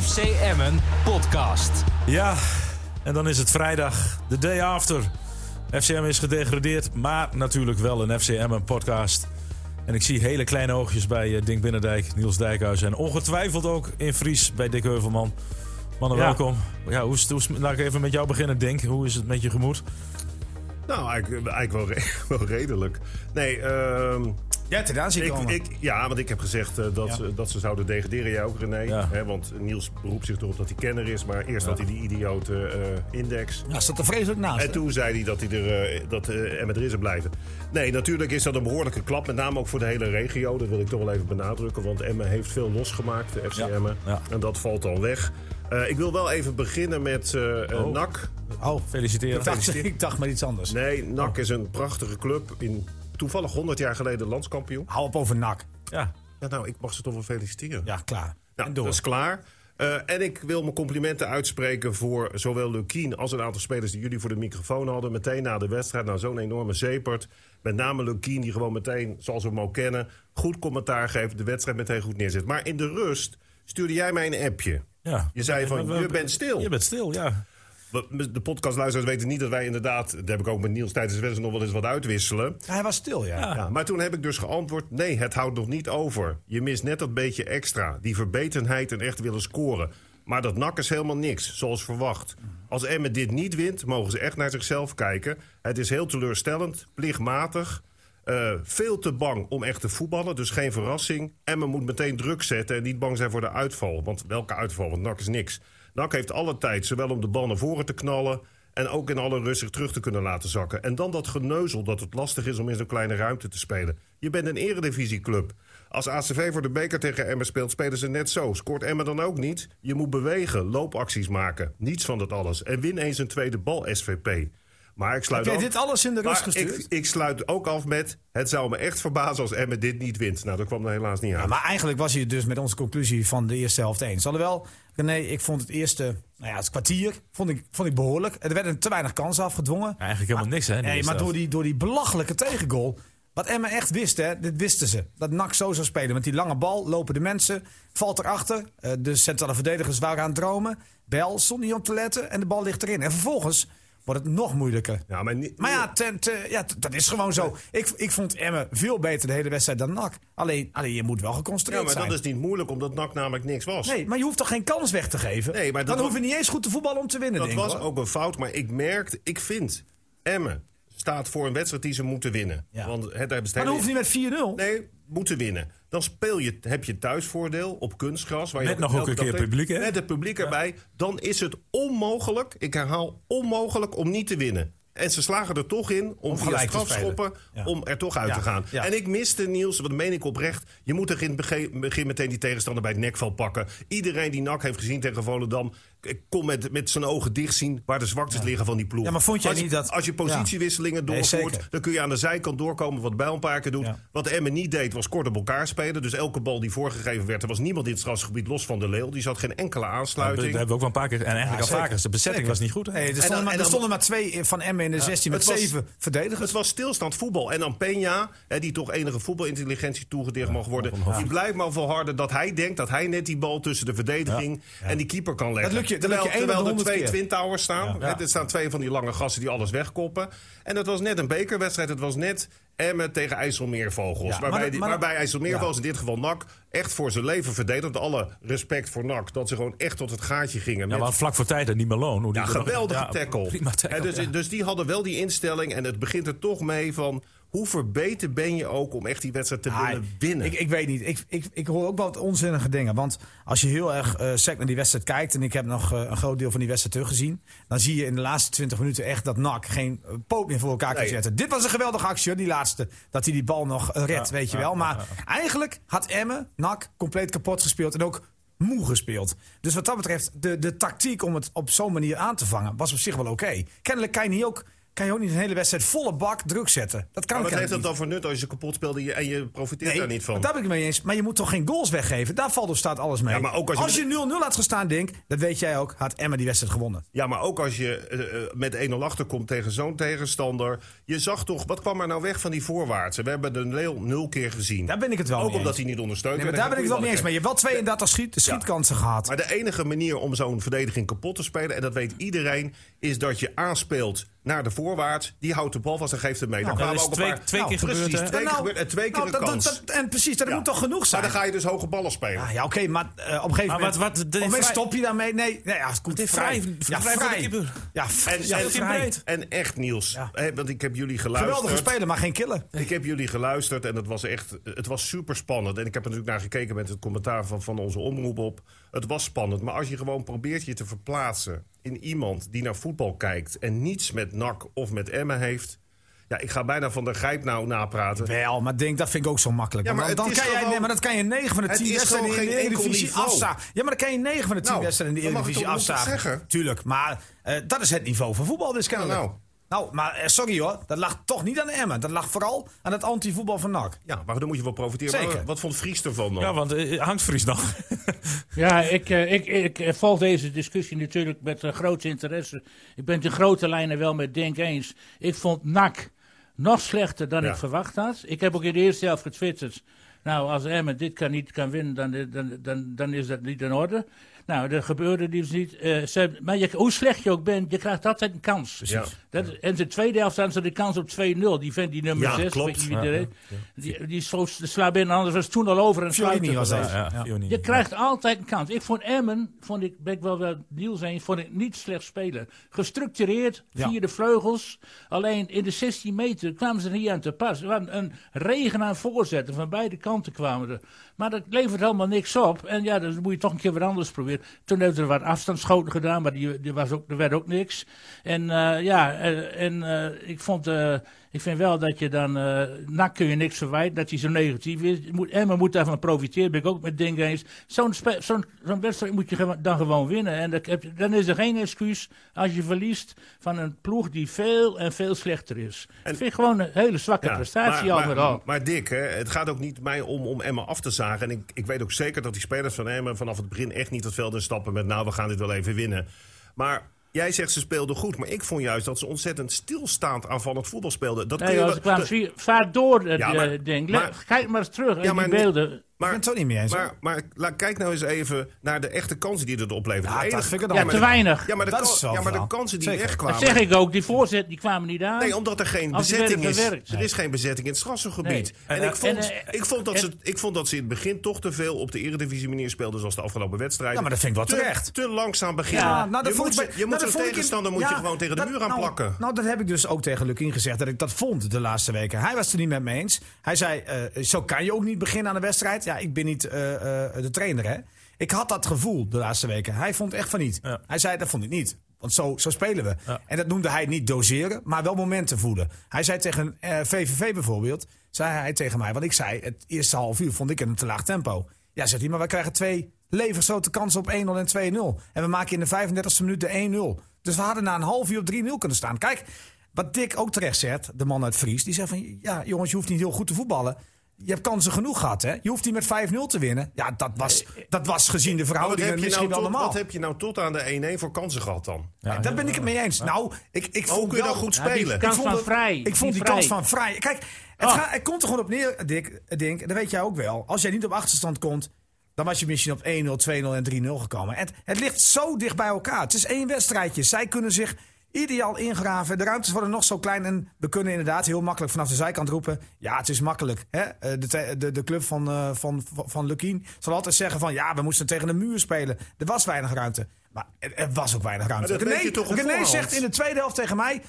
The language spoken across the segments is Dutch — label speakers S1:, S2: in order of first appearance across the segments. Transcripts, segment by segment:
S1: FC Emmen podcast.
S2: Ja, en dan is het vrijdag, de day after. FCM is gedegradeerd, maar natuurlijk wel een FCM podcast. En ik zie hele kleine oogjes bij eh, Dink Binnendijk, Niels Dijkhuis en ongetwijfeld ook in Fries bij Dick Heuvelman. Mannen,
S3: Ja.
S2: welkom. Ja, hoe is het, hoe is het- laat ik even met jou beginnen, Dink. Hoe is het met je gemoed?
S4: Nou, eigenlijk, eigenlijk wel, re- wel redelijk. Nee, ehm,
S3: Ja, ten aanzien
S4: ik,
S3: komen.
S4: ik, ja, want ik heb gezegd eh, dat, ze, dat ze zouden degraderen. Jij ook, René.
S2: Ja.
S4: Hè, want Niels beroept zich erop dat hij kenner is. Maar eerst had hij die idiote eh, index.
S3: Ja, Nou, staat er vreselijk naast.
S4: En toen zei hij dat, hij er, eh, dat eh Emmet erin zou blijven. Nee, natuurlijk is dat een behoorlijke klap. Met name ook voor de hele regio. Dat wil ik toch wel even benadrukken. Want Emmen heeft veel losgemaakt, de FC
S2: Ja,
S4: Emmen.
S2: ja.
S4: En dat valt dan weg. Eh, ik wil wel even beginnen met eh eh,
S2: Oh.
S4: NAC.
S3: Oh,
S2: Feliciteren.
S3: ik dacht, ik dacht maar iets anders.
S4: Nee, NAC is een prachtige club. In toevallig 100 jaar geleden landskampioen.
S3: Hou op over nak.
S2: Ja,
S4: Ja, nou, ik mag ze toch wel feliciteren.
S3: Ja, klaar.
S4: Nou,
S3: en door.
S4: dat is klaar. Eh, en ik wil mijn complimenten uitspreken voor zowel Lukien als een aantal spelers die jullie voor de microfoon hadden. Meteen na de wedstrijd, nou zo'n enorme zeepert. Met name Lukien, die gewoon meteen, zoals we hem al kennen, goed commentaar geeft. De wedstrijd meteen goed neerzet. Maar in de rust stuurde jij mij een appje.
S2: ja.
S4: Je zei van,
S2: We- we-
S4: je bent stil.
S2: Je bent stil, ja.
S4: We- De podcastluisteraars weten niet dat wij inderdaad... daar heb ik ook met Niels tijdens de wedstrijd nog wel eens wat uitwisselen.
S3: Hij was stil, ja.
S4: Ja, maar toen heb ik dus geantwoord: nee, het houdt nog niet over. Je mist net dat beetje extra, die verbetenheid en echt willen scoren. Maar dat nak is helemaal niks, zoals verwacht. Als Emmen dit niet wint, mogen ze echt naar zichzelf kijken. Het is heel teleurstellend, plichtmatig. eh, veel te bang om echt te voetballen, dus geen verrassing. Emmen moet meteen druk zetten en niet bang zijn voor de uitval. Want welke uitval? Want NAC is niks. NAC heeft alle tijd, zowel om de bal naar voren te knallen... En ook in alle rust zich terug te kunnen laten zakken. En dan dat geneuzel dat het lastig is om in zo'n kleine ruimte te spelen. Je bent een eredivisieclub. Als ACV voor de beker tegen Emmen speelt, spelen ze net zo. Scoort Emmen dan ook niet? Je moet bewegen, loopacties maken. Niets van dat alles. En win eens een tweede bal, SVP. Maar ik sluit
S3: Heb jij
S4: af-
S3: dit alles in de rust
S4: Maar
S3: gestuurd?
S4: Ik, ik sluit ook af met, het zou me echt verbazen als Emmen dit niet wint. Nou, dat kwam er helaas niet
S3: Ja,
S4: aan.
S3: maar eigenlijk was hij het dus met onze conclusie van de eerste helft eens. Alhoewel, René, ik vond het eerste nou ja, het kwartier vond ik, vond ik behoorlijk. Er werden te weinig kansen afgedwongen.
S2: Eigenlijk helemaal niks, hè? in de
S3: Nee,
S2: eerste
S3: maar door
S2: helft.
S3: die, door die belachelijke tegengoal. Wat Emma echt wist, hè, dit wisten ze. Dat NAC zo zou spelen. Want die lange bal, lopen de mensen, valt erachter. Eh, de centrale verdedigers waren aan het dromen. Bel stond niet op te letten en de bal ligt erin. En vervolgens wordt het nog moeilijker.
S4: Ja, maar, ni-
S3: Maar ja, ten- te- ja, t- dat is gewoon zo. Ik, ik vond Emmen veel beter de hele wedstrijd dan NAC. Alleen, alleen je moet wel
S4: ja,
S3: geconcentreerd
S4: maar dat
S3: zijn.
S4: is niet moeilijk, omdat NAC namelijk niks was.
S3: Nee, maar je hoeft toch geen kans weg te geven?
S4: Nee, maar dat
S3: dan
S4: was-
S3: hoef je niet eens goed te voetballen om te winnen,
S4: Dat
S3: denk ik.
S4: was
S3: hoor.
S4: ook een fout, maar ik merkte, ik vind, Emmen staat voor een wedstrijd die ze moeten winnen.
S3: Ja.
S4: Want het hebben ze
S3: Maar
S4: het
S3: dat hoeft niet met 4-0.
S4: Nee, moeten winnen. Dan speel je, heb je thuisvoordeel op kunstgras. Waar
S2: Met
S4: je
S2: nog ook
S4: elke
S2: een
S4: dag
S2: keer
S4: tegen-
S2: publiek, hè?
S4: Met het publiek erbij. Dan is het onmogelijk, ik herhaal, onmogelijk om niet te winnen. En ze slagen er toch in om, via
S3: gelijk te
S4: strafschoppen
S3: spelen. Ja.
S4: om er toch uit
S3: Ja,
S4: te gaan.
S3: ja.
S4: En ik miste, Niels, wat meen ik oprecht... je moet er in het bege- begin meteen die tegenstander bij het nekvel pakken. Iedereen die NAC heeft gezien tegen Volendam... k- kon met, met zijn ogen dicht zien waar de zwaktes liggen van die ploeg.
S3: Ja, maar vond jij
S4: als, je-
S3: niet dat-
S4: Als je positiewisselingen
S3: Nee,
S4: doorvoert,
S3: zeker.
S4: dan kun je aan de zijkant doorkomen wat Bijl een paar keer doet.
S3: Ja.
S4: Wat Emmen niet deed was kort op elkaar spelen. Dus elke bal die voorgegeven werd, er was niemand in het strafgebied los van de Leeuw. Die zat geen enkele
S2: Dat
S4: aansluiting.
S2: hebben we ook wel een paar keer. En eigenlijk al
S3: zeker.
S2: vaker. De bezetting
S3: Zeker.
S2: was niet goed. hè?
S3: Nee, er,
S4: En
S3: stonden
S4: dan- en
S3: maar, er
S4: dan-
S3: stonden maar twee van Emmen in de 16 met
S4: het was-
S3: zeven verdedigers.
S4: het was stilstand voetbal. En dan Peña, hè, die toch enige voetbalintelligentie toegedicht mag worden... die blijft maar volharden dat hij denkt dat hij net die bal tussen de verdediging... en die keeper kan leggen.
S3: lukt je- dat
S4: terwijl
S3: lukt je één
S4: terwijl
S3: op de
S4: er
S3: honderd
S4: twee
S3: keer.
S4: twin towers staan.
S3: Ja.
S4: Hè, Er staan twee van die lange gassen die alles wegkoppen. En dat was net een bekerwedstrijd. Het was net Emmen tegen IJsselmeervogels.
S3: Ja, maar
S4: waarbij
S3: dat-
S4: die-
S3: maar dat-
S4: waarbij IJsselmeervogels
S3: Ja.
S4: in dit geval NAC echt voor zijn leven verdedigd. Alle respect voor NAC. Dat ze gewoon echt tot het gaatje gingen.
S2: Ja,
S4: met-
S2: Nou, maar vlak voor tijd en niet meer loon. Hoe die
S4: ja,
S2: er nog-
S4: geweldige
S2: Ja,
S4: tackle.
S2: Prima tackle.
S4: En dus,
S2: ja.
S4: dus die hadden wel die instelling. En het begint er toch mee van... hoe verbeterd ben je ook om echt die wedstrijd te
S3: Ah,
S4: willen winnen?
S3: Ik, ik weet niet. Ik, ik, ik hoor ook wel wat onzinnige dingen. Want als je heel erg eh sec naar die wedstrijd kijkt... en ik heb nog eh, een groot deel van die wedstrijd teruggezien... dan zie je in de laatste 20 minuten echt dat NAC geen eh, poot meer voor elkaar kan
S4: Nee.
S3: zetten. Dit was een geweldige actie, hoor, die laatste. Dat hij die bal nog eh, redt, weet je wel. Maar eigenlijk had Emmen NAC compleet kapot gespeeld... en ook moe gespeeld. Dus wat dat betreft, de, de tactiek om het op zo'n manier aan te vangen... was op zich wel oké. Kennelijk kan je hier ook kan je ook niet een hele wedstrijd volle bak druk zetten. Dat kan
S4: Maar wat
S3: kennelijk
S4: heeft dat
S3: niet.
S4: dan voor nut als je kapot speelt en je, en je profiteert daar niet van?
S3: Daar ben ik het mee eens. Maar je moet toch geen goals weggeven? Daar valt of staat alles mee.
S4: Ja, maar ook als je-
S3: je 0-0 had gestaan, denk dat weet jij ook, had Emma die wedstrijd gewonnen.
S4: Ja, maar ook als je eh, eh, met 1-0 achterkomt tegen zo'n tegenstander. Je zag toch, wat kwam er nou weg van die voorwaartse? We hebben de Leeuw nul keer gezien.
S3: Daar ben ik het wel
S4: ook
S3: mee eens.
S4: omdat hij niet ondersteund
S3: Nee, maar
S4: werd.
S3: daar
S4: Hij
S3: ben ik het
S4: had
S3: wel mee eens. Maar
S4: goede
S3: je hebt wel 32 schiet, schietkansen gehad.
S4: ballen. Maar de enige manier om zo'n verdediging kapot te spelen, en dat weet iedereen, is dat je aanspeelt naar de voorwaarts. Die houdt de bal vast en geeft hem mee.
S3: Nou,
S4: Daar
S2: dat is
S4: kwamen ook
S2: twee,
S4: een paar-
S2: twee
S3: Nou,
S2: keer gebeurd,
S4: precies.
S2: hè?
S4: Twee keer gebeurd en twee keer
S3: nou,
S4: een
S3: dat-
S4: kans.
S3: dat- dat- en precies, dat
S4: Ja.
S3: moet toch genoeg
S4: Maar
S3: zijn?
S4: dan ga je dus hoge ballen spelen.
S3: Ah, ja, oké, maar eh, op een gegeven
S2: Maar wat-
S3: moment,
S2: wat-
S3: op een
S2: dit
S3: gegeven moment
S2: vrij-
S3: stop je daarmee. Nee, nee ja, goed,
S2: dit vrij- vrij voor de keeper.
S3: Ja, vrij.
S4: En-
S3: Ja,
S4: en-
S2: vrij. breed.
S4: En echt, Niels, hè, want ik heb jullie geluisterd.
S3: Geweldige speler, maar geen killer.
S4: Ik heb jullie geluisterd en het was echt het was super spannend. En ik heb er natuurlijk naar gekeken met het commentaar van, van onze omroep op. Het was spannend, maar als je gewoon probeert je te verplaatsen in iemand die naar voetbal kijkt en niets met NAC of met Emmen heeft. Ja, ik ga bijna van de grijp nou napraten.
S3: Wel, maar denk, dat vind ik ook zo makkelijk.
S4: Ja,
S3: Want
S4: maar
S3: dan
S4: het
S3: kan
S4: is
S3: jij,
S4: gewoon-
S3: nee, maar dat kan je 9 van de
S4: Het
S3: 10
S4: is
S3: wedstrijden in
S4: gewoon
S3: de
S4: geen enkel
S3: Eredivisie
S4: niveau.
S3: afstaan. Ja, maar dan kan je 9 van de 10
S4: Nou,
S3: wedstrijden in de
S4: dan mag ik
S3: Eredivisie
S4: toch- moet ik
S3: afstaan.
S4: dat zeggen?
S3: Tuurlijk, maar eh, dat is het niveau van voetbal dus kennelijk.
S4: nou.
S3: Nou, maar eh, sorry hoor, dat lag toch niet aan de Emmen. Dat lag vooral aan het anti-voetbal van NAC.
S4: Ja, maar dan moet je wel profiteren.
S3: Zeker.
S4: Maar Wat vond Fries ervan dan?
S2: Ja, want eh, hangt Fries nog.
S5: Ja, ik, eh, ik, ik eh, volg deze discussie natuurlijk met eh, groot interesse. Ik ben het in grote lijnen wel met Denk eens. Ik vond NAC nog slechter dan
S4: Ja.
S5: ik verwacht had. Ik heb ook in de eerste helft getwitterd. Nou, als Emmen dit kan niet kan winnen, dan, eh, dan, dan, dan is dat niet in orde. Nou, dat gebeurde dus niet. Eh, ze hebben- maar je, hoe slecht je ook bent, je krijgt altijd een kans.
S4: Ja.
S5: Dat, en de tweede helft hadden ze de kans op 2-0. Die vent, die nummer
S4: Ja,
S5: 6,
S4: klopt.
S5: weet je wie die reed? Die, die slo- slaat binnen, anders was het toen al over. en
S3: Fiorini
S5: sluiten
S3: was dat.
S5: geweest.
S2: Ja, Fiorentini.
S5: Je krijgt altijd een kans. Ik vond Emmen, vond ik, ben ik wel wel Niels eens, vond ik niet slecht spelen. Gestructureerd,
S3: Ja.
S5: via de vleugels. Alleen in de 16 meter kwamen ze er niet aan te pas. Er waren een regen aan voorzetten, van beide kanten kwamen er. Maar dat levert helemaal niks op. En ja, dan moet je toch een keer wat anders proberen. Toen hebben ze er wat afstandsschoten gedaan, maar die, die was ook, er werd ook niks. En eh, ja, eh, en eh, ik vond... eh, ik vind wel dat je dan, eh NAC kun je niks verwijten, dat hij zo negatief is. Je Moet, Emma moet daarvan profiteren, ben ik ook met dingen eens. Zo'n spe- zo'n- zo'n wedstrijd moet je gewo- dan gewoon winnen. En dat heb je- dan is er geen excuus als je verliest van een ploeg die veel en veel slechter is. ik vind gewoon een hele zwakke
S4: Ja,
S5: prestatie
S4: maar,
S5: al met
S4: maar-
S5: al.
S4: Maar Dick, hè, het gaat ook niet mij om, om Emma af te zagen. En ik, ik weet ook zeker dat die spelers van Emma vanaf het begin echt niet het veld in stappen met... nou, we gaan dit wel even winnen. Maar jij zegt ze speelden goed. Maar ik vond juist dat ze ontzettend stilstaand aanvallend voetbal speelden. Dat kun
S5: Nee,
S4: je
S5: joh,
S4: wel-
S5: ze kwamen
S4: dat-
S5: vier- vaart door, dat
S4: Ja,
S5: eh,
S4: maar-
S5: ding.
S4: maar-
S5: Le- Kijk maar eens terug,
S4: Ja,
S5: in die
S4: niet-
S5: beelden.
S4: maar-
S3: Ik ben het ook niet mee eens, hoor.
S4: Maar, maar la- kijk nou eens even naar de echte kansen die het oplevert.
S3: Ja,
S4: De
S3: dat
S4: enige-
S3: vind ik het
S5: Ja,
S3: maar
S5: te
S3: de-
S5: weinig.
S4: Ja, maar de,
S3: Dat
S4: kan-
S3: is zo'n
S4: ja, maar de
S3: verhaal.
S4: kansen die
S3: Zeker.
S5: dat
S4: wegkwamen...
S5: zeg ik ook, die voorzet die kwamen niet aan.
S4: Nee, omdat er geen
S5: Als die
S4: bezetting
S5: werden
S4: is.
S5: verwerkt.
S4: Er is geen bezetting in het strassengebied.
S5: Nee.
S4: En,
S5: En,
S4: ik, vond,
S5: eh, en, eh,
S4: ik, vond dat
S5: en-
S4: ze, ik vond dat ze in het begin toch te veel op de eredivisie manier speelden... zoals de afgelopen wedstrijd.
S3: Ja, maar dat vind ik wel
S4: te,
S3: terecht.
S4: Te langzaam beginnen.
S3: Ja, nou, dat
S4: je moet,
S3: vond ik
S4: ze-
S3: bij-
S4: je
S3: nou,
S4: moet zo'n
S3: dat vond ik in-
S4: tegenstander moet
S3: ja,
S4: je gewoon tegen de
S3: dat-
S4: muur Oh, aan
S3: nou,
S4: plakken.
S3: Nou, dat heb ik dus ook tegen Luc gezegd, dat ik dat vond de laatste weken. Hij was het er niet met me eens. Hij zei, eh, zo kan je ook niet beginnen aan een wedstrijd. Ja, ik ben niet eh, eh, de trainer, hè. Ik had dat gevoel de laatste weken. Hij vond echt van niet.
S2: Ja.
S3: Hij zei, dat vond ik niet. Want zo, zo spelen we. En dat noemde hij niet doseren, maar wel momenten voelen. Hij zei tegen eh, VVV bijvoorbeeld, zei hij tegen mij... want ik zei, het eerste half uur vond ik een te laag tempo. Ja, zegt hij, maar we krijgen twee levensgrote kansen op 1-0 en 2-0. En we maken in de 35e minuut de 1-0. Dus we hadden na een half uur op 3-0 kunnen staan. Kijk, wat Dick ook terecht zegt, de man uit Fries... die zegt van, ja jongens, je hoeft niet heel goed te voetballen... Je hebt kansen genoeg gehad, hè? Je hoeft niet met 5-0 te winnen. Ja, dat was, dat was gezien de
S4: Maar Eh, wat,
S3: verhoudingen
S4: heb je
S3: misschien
S4: nou
S3: wel
S4: tot,
S3: normaal.
S4: wat heb je nou tot aan de 1-1 voor kansen gehad dan?
S3: Ja, daar ben ik het mee eens. Nou, ik, ik
S4: Hoe
S3: vond
S4: kun je
S3: wel-
S4: dan goed
S5: Ja, die
S4: spelen?
S5: kan-
S3: ik vond
S5: van
S3: dat-
S5: Vrij.
S3: Ik vond die,
S5: Die
S3: kans
S5: Vrij.
S3: van vrij. Kijk, het,
S5: Ah.
S3: ga- het komt er gewoon op neer, Dick, Dink. Dat weet jij ook wel. Als jij niet op achterstand komt, dan was je misschien op 1-0, 2-0 en 3-0 gekomen. Het, het ligt zo dicht bij elkaar. Het is één wedstrijdje. Zij kunnen zich ideaal ingraven. De ruimtes worden nog zo klein. En we kunnen inderdaad heel makkelijk vanaf de zijkant roepen... ja, het is makkelijk. Hè? Eh, De, te- de, de club van, eh, van, van, van Lukien zal altijd zeggen van... ja, we moesten tegen de muur spelen. Er was weinig ruimte. Maar er, er was ook weinig ruimte.
S4: dat weet je toch op
S3: René
S4: voorhand?
S3: zegt in de tweede helft tegen mij...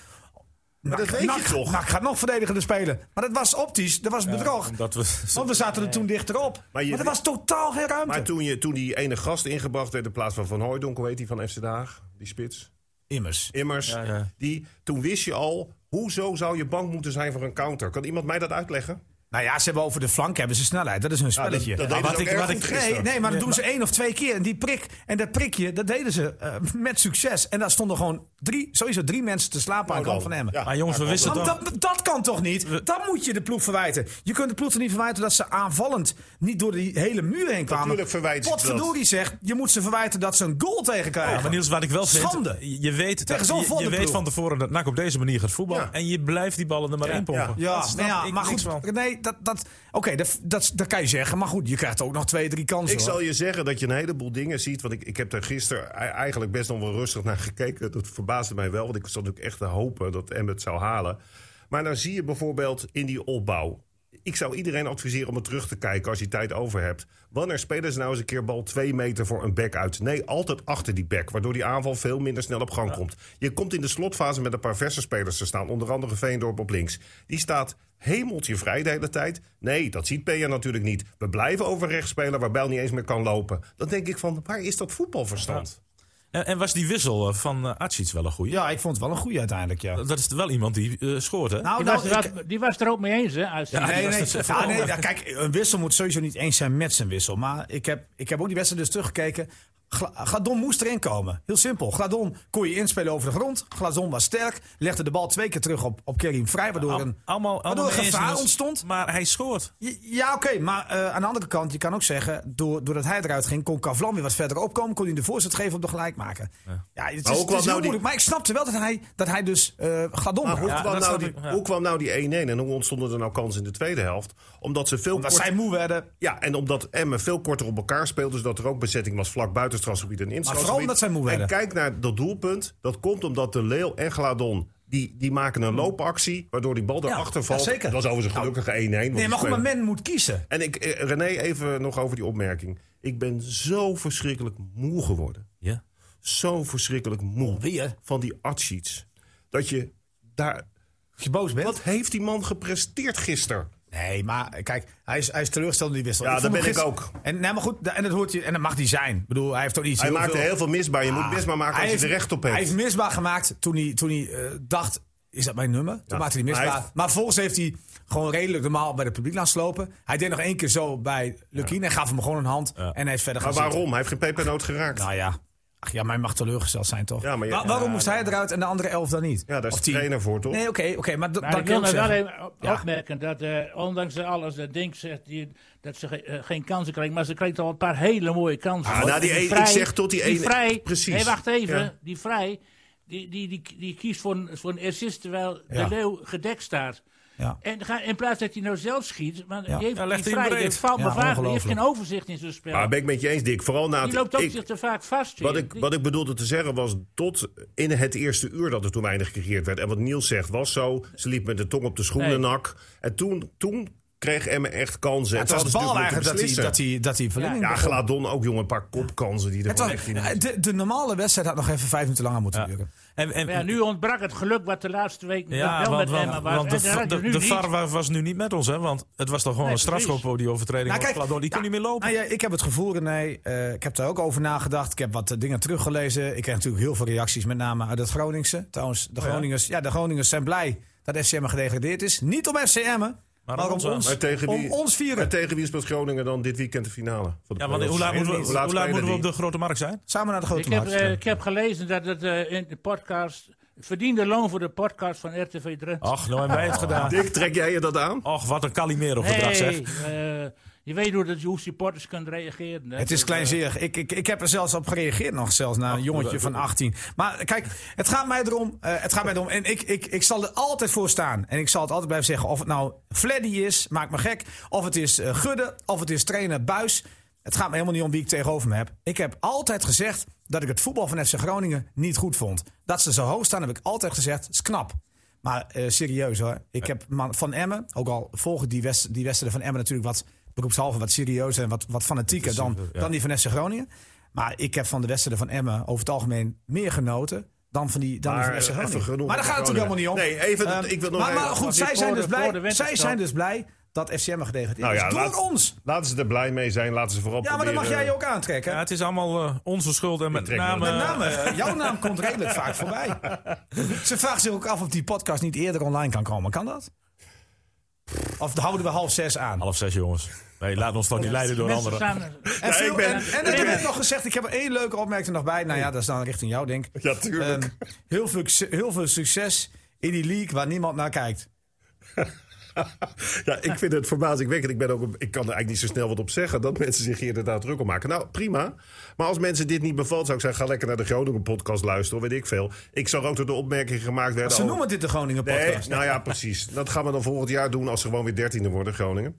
S4: Maar dat
S3: Nak-
S4: weet je
S3: Nak-
S4: toch?
S3: Nak gaat Ah, nog verdedigende spelen. Maar dat was optisch, dat was bedrog.
S2: Omdat we
S3: Want we zaten er toen dichterop. Maar,
S4: Maar je-
S3: er was totaal geen ruimte.
S4: Maar toen, je, toen die ene gast ingebracht werd in plaats van Van Hooijdonk... hoe heet die van FC Den Haag, die spits?
S3: Immers.
S4: Immers,
S2: Ja, ja.
S4: Die, toen wist je al... hoezo zou je bang moeten zijn voor een counter? Kan iemand mij dat uitleggen?
S3: Nou ja, ze hebben over de flank hebben ze snelheid. Dat is hun spelletje.
S4: dat- dat deden ze ook erg goed
S3: nee,
S4: gisteren.
S3: nee, maar dat doen ze één of twee keer. En die prik en dat prikje, dat deden ze eh, met succes. En daar stonden gewoon drie, sowieso drie mensen te slapen aan de kant van Emmen.
S4: Oh, Ja,
S2: Maar jongens, we
S4: daar
S2: wisten
S4: komt
S2: het
S3: Want
S2: al.
S3: dat, dat kan toch niet? Dat moet je de ploeg verwijten. Je kunt de ploeg er niet verwijten dat ze aanvallend niet door die hele muur heen kwamen.
S4: Natuurlijk verwijten ze dat.
S3: Potverdorie zegt, je moet ze verwijten dat ze een goal tegen krijgen.
S2: Ja, maar Niels, wat ik wel vind,
S3: Schande.
S2: je weet,
S3: Tegen zo'n
S2: je- je,
S3: volle
S2: weet
S3: ploeg.
S2: van tevoren dat NAC op deze manier gaat voetballen.
S4: Ja.
S2: En je blijft die ballen er maar in pompen.
S3: Ja,
S2: Dat snap
S3: nou ja,
S2: ik
S3: maar
S2: niks
S3: goed.
S2: van.
S3: Nee, dat, dat, oké, dat, dat, dat kan je zeggen. Maar goed, je krijgt ook nog twee, drie kansen.
S4: Ik
S3: hoor.
S4: zal je zeggen dat je een heleboel dingen ziet. Want ik, ik heb daar gisteren e- eigenlijk best nog wel rustig naar gekeken. Dat verbaasde mij wel. Want ik zat natuurlijk echt te hopen dat Emmet het zou halen. Maar dan zie je bijvoorbeeld in die opbouw. Ik zou iedereen adviseren om het terug te kijken als je tijd over hebt. Wanneer spelen ze nou eens een keer bal twee meter voor een back uit? Nee, altijd achter die back. Waardoor die aanval veel minder snel op gang komt. Je komt in de slotfase met een paar verse spelers te staan. Onder andere Veendorp op links. Die staat hemeltje vrij de hele tijd. Nee, dat ziet Peja natuurlijk niet. We blijven over rechts spelen waar Bijl niet eens meer kan lopen. Dan denk ik van, waar is dat voetbalverstand?
S2: En, en was die wissel eh, van eh, Atsic wel een goeie?
S3: Ja, ik vond het wel een goede uiteindelijk, ja.
S2: Dat is wel iemand die eh, scoort, hè?
S4: Oh,
S3: Nou,
S5: Die,
S3: nou,
S5: was er,
S3: ik-
S5: ook- die was er ook mee eens, hè? Als die-
S3: Nee, nee,
S2: was dus
S3: ja,
S2: even
S3: nee,
S2: over.
S3: ja, kijk, een wissel moet sowieso niet eens zijn met zijn wissel. Maar ik heb, ik heb ook die wedstrijd dus teruggekeken. Gla- Gladon moest erin komen. Heel simpel. Gladon kon je inspelen over de grond. Gladon was sterk. Legde de bal twee keer terug op, op Kerim
S2: Nou,
S3: Vrij. Waardoor een,
S2: allemaal, allemaal
S3: waardoor
S2: mee eens,
S3: gevaar
S2: Niels.
S3: ontstond.
S2: Maar hij scoort.
S3: Ja, oké. maar eh, aan de andere kant, je kan ook zeggen... Door, doordat hij eruit ging, kon Kavlan weer wat verder opkomen. Kon hij de voorzet geven op de gelijk maken. Ja, het
S4: Maar
S3: is,
S4: hoe
S3: het
S4: kwam
S3: is heel
S4: nou die-
S3: moeilijk. Maar ik snapte wel dat hij, dat hij dus eh Gladon
S4: Maar
S3: bracht.
S4: hoe,
S2: Ja,
S4: kwam
S2: dat
S4: nou
S2: snap
S4: die,
S2: ik, ja.
S4: hoe kwam nou die 1-1 en hoe ontstonden er nou kansen in de tweede helft? Omdat ze veel
S3: Omdat
S4: korter-
S3: zij moe werden.
S4: Ja, en omdat Emmen veel korter op elkaar speelde... zodat er ook bezetting was vlak buiten het strafgebied en in het
S3: Maar vooral
S4: strafgebied.
S3: omdat zij moe
S4: En
S3: werden.
S4: kijk naar dat doelpunt. Dat komt omdat de Leeuw en Gladon... Die, die maken een loopactie, waardoor die bal erachter valt.
S3: ja, zeker. Nou,
S4: Dat was overigens gelukkig 1-1. want
S3: Nee,
S4: die
S3: maar goed, maar
S4: spelen-
S3: men moet kiezen.
S4: En ik, eh, René, even nog over die opmerking. Ik ben zo verschrikkelijk moe geworden.
S2: Ja.
S4: Zo verschrikkelijk moe.
S3: Oh, Weer?
S4: Van die adsheets. Dat je daar...
S3: Als je boos bent.
S4: Wat heeft die man gepresteerd gisteren?
S3: Nee, maar kijk, hij is, hij is teleurgesteld door die wissel.
S4: Ja,
S3: vond
S4: dat
S3: hem
S4: ben ik
S3: gisteren- En, nee, maar goed, da- en dat, hoort je, en dat mag hij zijn. Ik bedoel, hij heeft toch iets
S4: Hij maakte heel veel misbaar. Je moet
S3: Ah,
S4: misbaar maken
S3: hij
S4: als je er
S3: heeft-
S4: recht op hebt.
S3: Hij heeft misbaar gemaakt toen hij, toen hij eh, dacht, is dat mijn nummer? Toen maakte hij misbaar.
S4: maar hij heeft-
S3: Maar volgens heeft hij gewoon redelijk normaal bij de publiek laten slopen. Hij deed nog één keer zo bij Lukien en gaf hem gewoon een hand. En hij is verder
S4: maar
S3: gaan
S4: waarom? Hij heeft geen pepernoot geraakt.
S3: zitten. Nou ja. Ach ja, mij mag teleurgesteld zijn toch?
S4: Ja, maar je-
S3: Wa- waarom
S4: ja,
S3: moest hij eruit en de andere elf dan niet?
S4: ja, daar is
S3: Of
S4: de
S3: tien?
S4: trainer voor, toch?
S3: Nee, oké, oké. maar dat
S5: Maar
S3: dat
S5: ik
S3: kan
S5: wil
S3: ik
S5: nog wel
S3: zeggen.
S5: even op-
S3: Ja.
S5: opmerken dat, eh, ondanks dat alles, dat Dink zegt die, dat ze ge- eh, geen kansen krijgt, maar ze krijgt al een paar hele mooie kansen.
S4: Ah, nou, die een- ik zeg tot die ene-
S5: vrij,
S4: precies.
S5: Nee, wacht even.
S4: Ja.
S5: Die vrij, die, die, die, die kiest voor een, voor een assist terwijl
S3: Ja.
S5: de leeuw gedekt staat.
S3: Ja.
S5: En ga, in plaats dat hij nou zelf schiet, maar
S3: Ja.
S5: die heeft
S2: Ja,
S5: die
S2: legt hij hem
S5: vrij,
S2: breed.
S5: die valt
S3: Ja,
S5: me vaak, die heeft
S3: ongelooflijk.
S5: geen overzicht in zijn spel.
S4: Maar ben ik met je eens, Dick. Vooral na
S5: die
S4: het...
S5: loopt ook
S4: ik-
S5: zich te vaak vast.
S4: Wat
S5: weer.
S4: ik,
S5: Die-
S4: wat ik bedoelde te zeggen was tot in het eerste uur dat er toen weinig gecreëerd werd. En wat Niels zegt was zo. Ze liep met de tong op de schoenenak. En toen, toen kreeg Emmen echt kansen.
S3: Ja,
S4: En
S3: het
S4: toen hadden
S3: was
S4: ze
S3: bal
S4: natuurlijk
S3: eigenlijk dat hij,
S4: moeten
S3: dat hij, dat hij verlenging
S4: beslissen. Ja,
S3: begon.
S4: Gladon ook, jongen. Een paar kopkansen die er
S3: Het
S4: gewoon
S3: was-
S4: echt in-
S3: de, de normale wedstrijd had nog even vijf minuten langer moeten duren.
S2: En, en,
S5: Maar ja, nu ontbrak het geluk wat de laatste week
S2: Ja,
S5: wel
S2: want,
S5: met
S2: want,
S5: Emma was.
S2: want
S5: En dat
S2: de,
S5: raakte
S2: de,
S5: nu
S2: de
S5: niet.
S2: VAR wa- was nu niet met ons, hè? Want het was toch gewoon
S5: Nee,
S2: een strafschop
S5: precies.
S2: voor die overtreding.
S3: Nou,
S2: van
S3: kijk,
S2: Gladon. die kon
S3: nou,
S2: niet meer lopen.
S3: Nou ja, ik heb het gevoel, René, eh, ik heb daar ook over nagedacht. Ik heb wat eh, dingen teruggelezen. Ik kreeg natuurlijk heel veel reacties, met name uit het Groningse. Trouwens, de
S2: ja.
S3: Groningers, ja. de Groningers zijn blij dat FCM gedegradeerd is. Niet om FCM, maar,
S2: Maar
S3: om
S2: om
S3: ons,
S2: ons,
S4: Maar tegen
S3: om
S4: wie-
S3: ons
S4: Maar
S3: vieren.
S4: tegen wie speelt Groningen dan dit weekend de finale? van de
S2: ja, want
S4: playoffs?
S2: hoe laat moeten we,
S4: Hoe
S2: hoe laat
S4: spelen
S2: moeten we op
S4: die?
S2: de grote markt zijn?
S3: Samen naar de grote
S5: Ik heb,
S3: markt.
S5: eh, ik heb gelezen dat het eh, in de podcast. Verdiende loon voor de podcast van RTV Drenthe.
S2: Ach, nou hebben wij het gedaan.
S4: Dick, trek jij je dat aan?
S2: Och, wat een
S5: Nee,
S2: Calimero-gedrag, zeg.
S5: eh, je weet hoe, dat, hoe supporters kunnen reageren. hè.
S3: Het is
S5: Dus,
S3: kleinzerig. Ik, ik, ik heb er zelfs op gereageerd nog, zelfs na een jongetje van 18. Maar kijk, het gaat mij erom. eh, het gaat mij erom. En ik, ik, ik zal er altijd voor staan. En ik zal het altijd blijven zeggen. Of het nou Fleddy is, maakt me gek. Of het is eh, Gudde. Of het is trainer Buis. Het gaat me helemaal niet om wie ik tegenover me heb. Ik heb altijd gezegd dat ik het voetbal van FC Groningen niet goed vond. Dat ze zo hoog staan, heb ik altijd gezegd. is knap. Maar eh, serieus hoor. Ik heb man- van Emmen, ook al volgen die, west, die wedstrijden van Emmen natuurlijk wat beroepshalve, wat serieuzer en wat, wat fanatieker dan,
S2: Intensieve, ja.
S3: dan die van FC Groningen. Maar ik heb van de wedstrijden van Emmen over het algemeen meer genoten dan van die, dan die
S4: Maar,
S3: van FC
S4: eh, even
S3: Groningen.
S4: genoeg
S3: Maar daar
S4: over
S3: gaat het ook helemaal niet om.
S4: Groningen. Nee, even,
S3: Ehm,
S4: ik wil nog
S3: maar,
S4: even-
S3: maar goed,
S4: want
S3: zij
S5: dit
S3: zijn,
S5: voor
S3: dus
S5: de-
S3: blij,
S5: voor de
S3: zij
S5: winterstop.
S3: zijn dus blij dat FCM gedegradeerd
S4: Nou
S3: is.
S4: ja,
S3: Door
S4: laat- eh,
S3: ons.
S4: Laten ze er blij mee zijn. Laten ze vooral
S3: Ja, maar dan mag jij je ook aantrekken.
S2: Ja, het is allemaal eh, onze schuld en met
S4: trek me
S2: name...
S3: Met name, jouw naam komt redelijk vaak voorbij. Ze vragen zich ook af of die podcast niet eerder online kan komen. Kan dat? Of houden we half zes aan?
S2: Half zes, jongens. Nee, laat ons toch niet leiden door
S5: eh, Mensen
S2: anderen.
S5: staan er-
S3: En, veel,
S4: ik ben-
S3: en, en
S5: ik
S3: ik heb
S5: ben-
S3: net nog gezegd, ik heb er één leuke opmerking er nog bij. Nou ja, dat is dan richting jou, denk ik.
S4: Ja, tuurlijk.
S3: Ehm, heel, veel, heel veel succes in die league waar niemand naar kijkt.
S4: ja, ik vind het verbazingwekkend. Ik, ben ook, ik kan er eigenlijk niet zo snel wat op zeggen dat mensen zich hier inderdaad druk om maken. Nou, prima. Maar als mensen dit niet bevalt, zou ik zeggen: ga lekker naar de Groningen podcast luisteren, of weet ik veel. Ik zag ook dat de opmerkingen gemaakt werden.
S3: Ze
S4: over-
S3: noemen dit de Groningen
S4: Nou. Nee,
S3: podcast.
S4: nou ja, precies. Dat gaan we dan volgend jaar doen als ze gewoon weer dertiende worden, Groningen.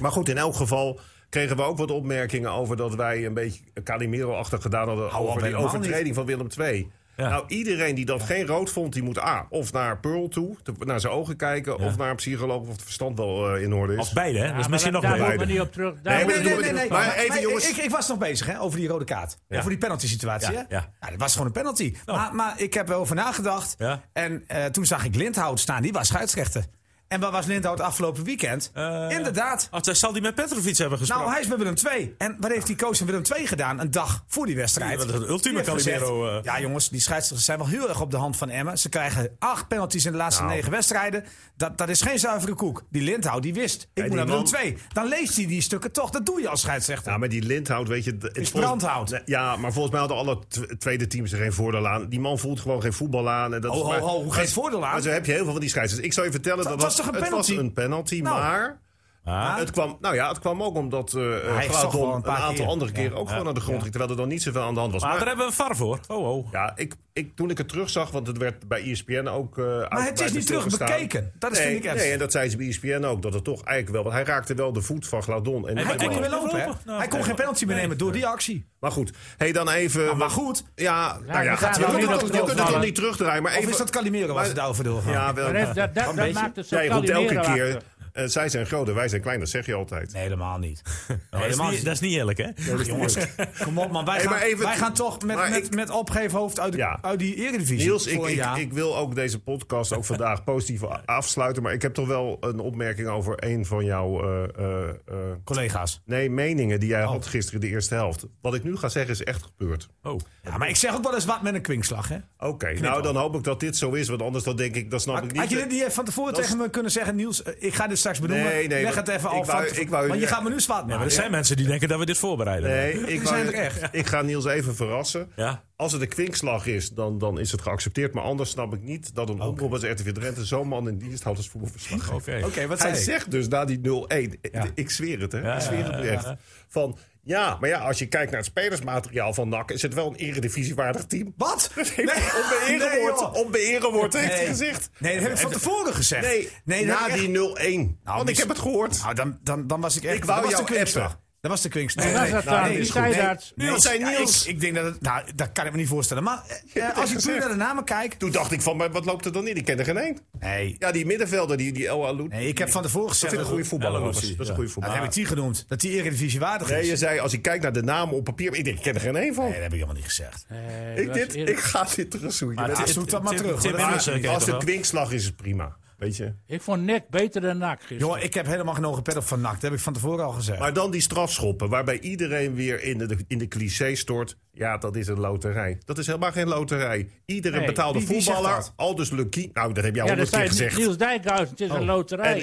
S4: Maar goed, in elk geval kregen we ook wat opmerkingen over dat wij een beetje Calimero-achtig gedaan hadden over die
S3: helemaal
S4: overtreding van Willem II.
S2: Ja.
S4: Nou, iedereen die dat geen rood vond, die moet A, of naar Pearl toe, te- naar zijn ogen kijken, of naar een psycholoog of het verstand wel eh, in orde is.
S2: Of beide, hè? dat is
S5: Ja,
S2: misschien
S5: maar
S2: nog
S5: daar
S2: beter.
S5: komen we niet op terug. Daar
S4: Nee,
S5: moeten
S4: maar
S5: we
S4: dat
S5: niet
S4: doen we
S5: op
S4: niet.
S5: terug.
S4: Maar even, jongens.
S3: Ik, ik was nog bezig hè, over die rode kaart.
S2: Ja.
S3: Over die penalty situatie.
S2: Ja,
S3: hè? Nou,
S2: ja.
S3: dat was gewoon een penalty.
S4: Oh.
S3: Maar, maar ik heb wel over nagedacht.
S2: Ja.
S3: En eh, toen zag ik Lindhout staan. Die was scheidsrechter. En waar was Lindhout afgelopen weekend?
S2: Eh,
S3: Inderdaad.
S2: Oh, zij zal die met Petrovic hebben gesproken.
S3: Nou, hij is bij Willem II. En wat heeft die coach van Willem II gedaan een dag voor die wedstrijd?
S2: Ja, dat is een ultieme
S3: Die heeft
S2: Calimero,
S3: gezegd,
S2: eh.
S3: Ja, jongens, die scheidsrechters zijn wel heel erg op de hand van Emmen. Ze krijgen acht penalties in de laatste
S4: Nou.
S3: negen wedstrijden. Dat, dat is geen zuivere koek. Die Lindhout, die wist. Ik moet
S4: die
S3: naar Willem
S4: man-
S3: II. Dan leest hij die stukken toch. Dat doe je als scheidsrechter.
S4: Ja, maar die Lindhout, weet je... Het volgens-
S3: Is brandhout.
S4: Nee, Ja, maar volgens mij hadden alle tw- tweede teams er geen voordeel aan. Die man voelt gewoon geen voetbal aan. En dat
S3: Ho,
S4: is
S3: ho,
S4: maar-
S3: ho, geen voordeel aan?
S4: Maar zo heb je heel veel van die scheidsrechters. Ik zou je vertellen, dat,
S3: Dat Ah. was
S4: was,
S3: toch een
S4: het was
S3: penalty?
S4: een penalty,
S3: Nou.
S4: maar...
S2: Ah.
S4: Het kwam, nou ja, het kwam ook omdat eh
S3: hij
S4: eh,
S3: zag
S4: Graton
S3: wel
S4: een,
S3: een paar
S4: aantal
S3: keer.
S4: andere keren ook gewoon naar de grond ging. Terwijl er dan niet zoveel aan de hand was.
S2: Maar daar
S4: Maar-
S2: hebben we een VAR voor. Oh, oh.
S4: ja, ik, ik, toen ik het terugzag, want het werd bij ESPN ook. eh,
S3: het is
S4: uitgebreid
S3: niet terug
S4: stilgestaan.
S3: bekeken. Dat is
S4: nee,
S3: vind ik ernstig.
S4: Nee, en dat zei ze bij E ESPN ook. Dat het toch eigenlijk wel. Want hij raakte wel de voet van Gladon. En
S2: hij
S3: hij kon
S2: kon
S3: weer
S2: niet
S3: lopen, hè?
S2: lopen. Nou,
S3: hij kon
S2: nee.
S3: geen penalty meer nemen door die actie.
S4: Maar goed, hey, dan even.
S3: Maar goed,
S4: Ja, nou ja,
S5: we gaan
S4: gaat- je
S5: wel
S4: kunt
S5: niet
S4: het toch-
S5: op de
S4: je kunt het
S5: doorgaan.
S4: toch niet terugdraaien. Maar
S3: of
S4: even,
S3: is dat Calimero waar
S4: maar-
S3: ze het over doorgaan?
S4: Ja, wel.
S5: Maar dat- dat- dat- Dat
S3: beetje.
S5: maakt het zo
S4: Jij roept elke keer.
S5: kalmerend.
S4: eh, zij zijn groter, wij zijn klein. Dat zeg je altijd.
S3: Nee, helemaal niet.
S2: Nee, dat, is
S3: helemaal
S2: niet, dat is niet eerlijk, hè?
S3: Ach, jongens, kom op man. Wij,
S4: Hey,
S3: gaan,
S4: maar even-
S3: wij gaan toch met,
S4: maar
S3: met,
S4: ik-
S3: met opgeheven hoofd uit, de,
S4: Ja.
S3: uit die eredivisie.
S4: Niels, ik,
S3: voor een
S4: ik,
S3: jaar.
S4: ik wil ook deze podcast ook vandaag positief a- afsluiten. Maar ik heb toch wel een opmerking over een van jouw eh, eh, eh,
S3: collega's.
S4: Nee, meningen die jij
S3: Oh.
S4: had gisteren in de eerste helft. Wat ik nu ga zeggen is echt gebeurd.
S2: Oh.
S3: Ja, maar ik zeg ook wel eens wat met een kwinkslag. Hè?
S4: Oké, nou dan hoop ik dat dit zo is, want anders dan denk ik, dat snap ik niet.
S3: Had je dit niet even van tevoren
S4: Dat is-
S3: tegen me kunnen zeggen, Niels? eh, Ik ga dit straks benoemen.
S4: Nee, nee,
S3: Leg
S4: want
S3: het even
S4: ik
S3: al
S4: wou-
S3: van-
S4: ik wou-
S3: Want je
S4: ja.
S3: gaat me nu zwaar
S2: Ja, maar
S3: maken.
S2: er zijn mensen die denken dat we dit voorbereiden.
S4: Nee, ik, wou-
S3: zijn er echt.
S4: ik ga Niels even verrassen.
S2: Ja?
S4: Als het een kwinkslag is, dan, dan is het geaccepteerd. Maar anders snap ik niet dat een omroep als RTV Drenthe zo'n man in dienst houdt als voetbalverslag.
S2: Oké.
S3: Oké, wat
S4: Hij
S3: zei ik?
S4: zegt dus na die 0-1, ik- ik zweer het hè, ik zweer het echt, van ja, maar ja, als je kijkt naar het spelersmateriaal van NAC, is het wel een eredivisiewaardig team.
S3: Wat?
S4: Dat heeft onbeeren
S3: nee,
S4: wordt,
S3: joh.
S4: onbeeren wordt, heeft hij
S3: Nee.
S4: gezegd.
S3: Nee, dat heb ik van tevoren gezegd.
S4: Nee,
S3: dat heb
S4: na
S3: ik echt-
S4: die 0-1. want ik
S3: mis-
S4: heb het gehoord.
S3: Nou, dan, dan, dan was ik echt...
S4: Ik wou
S3: dat was
S4: jou
S3: de kwinkslag.
S4: appen.
S3: Dat was de kwinkslag.
S5: Nee, was dat
S3: nou,
S5: dan?
S3: nee,
S5: Die
S3: is goed. Nee,
S5: zijdaards.
S3: Niels,
S4: Dat zei
S3: ja,
S4: Niels.
S3: Ik, ik denk dat het... Nou, dat kan ik me niet voorstellen. Maar eh, eh, als je puur
S4: gezegd.
S3: naar de namen kijkt...
S4: Toen dacht ik van, maar wat loopt er dan in? Ik ken er geen één.
S3: Nee,
S4: Ja, die middenvelder, die, die El Aloud.
S3: nee ik heb van tevoren
S4: dat
S3: gezegd...
S4: is een goede voetballer.
S2: El
S4: Dat
S2: Aloud,
S4: is
S2: ja.
S4: een goede
S3: Nou, dat heb
S4: voetballer.
S3: ik die genoemd. Dat die Eredivisie waardig
S4: Nee,
S3: is.
S4: je zei, als ik kijk naar de namen op papier, ik denk, ik ken er geen één van.
S3: Nee, dat heb ik helemaal niet gezegd.
S5: Eh,
S4: ik,
S5: was
S4: dit,
S5: eerlijk.
S4: ik ga dit terugzoeken. Dat
S3: Ah,
S4: is-
S3: zoek dat maar
S2: Tim-
S3: terug.
S2: Tim
S3: hoor.
S2: Emmers,
S3: Dat-
S2: eh, ken je
S4: als
S2: toch
S4: het
S2: wel?
S4: kwinkslag is, is het prima. Weet je.
S5: Ik vond Nek beter dan Nak gisteren.
S3: Jongen, ik heb helemaal geen hoge pet op van NAC. Dat heb ik van tevoren al gezegd.
S4: Maar dan die strafschoppen, waarbij iedereen weer in de, in de cliché stort. Ja, dat is een loterij. Dat is helemaal geen loterij. Iedere
S5: Nee,
S4: betaalde
S3: wie- wie zegt
S4: voetballer,
S3: dat?
S4: al dus Lucky. Nou, dat heb jij
S5: ja,
S4: al
S5: dat
S4: honderd keer
S5: zei
S4: gezegd. Oh.
S5: Niels Dijkhuizen. Het is een loterij.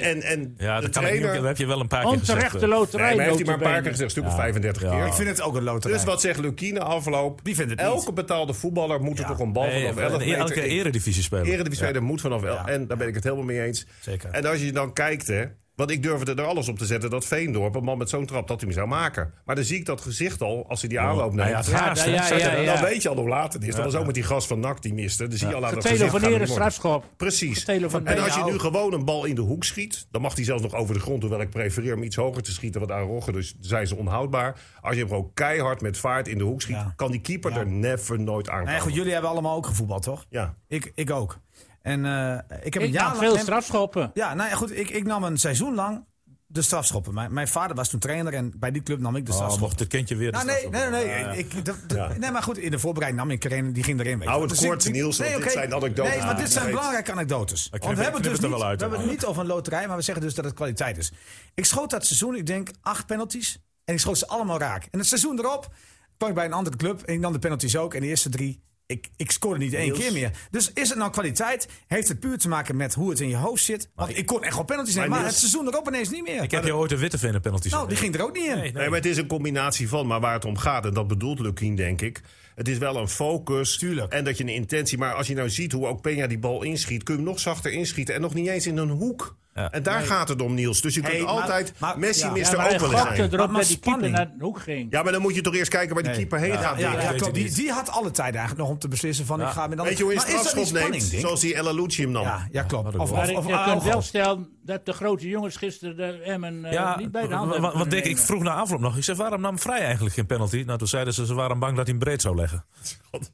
S4: En, en, en
S2: Ja,
S4: de
S2: dat, kan ik niet,
S4: trainer-
S2: dat heb je wel een paar keer gezegd.
S5: Onterechte
S2: eh.
S5: loterij.
S4: Nee, maar heeft hij maar een paar keer
S5: notabene.
S4: gezegd. Een stuk of 35
S2: Ja.
S4: keer.
S3: ik vind het ook een loterij.
S4: Dus wat zegt Lucky na afloop?
S3: Die vindt het niet.
S4: Elke betaalde voetballer moet er toch een bal
S2: Nee,
S4: vanaf 11
S2: elke
S4: meter
S2: elke
S4: in.
S2: eredivisie spelen.
S4: Eredivisie-speler moet vanaf wel.
S3: Ja.
S4: En daar ben ik het helemaal mee eens.
S3: Zeker.
S4: En als je dan kijkt, hè. Want ik durfde er alles op te zetten dat Veendorp, een man met zo'n trap, dat hij hem zou maken. Maar dan zie ik dat gezicht al, als hij die
S2: Nou
S4: aanloop neemt.
S2: ja, het
S5: Ja,
S2: gaast, hè?
S5: ja,
S2: Zat je
S5: ja,
S2: dat-
S5: ja.
S4: Dan weet je al hoe laat het is. Dat was ook met die gast van NAC die miste. Dan zie je al aan Ah, dat gezicht. gaat
S5: Getelefoneerde
S4: het niet worden.
S5: strafschop.
S4: Precies.
S5: Getelefoneerde.
S4: En als je
S3: Nou.
S4: nu gewoon een bal in de hoek schiet, dan mag hij zelfs nog over de grond. Hoewel ik prefereer om iets hoger te schieten, want aan Rogge dus zijn ze onhoudbaar. Als je hem gewoon keihard met vaart in de hoek schiet,
S3: Ja.
S4: kan die keeper er never nooit aan.
S3: Nee, goed, jullie hebben allemaal ook gevoetbald, toch?
S4: Ja.
S3: Ik, ik ook. En eh, ik heb een
S5: Ik
S3: jaar
S5: nam
S3: lang-
S5: veel
S3: en-
S5: strafschoppen.
S3: Ja, nou ja, goed. Ik, ik nam een seizoen lang de strafschoppen. Mijn, mijn vader was toen trainer en bij die club nam ik de
S2: Oh,
S3: strafschoppen.
S2: mocht het kindje weer de
S3: Nou, nee,
S2: strafschop
S3: nee, nee,
S2: doen. Ja, ja.
S3: ik, dat- dat-
S4: Ja.
S3: nee. Maar goed, in de voorbereiding nam ik er een, die ging erin. Weet je.
S4: Hou het
S3: Dus ik-
S4: kort,
S3: ik-
S4: Niels, want dit
S3: oké.
S4: zijn anekdotes
S3: Nee, maar
S4: die
S3: dit
S4: je
S3: zijn
S4: weet.
S3: belangrijke anekdotes.
S2: knip-
S3: Want we hebben het
S2: knip
S3: dus
S2: het er
S3: niet,
S2: wel uit,
S3: we hebben
S2: hoor.
S3: het niet over een loterij, maar we zeggen dus dat het kwaliteit is. Ik schoot dat seizoen, ik denk, acht penalties. En ik schoot ze allemaal raak. En het seizoen erop kwam ik bij een andere club en ik nam de penalties ook. En de eerste drie ik, ik scoorde niet één
S4: Niels.
S3: keer meer. Dus is het nou kwaliteit? Heeft het puur te maken met hoe het in je hoofd zit? Want ik kon echt wel penalties nemen, maar
S4: Niels-
S3: het seizoen erop ineens niet meer.
S2: Ik heb je ooit een witte vinden penalty
S3: nou, die ging er ook niet in.
S4: Nee, maar het is een combinatie van. Maar waar het om gaat, en dat bedoelt Lukien, denk ik. Het is wel een focus.
S3: Tuurlijk.
S4: En dat je een intentie. Maar als je nou ziet hoe ook Peña die bal inschiet. kun je hem nog zachter inschieten. En nog niet eens in een hoek.
S2: Ja.
S4: En daar gaat het om, Niels. Dus je kunt
S3: Hey, maar-
S4: altijd.
S3: maar-
S4: Messi
S3: ja.
S4: mist
S5: Ja,
S4: er
S5: maar hij
S4: ook wel eens
S5: gokte
S4: een.
S5: erop
S3: Maar- maar
S5: dat die keeper
S3: spanning.
S5: naar de hoek ging.
S4: Ja, maar dan moet je toch eerst kijken waar die
S3: Nee.
S4: keeper heen gaat.
S3: Ja,
S4: denk ik.
S2: weet
S3: ja, klopt.
S2: het
S3: Die,
S2: niet.
S3: die had alle tijd eigenlijk nog om te beslissen van ik ga met
S4: Weet je hoe je een
S3: Maar is dat niet
S4: strafschop neemt?
S3: spanning, Dink?
S4: Zoals die El Alouci hem nam.
S3: Ja, ja, klopt.
S2: wat een
S3: Of, of,
S5: Maar
S3: of,
S5: ik,
S3: of
S5: je kunt
S3: Araujo.
S5: wel stellen dat de grote jongens gisteren de Emmen eh,
S2: Ja,
S5: niet bij de hand
S2: wa- wa-
S5: hebben
S2: want
S5: kunnen
S2: Dick, ik
S5: nemen.
S2: vroeg na afloop nog. Ik zei, waarom nam Vrij eigenlijk geen penalty? Nou, toen zeiden ze, ze waren bang dat hij hem breed zou leggen.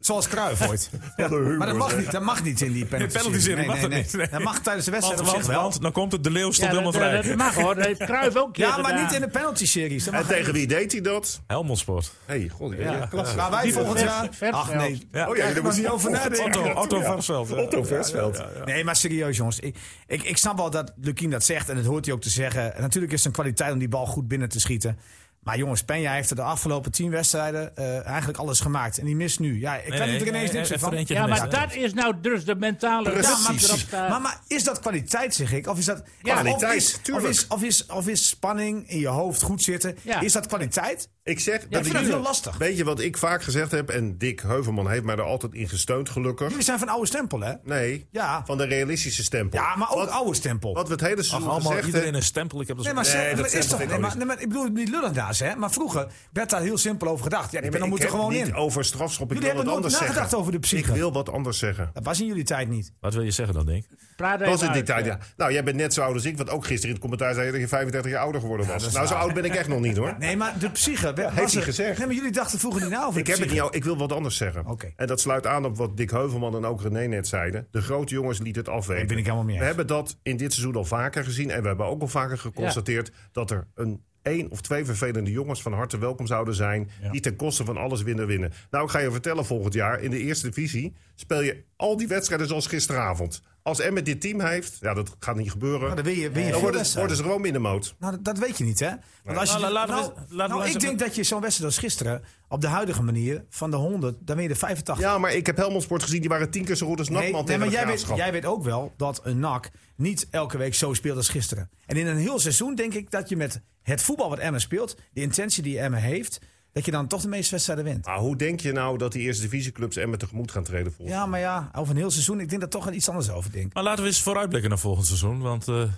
S3: Zoals Cruijff ooit. Ja,
S4: humor,
S3: maar dat mag
S4: zeg.
S3: niet, dat mag niet in die penalty.
S2: penalty serie mag dat niet, nee.
S3: Dat mag tijdens de wedstrijd op
S2: Want,
S3: zich wel.
S2: want, dan komt het, de leeuw stond
S5: Ja,
S2: helemaal
S5: dat,
S2: vrij.
S5: dat mag hoor, dat heeft Cruijff ook een keer
S3: Ja, maar
S5: gedaan.
S3: niet in de penalty series.
S4: En tegen wie deed hij dat?
S2: Helmond Sport.
S4: hey, god.
S5: Ja,
S4: Ja.
S5: klopt.
S3: Waar wij
S5: Die
S3: volgend
S5: van
S3: jaar...
S5: Vers-
S3: Ach nee.
S5: Versveld.
S2: Ja.
S4: Oh ja, daar
S3: maar
S4: moet je
S3: niet over nadenken.
S2: Otto, Otto Versveld. ja.
S4: Otto Versveld.
S3: Nee, maar serieus jongens. Ik, ik, ik snap wel dat Lukien dat zegt en dat hoort hij ook te zeggen. En natuurlijk is het een kwaliteit om die bal goed binnen te schieten. Maar jongens, Penja heeft er de afgelopen tien wedstrijden eh, eigenlijk alles gemaakt. En die mist nu. Ja, ik kan
S2: Nee,
S3: niet er
S2: nee,
S3: ineens
S2: nee,
S3: niks meer
S2: even
S3: van.
S2: eentje
S5: Ja, maar
S2: gemist, hè.
S5: dat is nou dus de mentale...
S4: Precies.
S5: dat erop eh, staat.
S3: Maar, maar is dat kwaliteit, zeg ik? Of is dat
S5: Ja,
S3: of- of
S4: kwaliteit,
S3: is- Of
S4: tuurlijk.
S3: is, of, is, of is spanning in je hoofd goed zitten?
S5: Ja.
S3: Is dat kwaliteit?
S4: Ik zeg
S3: ik vind dat heel lastig.
S4: Weet je wat ik vaak gezegd heb? En Dick Heuvelman heeft mij er altijd in gesteund, gelukkig.
S3: Jullie zijn van oude stempel, hè?
S4: Nee,
S3: Ja.
S4: van de realistische stempel.
S3: Ja, maar ook
S4: wat,
S3: oude stempel.
S4: wat we het hele
S2: Ach,
S4: seizoen
S2: allemaal
S4: gezegd
S2: iedereen
S4: hebben.
S2: een stempel. Ik heb dat
S3: Nee,
S2: zo-
S3: maar,
S4: Nee,
S3: zeg-
S4: dat
S3: maar is
S4: stempel
S3: toch,
S4: vind ik
S3: nee,
S4: ook
S3: maar, nee, maar ik bedoel niet lullen daar, hè? Maar vroeger werd daar heel simpel over gedacht. Ja, die
S4: Ik
S3: penalty moet er gewoon
S4: niet
S3: in.
S4: over strafschop. Ik
S3: Jullie
S4: wil wat
S3: hebben
S4: anders
S3: nooit nagedacht
S4: zeggen.
S3: over de psyche.
S4: Ik wil wat anders zeggen.
S3: Dat was in jullie tijd niet.
S2: Wat wil je zeggen dan, Dick?
S5: Praat
S4: Dat was in
S5: even
S4: die tijd,
S5: uit, ja.
S4: ja. Nou, jij bent net zo oud als ik, want ook gisteren in het commentaar zei je dat je 35 jaar ouder geworden was.
S3: dat is
S4: nou, zo
S3: waar.
S4: oud ben ik echt nog niet, hoor.
S3: Nee, maar de psyche. werd-
S4: heeft
S3: was
S4: hij
S3: er-
S4: gezegd.
S3: Nee, maar jullie dachten vroeger niet na over
S4: Ik
S3: de
S4: heb het
S3: psyche.
S4: niet, al- ik wil wat anders zeggen.
S3: Oké.
S4: En dat sluit aan op wat Dick Heuvelman en ook René net zeiden. De grote jongens lieten het afweten.
S3: Nee, ben ik helemaal mee
S4: We
S3: eens.
S4: hebben dat in dit seizoen al vaker gezien. En we hebben ook al vaker geconstateerd dat er een één of twee vervelende jongens van harte welkom zouden zijn. Die ten koste van alles winnen winnen. Nou, ik ga je vertellen, volgend jaar in de eerste divisie speel je al die wedstrijden zoals gisteravond. Als Emmet dit team heeft, ja, dat gaat niet gebeuren.
S3: Nou, dan win je- win je veel
S4: dan worden,
S3: wedstrijden.
S4: worden ze gewoon middenmoot.
S3: Nou, dat, dat weet je niet, hè? Want als je,
S2: Nou, la- laten we-
S3: nou,
S2: laten we
S3: nou,
S2: eens
S3: ik
S2: even-
S3: denk dat je zo'n wedstrijd als gisteren... op de huidige manier van de 100, dan ben je de 85.
S4: Ja, maar ik heb Helmond Sport gezien. Die waren tien keer zo goed als
S3: Nee,
S4: Nakman
S3: nee,
S4: tegen
S3: maar
S4: de
S3: jij weet,
S4: Graafschap.
S3: jij weet ook wel dat een NAC niet elke week zo speelt als gisteren. En in een heel seizoen denk ik dat je met het voetbal wat Emmen speelt... de intentie die Emmen heeft, dat je dan toch de meeste wedstrijden wint.
S4: Maar hoe denk je nou dat die eerste divisieclubs Emmen tegemoet gaan treden volgens
S3: Ja, maar ja, over een heel seizoen, ik denk dat toch wel iets anders over denk.
S2: Maar laten we eens vooruitblikken naar volgend seizoen. Want eh, eh,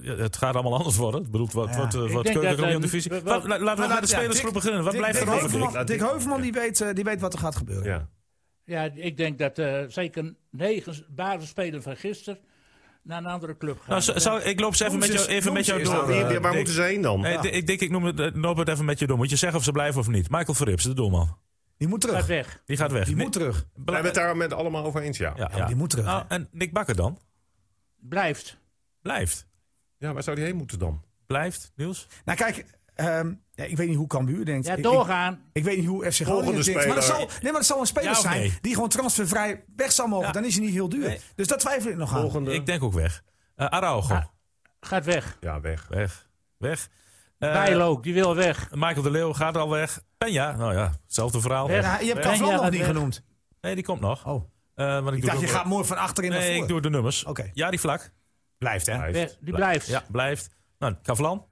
S2: ja, het gaat allemaal anders worden. Het bedoelt wat,
S3: Ja.
S2: wat, eh,
S5: Ik
S2: wat
S5: denk dat,
S2: keukenkampioen
S5: eh,
S2: divisie.
S5: we- we-
S2: Wat- la- laten we bij de
S3: ja,
S2: spelersgroep
S3: Dick-
S2: beginnen. Wat
S3: Dick-
S2: blijft er
S3: Dick
S4: over?
S2: over?
S3: Heuvelman-
S4: Laat
S3: Dick
S4: Dick-
S3: Heuvelman, die weet, eh, die weet wat er gaat gebeuren.
S4: Ja.
S5: Ja, ik denk dat eh, zeker negen basisspelers van gisteren naar een andere club gaan.
S2: Nou, zo- zou- ik loop ze even
S3: Noem
S2: met jou,
S3: ze eens-
S2: even
S3: noem
S2: met
S3: ze
S2: jou
S3: eens.
S2: door.
S4: Wie-
S2: eh,
S4: waar
S2: Dick.
S4: moeten ze heen dan?
S2: Nee, Dick, ik, denk, ik noem het, eh, loop het even met je door. Moet je zeggen of ze blijven of niet? Michael Verrips, de doelman.
S3: Die moet terug.
S5: Gaat weg.
S2: Die gaat weg.
S3: Die
S2: Nee,
S3: moet terug.
S4: We hebben het daar met allemaal over eens, ja.
S2: ja,
S3: Ja, die moet terug.
S2: Nou, en Nick Bakker dan?
S5: Blijft.
S2: Blijft.
S4: Ja, waar zou die heen moeten dan?
S2: Blijft, Niels?
S3: Nou kijk, ehm, ja, ik weet niet hoe Cambuur denkt.
S5: Ja,
S3: Ik-
S5: doorgaan.
S3: Ik, ik weet niet hoe FC Groningen
S4: Volgende
S3: denkt. Maar dat zal,
S4: speler.
S3: nee, maar dat zal een speler
S2: Ja of
S3: zijn
S2: nee?
S3: die gewoon transfervrij weg zal mogen. Dan is hij niet heel duur.
S2: Nee.
S3: Dus daar twijfel ik nog aan.
S4: Volgende.
S2: Ik denk ook weg. Eh Araujo.
S5: Ah. Gaat weg.
S4: Ja, weg.
S2: Weg. Weg. Eh,
S5: Bijlo ook, die wil weg.
S2: Michael de Leeuw gaat al weg. Penja, nou ja, hetzelfde verhaal.
S5: Weg.
S3: Ja, je hebt
S5: Weg.
S3: Kavlan
S5: Ja,
S3: nog
S5: dat
S3: niet
S5: weg.
S3: genoemd.
S2: Nee, die komt nog.
S3: Oh,
S2: Eh, want ik
S3: ik
S2: doe
S3: dacht, je
S2: ook-
S3: gaat mooi van achterin naar
S2: Nee,
S3: voren.
S2: ik doe de nummers.
S3: Oké.
S2: Ja, die vlak.
S3: Blijft, hè?
S5: weg. Die blijft.
S2: Ja, blijft. Nou, Kavlan.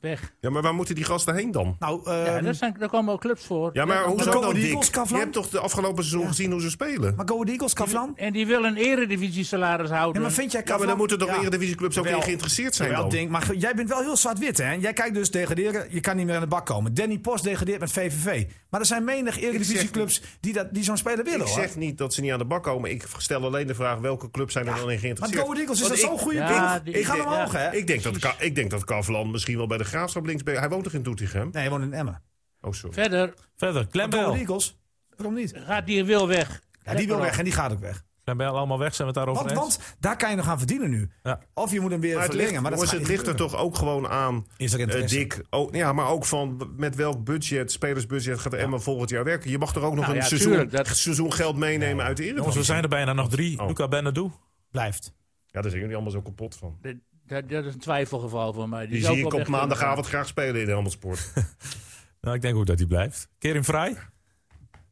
S5: Weg.
S4: Ja, maar waar moeten die gasten heen dan?
S3: Nou,
S5: Ja,
S3: ehm,
S5: daar, zijn, daar komen ook clubs voor.
S4: Ja, maar hoe
S3: dan
S4: zou
S3: komen
S4: dan,
S3: die
S4: Dick?
S3: Eagles,
S4: Je
S3: Kavlan.
S4: hebt toch de afgelopen seizoen gezien hoe ze spelen?
S3: maar Go Ahead Eagles, Kavlan?
S5: En die wil een eredivisie salaris
S3: Ja,
S5: houden.
S3: maar vind jij
S4: ja,
S3: Kavlan?
S4: maar dan moeten toch eredivisieclubs ook
S3: Jawel.
S4: in geïnteresseerd zijn
S3: Jawel,
S4: dan?
S3: Dink, maar jij bent wel heel zwart-wit, hè? Jij kijkt dus degraderen, je kan niet meer aan de bak komen. Danny Post degradeert met VVV. Maar er zijn menig eredivisieclubs die, dat- die zo'n speler willen,
S4: Ik
S3: hoor.
S4: zeg niet dat ze niet aan de bak komen. Ik stel alleen de vraag welke clubs zijn er dan in
S3: Maar
S4: geïnteresseerd.
S3: Go Ahead Eagles is
S4: Want ik-
S3: dat zo'n goede
S5: Ja,
S3: ploeg.
S5: die-
S3: Die gaan
S5: die-
S3: omhoog,
S5: ja.
S3: hè?
S4: Ik denk, dat, Ka- ik denk dat Kavlan misschien wel bij de Graafschap links... Hij woont toch in Doetinchem?
S3: Nee, hij woont in Emmen.
S4: Oh, sorry.
S5: Verder
S2: Verder.
S3: Go Ahead
S2: Klembel.
S3: Eagles? Waarom niet?
S5: gaat die wil weg.
S3: Ja, die wil weg en die gaat ook weg.
S2: Klembel, allemaal weg. Zijn we het daarover
S3: Want,
S2: eens?
S3: want daar kan je nog aan verdienen nu.
S2: Ja.
S3: Of je moet hem weer
S4: Maar het
S3: verlengen.
S4: ligt,
S3: maar
S4: jongens,
S3: dat
S4: het
S3: gaat niet
S4: ligt er toch ook gewoon aan...
S3: Is er
S4: eh,
S3: interesse?
S4: Dick, oh, ja, maar ook van w- met welk budget, spelersbudget, gaat Emma volgend jaar werken? Je mag er ook nog
S5: Nou
S4: een
S5: ja,
S4: seizoen,
S5: tuurlijk, dat-
S4: seizoengeld meenemen uit de
S2: Jongens, we
S4: Eredivisie.
S2: zijn er bijna nog drie.
S4: Oh.
S2: Luca Benadou.
S3: blijft.
S4: Ja, daar zijn jullie allemaal zo kapot van.
S5: Dat, dat, dat is een twijfelgeval voor mij.
S4: Die
S5: is ook
S4: zie ik
S5: wel
S4: op
S5: weg kunnen
S4: maandagavond graag spelen in de Helmond Sport.
S2: Nou, ik denk ook dat hij blijft. Kerim Vrij.
S5: gaan.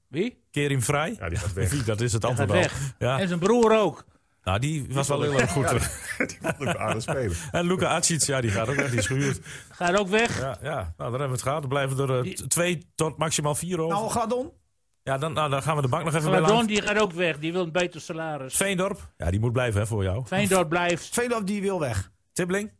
S5: Wie?
S2: Kerim Vrij.
S4: Ja, die gaat weg.
S2: Dat is het
S5: Gaat
S2: antwoord al.
S5: weg.
S2: Ja.
S5: En zijn broer ook.
S2: Nou, die was wel heel erg goed. hoor.
S4: die vond ik aan het spelen.
S2: En Luca Acic, ja, die gaat ook weg. Die is gehuurd.
S5: Gaat ook weg.
S2: Ja, ja. Nou, dan hebben we het gehad. Er blijven er eh,
S5: Die-
S2: t- twee tot maximaal vier over.
S3: Nou, Gladon.
S2: ja, dan, nou, dan gaan we de bank nog even bij
S5: Gladon
S2: langs.
S5: die gaat ook weg. Die wil een beter salaris.
S2: Veendorp. Ja, die moet blijven hè, voor jou.
S5: Veendorp blijft.
S3: Velof die wil weg.
S2: Tibbling.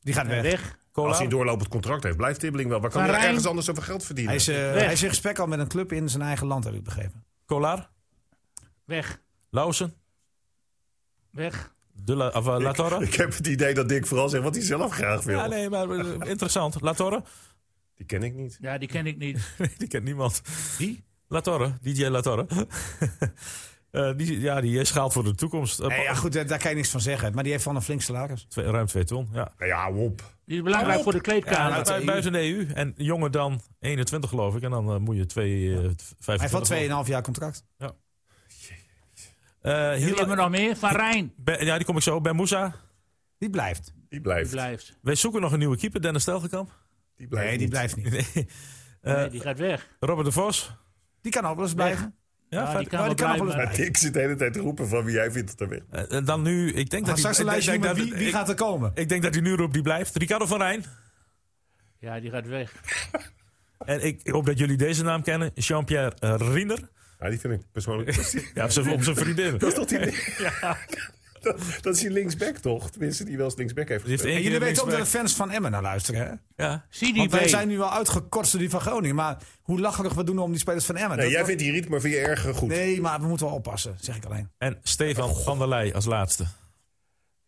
S3: Die gaat weg.
S5: Weg.
S2: Cola.
S4: Als hij een doorlopend contract heeft, blijft Tibbling wel. Maar kan hij
S5: Van
S4: nou
S5: Rijn?
S4: ergens anders zoveel geld verdienen?
S3: Hij is, eh,
S5: Weg.
S3: hij is in gesprek al met een club in zijn eigen land, heb ik begrepen.
S2: Kolar.
S5: Weg.
S2: Lausen.
S5: Weg.
S2: De La, of, eh, La Torre.
S4: Ik heb het idee dat Dick vooral zegt wat hij zelf graag wil.
S2: Ja, nee, maar eh, interessant. La Torre.
S4: Die ken ik niet.
S5: Ja, die ken ik niet.
S2: die kent niemand.
S3: Wie?
S2: La Torre. DJ La Torre. Eh, die, ja, die schaalt voor de toekomst. Eh,
S3: Nee, ja, goed, eh, daar kan je niks van zeggen. Maar die heeft wel een flink salaris.
S2: twee- ruim twee ton. Ja.
S4: Nou ja, hou op.
S5: Die is belangrijk voor de kleedkamer.
S2: Ja, bui- buiten de EU. En jonger dan 21, geloof ik. En dan eh, moet je twee, eh
S3: Hij heeft
S2: 25
S3: wel 2,5 jaar contract.
S2: Eh,
S5: Wie
S2: Hila-
S5: hebben we nog meer? Van Rijn.
S2: Ben- ja, die kom ik zo. Ben Moussa.
S3: Die blijft.
S4: Die
S5: Die
S4: blijft.
S5: blijft.
S2: Wij zoeken nog een nieuwe keeper, Dennis Telgekamp.
S4: Die blijft.
S3: Nee, die
S4: niet.
S3: blijft niet.
S2: Nee.
S3: Eh,
S5: Nee, die gaat weg.
S2: Robert de Vos.
S3: Die kan ook wel eens blijven.
S2: Ja,
S5: Ja, die
S2: feit- Oh,
S5: kan
S3: maar
S5: wel
S3: die kan nog
S5: blijven.
S3: wel
S4: Maar Dick zit de hele tijd te roepen van wie jij vindt het er weg.
S2: Eh, eh, dan nu, ik denk
S3: We gaan
S2: dat
S3: straks
S2: hij-
S3: een lijstje
S2: ik
S3: noemen
S2: denk
S3: wie,
S2: dat-
S3: wie
S2: ik-
S3: gaat er komen.
S2: Ik denk dat hij nu roept, die blijft. Ricardo van Rijn.
S5: Ja, die gaat weg.
S2: En ik ik hoop dat jullie deze naam kennen. Jean-Pierre eh, Riener.
S4: Ja, die vind ik persoonlijk... dat, is,
S2: Ja, op zijn- op zijn vriendin. Die
S4: toch die, dat, dat is die linksback toch? Tenminste, die wel eens linksback heeft
S2: heeft
S4: gespeeld.
S2: één
S3: En
S2: keer
S3: jullie weten ook dat de
S2: linksback.
S3: fans van Emmen naar luisteren. Hè?
S2: Ja.
S5: Sidi
S3: Want wij
S5: B.
S3: zijn nu al uitgekort door die van Groningen. Maar hoe lacherig we doen om die spelers van Emmen.
S4: Nee,
S3: Dat-
S4: jij vindt die Riet, maar vind je erg eh, goed.
S3: nee, maar we moeten wel oppassen, zeg ik alleen.
S2: En Stefan
S3: Oh,
S2: van der Leij als laatste.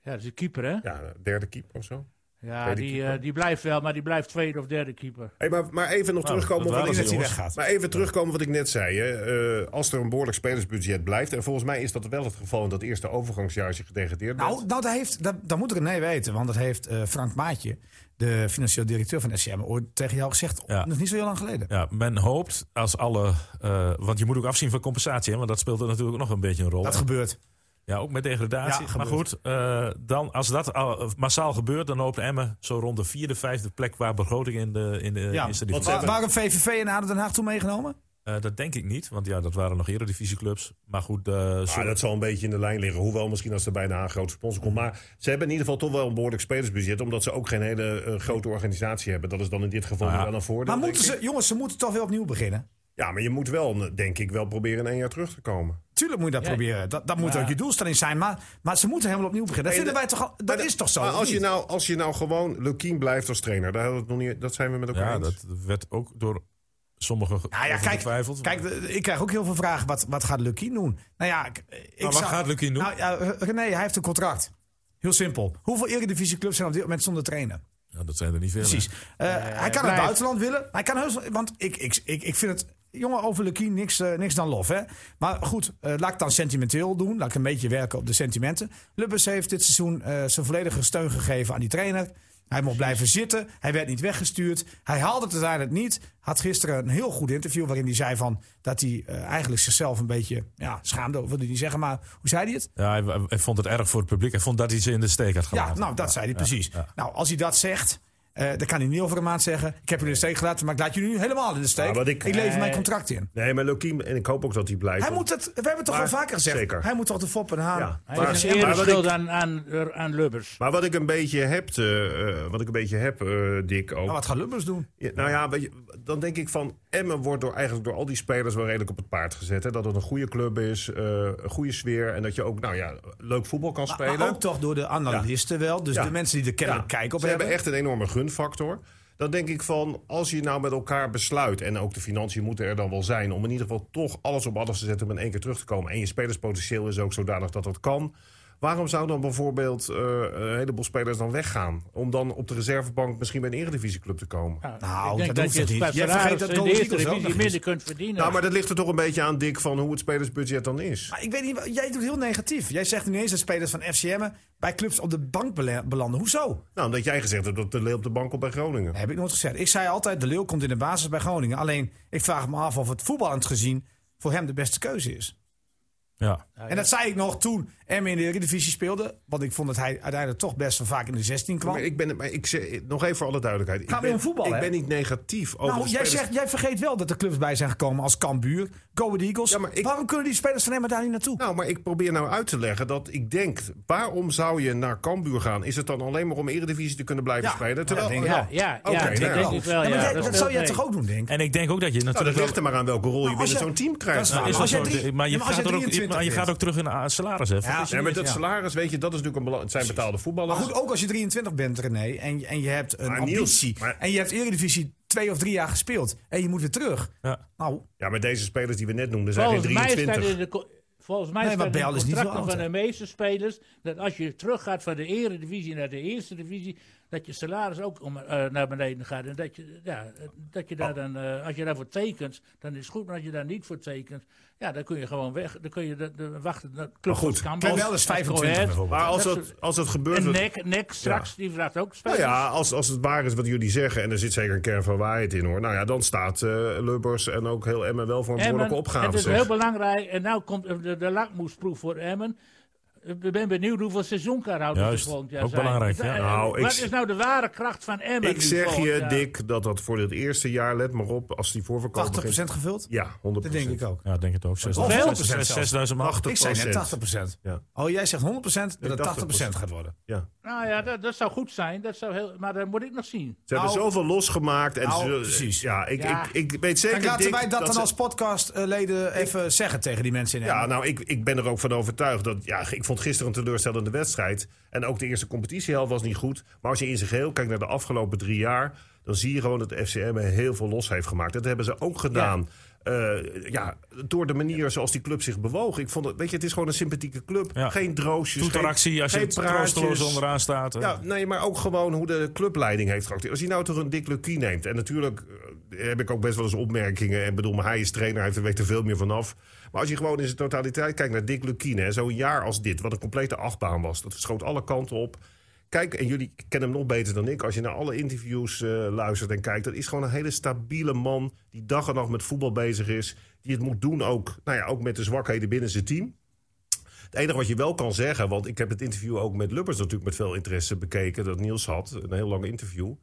S5: Ja, dat is de keeper, hè?
S4: Ja, eh, derde keeper of zo.
S5: Ja,
S4: Tweede
S5: die,
S4: keeper.
S5: eh, die blijft wel, maar die blijft tweede of derde keeper.
S4: Hey, maar, maar even nog terugkomen
S2: Nou, dat
S4: op wat
S2: waren
S4: ik
S3: Niet
S2: ze,
S4: net
S2: jongens.
S3: dat hij weggaat.
S4: Maar even terugkomen wat ik net zei. Hè. Eh, als er een behoorlijk spelersbudget blijft. En volgens mij is dat wel het geval in dat eerste overgangsjaar als je gedegradeerd bent.
S3: Nou, nou dat, heeft, dat, dat moet ik nee weten. Want dat heeft eh, Frank Maatje, de financieel directeur van SCM, ooit tegen jou gezegd.
S2: Ja.
S3: Nog niet zo heel lang geleden.
S2: Ja, men hoopt als alle... eh, want je moet ook afzien van compensatie, hè, want dat speelt er natuurlijk ook nog een beetje een rol.
S3: Dat gebeurt.
S2: Ja, ook met degradatie.
S3: Ja,
S2: maar
S3: gebeurt.
S2: goed, eh, dan, als dat al- eh, massaal gebeurt, dan loopt Emmen zo rond de vierde, vijfde plek qua begroting in de, in de eerste
S4: want
S2: divisie.
S4: ze
S3: Wa-
S4: hebben-
S3: Waarom VVV en ADO Den Haag toe meegenomen?
S2: Eh, dat denk ik niet, want ja, dat waren nog eredivisieclubs. Maar goed, eh,
S3: Ah,
S4: Maar
S2: zo-
S4: Ah, dat zal een beetje in de lijn liggen. Hoewel misschien als er bijna een grote sponsor komt. Maar ze hebben in ieder geval toch wel een behoorlijk spelersbudget. Omdat ze ook geen hele eh, grote organisatie hebben. Dat is dan in dit geval
S2: Nou ja.
S4: wel een voordeel.
S3: Maar moeten
S4: denk
S3: ze,
S4: ik.
S3: jongens, ze moeten toch weer opnieuw beginnen.
S4: Ja, maar je moet wel, denk ik, wel proberen in één jaar terug te komen.
S3: Tuurlijk moet je dat
S5: Ja.
S3: proberen. Dat, dat moet ook je doelstelling zijn. Maar, maar ze moeten helemaal opnieuw beginnen. Dat
S4: Nee,
S3: vinden wij toch al- Dat
S4: Maar
S3: is
S4: de-
S3: toch zo?
S4: Maar
S3: of
S4: als je,
S3: niet?
S4: nou, als je nou gewoon Lukien blijft als trainer. Daar hadden we het nog niet, dat zijn we met elkaar
S2: ja,
S4: eens.
S2: dat werd ook door sommigen ge-
S3: Nou ja,
S2: over
S3: kijk,
S2: getwijfeld.
S3: kijk, de- ik krijg ook heel veel vragen. Wat, wat gaat Lucky doen? Nou ja, ik, ik
S2: wat gaat Lukien doen?
S3: Nou, ja, René, hij heeft een contract. Heel simpel. Hoeveel eredivisieclubs zijn op dit moment zonder trainer?
S2: Ja, dat zijn er niet veel. hè.
S3: Precies. Eh, hij kan
S5: blijft.
S3: het buitenland willen. Hij kan heus, want ik, ik, ik, ik vind het... Jongen, over Lukien niks, eh, niks dan lof. Hè? Maar goed, eh, laat ik dan sentimenteel doen. Laat ik een beetje werken op de sentimenten. Lubbers heeft dit seizoen eh, zijn volledige steun gegeven aan die trainer. Hij mocht blijven zitten. Hij werd niet weggestuurd. Hij haalde het uiteindelijk niet. Had gisteren een heel goed interview waarin hij zei van... dat hij eh, eigenlijk zichzelf een beetje ja, schaamde. Wilde hij niet zeggen, maar hoe zei hij het?
S2: Ja, hij, hij vond het erg voor het publiek. Hij vond dat hij ze in de steek had
S3: Ja,
S2: gelaten.
S3: nou, dat zei hij precies. Nou, als hij dat zegt, eh, dan kan hij niet over een maand zeggen... ik heb jullie in de steek gelaten, maar ik laat jullie nu helemaal in de steek.
S4: Ja, Nou, wat ik-
S3: ik lever
S5: Nee.
S3: mijn contract in.
S4: Nee, maar Lukien, en ik hoop ook dat hij blijft.
S3: Hij moet het, we hebben het toch
S4: Maar-
S3: al vaker gezegd.
S4: zeker.
S3: Hij moet toch de fop en haan.
S4: Ja.
S5: Hij
S4: Maar-
S5: heeft een
S4: maar wat ik-
S5: ereschuld aan, aan, er- aan Lubbers.
S4: Maar wat ik een beetje heb, eh, eh, wat ik een beetje heb eh, Dick, ook.
S3: Maar Nou, wat gaat Lubbers doen?
S4: Ja, nou ja, weet je, dan denk ik van Emmen wordt door, eigenlijk door al die spelers wel redelijk op het paard gezet. Hè? Dat het een goede club is, eh, een goede sfeer en dat je ook nou ja, leuk voetbal kan
S3: Maar-
S4: spelen.
S3: Maar ook toch door de analisten wel. Dus
S4: Ja.
S3: de mensen die er
S4: Ja,
S3: kennelijk kijken op
S4: ze
S3: hebben.
S4: hebben echt een enorme gunfactor. Dan denk ik van, als je nou met elkaar besluit... en ook de financiën moeten er dan wel zijn... om in ieder geval toch alles op alles te zetten om in één keer terug te komen... en je spelerspotentieel is ook zodanig dat dat kan... waarom zou dan bijvoorbeeld eh, een heleboel spelers dan weggaan... om dan op de reservebank misschien bij een eredivisieclub te komen?
S5: Nou,
S3: Nou,
S5: ik denk
S3: dat hoeft
S5: dat, je
S3: toch
S5: het
S3: niet. Jij
S5: salaris
S3: vergeet dat
S5: in
S3: Dolph
S5: de eerste
S3: Ziegler ook nog
S5: divisie
S3: is.
S5: minder kunt verdienen.
S4: Nou, maar dat ligt er toch een beetje aan, Dick... van hoe het spelersbudget dan is.
S3: Maar ik weet niet, wat- jij doet heel negatief. Jij zegt niet eens dat spelers van FCM bij clubs op de bank bele- belanden. Hoezo?
S4: Nou, omdat jij gezegd hebt dat de leeuw op de bank op bij Groningen.
S3: Dat heb ik nooit gezegd. Ik zei altijd, de Leeuw komt in de basis bij Groningen. Alleen, ik vraag me af of het voetballend gezien voor hem de beste keuze is.
S2: Ja.
S5: Ah,
S3: En dat zei ik nog toen Emmen in de Eredivisie speelde. Want ik vond dat hij uiteindelijk toch best wel vaak in de 16 kwam.
S4: Maar ik ben, maar ik zeg, nog even voor alle duidelijkheid.
S3: Gaan
S4: ik
S3: we
S4: ben,
S3: om voetbal,
S4: Ik
S3: hè?
S4: ben niet negatief over
S3: nou,
S4: de
S3: jij,
S4: spelers.
S3: zegt, jij vergeet wel dat er clubs bij zijn gekomen als Cambuur, Go Ahead Eagles.
S4: Ja, maar ik-
S3: Waarom kunnen die spelers van Emmen daar niet naartoe?
S4: Nou, maar ik probeer nou uit te leggen dat ik denk... waarom zou je naar Cambuur gaan? Is het dan alleen maar om Eredivisie te kunnen blijven
S3: Ja,
S4: spelen?
S3: ja,
S4: Terwijl,
S3: denk ik
S5: Ja, ja, ja,
S4: Oké,
S5: dat
S4: nou.
S5: denk ik wel.
S3: Ja,
S5: Ja,
S3: maar jij- dat,
S5: speelt
S3: zou jij
S5: mee.
S3: toch ook doen, denk ik?
S2: En ik denk ook dat je
S4: Nou,
S2: natuurlijk
S4: dat
S2: wel-
S4: ligt er maar aan welke rol je
S3: Nou, als
S4: binnen
S3: je-
S4: zo'n team
S3: dat
S4: krijgt.
S3: is waar.
S2: Is
S4: Nou,
S2: dat
S3: Als
S2: zo?
S3: jij drie-
S2: maar je,
S3: Ja, maar als
S2: gaat
S3: jij
S2: er ook,
S3: 23
S2: maar je gaat
S3: bent.
S2: ook terug in eh, salaris, hè?
S3: Ja,
S4: Ja, maar dat
S3: Ja.
S4: salaris, weet je, dat is natuurlijk een belang... Het zijn betaalde
S3: Maar
S4: voetballers.
S3: goed, ook als je 23 bent, René, en, en je hebt een
S4: Maar Niels,
S3: ambitie.
S4: maar-
S3: En je hebt Eredivisie twee of drie jaar gespeeld. En je moet weer terug.
S2: Ja.
S3: Nou,
S4: Ja, maar deze spelers die we net noemden zijn geen
S5: Volgens mij staat
S4: 23.
S5: in de, co- volgens mij
S3: Nee,
S5: staat
S3: maar
S5: in de
S3: Bijl is niet zo
S5: contracten
S3: oud,
S5: van
S3: hè?
S5: de meeste spelers... dat als je teruggaat van de eredivisie naar de eerste divisie... dat je salaris ook om, eh, naar beneden gaat. En dat je, ja, eh, dat je
S3: Oh.
S5: daar dan... eh, als je daarvoor tekent, dan is het goed. Maar als je daar niet voor tekent... ja, dan kun je gewoon weg. Dan kun je de, de- wachten. Dat klopt
S4: goed,
S3: Kijk, Bijl is 25 bijvoorbeeld.
S4: Maar als
S5: Dat
S4: dat,
S5: is-
S4: als dat gebeurt...
S5: En
S4: dat-
S5: Nek, Nek straks, die vraagt ook
S4: Nou
S5: spelers.
S4: ja, als, als het waar is wat jullie zeggen, en er zit zeker een kern van waarheid in hoor. Nou ja, dan staat eh Lubbers en ook heel Emmen wel voor een
S5: Emmen,
S4: behoorlijke opgave.
S5: Het is
S4: zeg.
S5: heel belangrijk. En nu komt de, de lakmoesproef voor Emmen. Ik ben benieuwd hoeveel seizoenkaarthouders
S2: Juist,
S5: er volgend jaar
S2: ook
S5: zijn.
S2: belangrijk,
S5: Wa-
S2: ja.
S5: eh,
S4: Nou, ik
S5: Wat
S4: z-
S5: is nou de ware kracht van Emmen?
S4: Ik
S5: nu
S4: zeg
S5: volgend
S4: je,
S5: jaar?
S4: Dick, dat dat voor het eerste jaar, let maar op, als die voorverkoop
S3: 80%
S4: begint-
S3: gevuld?
S4: Ja, 100%.
S3: Dat denk ik ook.
S2: Ja, ik denk het ook.
S3: 100%
S2: 6000
S3: zelfs.
S2: 6000 man.
S4: 80%.
S3: Ik zei net 80%.
S4: Ja.
S3: Oh, jij zegt 100% dat het 80%
S4: 80%
S3: gaat worden.
S4: Ja.
S5: Nou ja, dat, dat zou goed zijn. Dat zou heel, maar dat moet ik nog zien.
S4: Ze hebben
S3: Nou,
S4: zoveel losgemaakt. En
S3: nou,
S4: ze-
S3: precies.
S4: Ja, ik,
S5: Ja.
S4: Ik, ik weet zeker,
S3: En laten
S4: Dick,
S3: wij dat, dan
S4: ze-
S3: als podcastleden even zeggen tegen die mensen in
S4: Ja,
S3: Emmen.
S4: nou, ik, ik ben er ook van overtuigd. Dat, ja, ik vond gisteren een teleurstellende wedstrijd. En ook de eerste competitiehelft was niet goed. Maar als je in zijn geheel kijkt naar de afgelopen drie jaar... dan zie je gewoon dat FCM heel veel los heeft gemaakt. Dat hebben ze ook gedaan. Eh, ja, door de manier zoals die club zich bewoog. Ik vond het, weet je, het is gewoon een sympathieke club.
S2: Ja.
S4: Geen droosjes,
S2: Toeteractie
S4: geen,
S2: als je
S4: geen
S2: het troosteloos
S4: praatjes.
S2: onderaan staat. hè.
S4: Ja, nee, maar ook gewoon hoe de clubleiding heeft geacteerd. Als hij nou toch een Dick Lucky neemt. En natuurlijk eh, heb ik ook best wel eens opmerkingen. En bedoel, maar hij is trainer, hij weet er veel meer vanaf. Maar als je gewoon in zijn totaliteit kijkt naar Dick Lucky, hè, zo'n jaar als dit, wat een complete achtbaan was. Dat schoot alle kanten op. Kijk, en jullie kennen hem nog beter dan ik. Als je naar alle interviews eh, luistert en kijkt, dat is gewoon een hele stabiele man die dag en nacht met voetbal bezig is. Die het moet doen ook, nou ja, ook met de zwakheden binnen zijn team. Het enige wat je wel kan zeggen, want ik heb het interview ook met Lubbers natuurlijk met veel interesse bekeken, dat Niels had, een heel lang interview.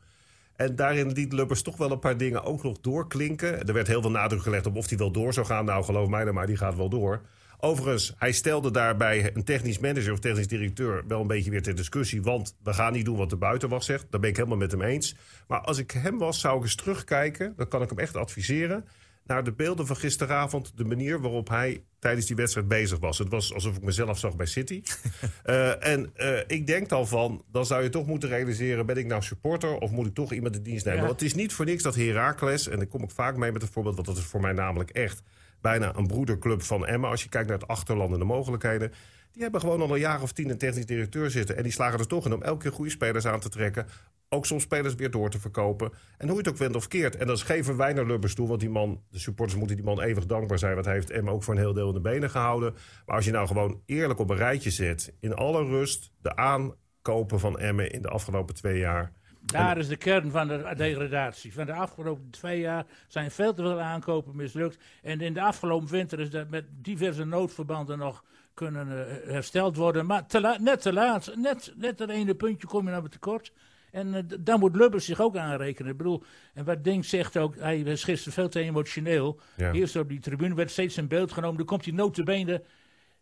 S4: En daarin liet Lubbers toch wel een paar dingen ook nog doorklinken. Er werd heel veel nadruk gelegd op of hij wel door zou gaan. Nou, geloof mij dan maar, die gaat wel door. Overigens, hij stelde daarbij een technisch manager of technisch directeur wel een beetje weer ter discussie. Want we gaan niet doen wat de buitenwacht zegt. Daar ben ik helemaal met hem eens. Maar als ik hem was, zou ik eens terugkijken. Dan kan ik hem echt adviseren. Naar de beelden van gisteravond, de manier waarop hij tijdens die wedstrijd bezig was. Het was alsof ik mezelf zag bij City. Eh, en eh, ik denk dan van, dan zou je toch moeten realiseren... ben ik nou supporter of moet ik toch iemand de dienst nemen?
S5: Ja.
S4: Want het is niet voor niks dat Heracles, en daar kom ik vaak mee met het voorbeeld... want dat is voor mij namelijk echt bijna een broederclub van Emmen... als je kijkt naar het achterland en de mogelijkheden... die hebben gewoon al een jaar of tien een technisch directeur zitten... en die slagen er toch in om elke keer goede spelers aan te trekken... ook soms spelers weer door te verkopen. En hoe je het ook wendt of keert. En dat geven wij naar Lubbers toe, want die man, de supporters moeten die man eeuwig dankbaar zijn... want hij heeft Emmen ook voor een heel deel in de benen gehouden. Maar als je nou gewoon eerlijk op een rijtje zet... in alle rust de aankopen van Emmen in de afgelopen twee jaar...
S5: Daar is de kern van de degradatie. Van de afgelopen twee jaar zijn veel te veel aankopen mislukt. En in de afgelopen winter is dat met diverse noodverbanden nog kunnen eh, hersteld worden. Maar te la- net te laat, net, net dat ene puntje kom je naar het tekort. En eh, d- daar moet Lubbers zich ook aanrekenen. Ik bedoel, en wat Dink zegt ook, hij is gisteren veel te emotioneel.
S4: Ja.
S5: Eerst op die tribune werd steeds in beeld genomen. Dan komt hij notabene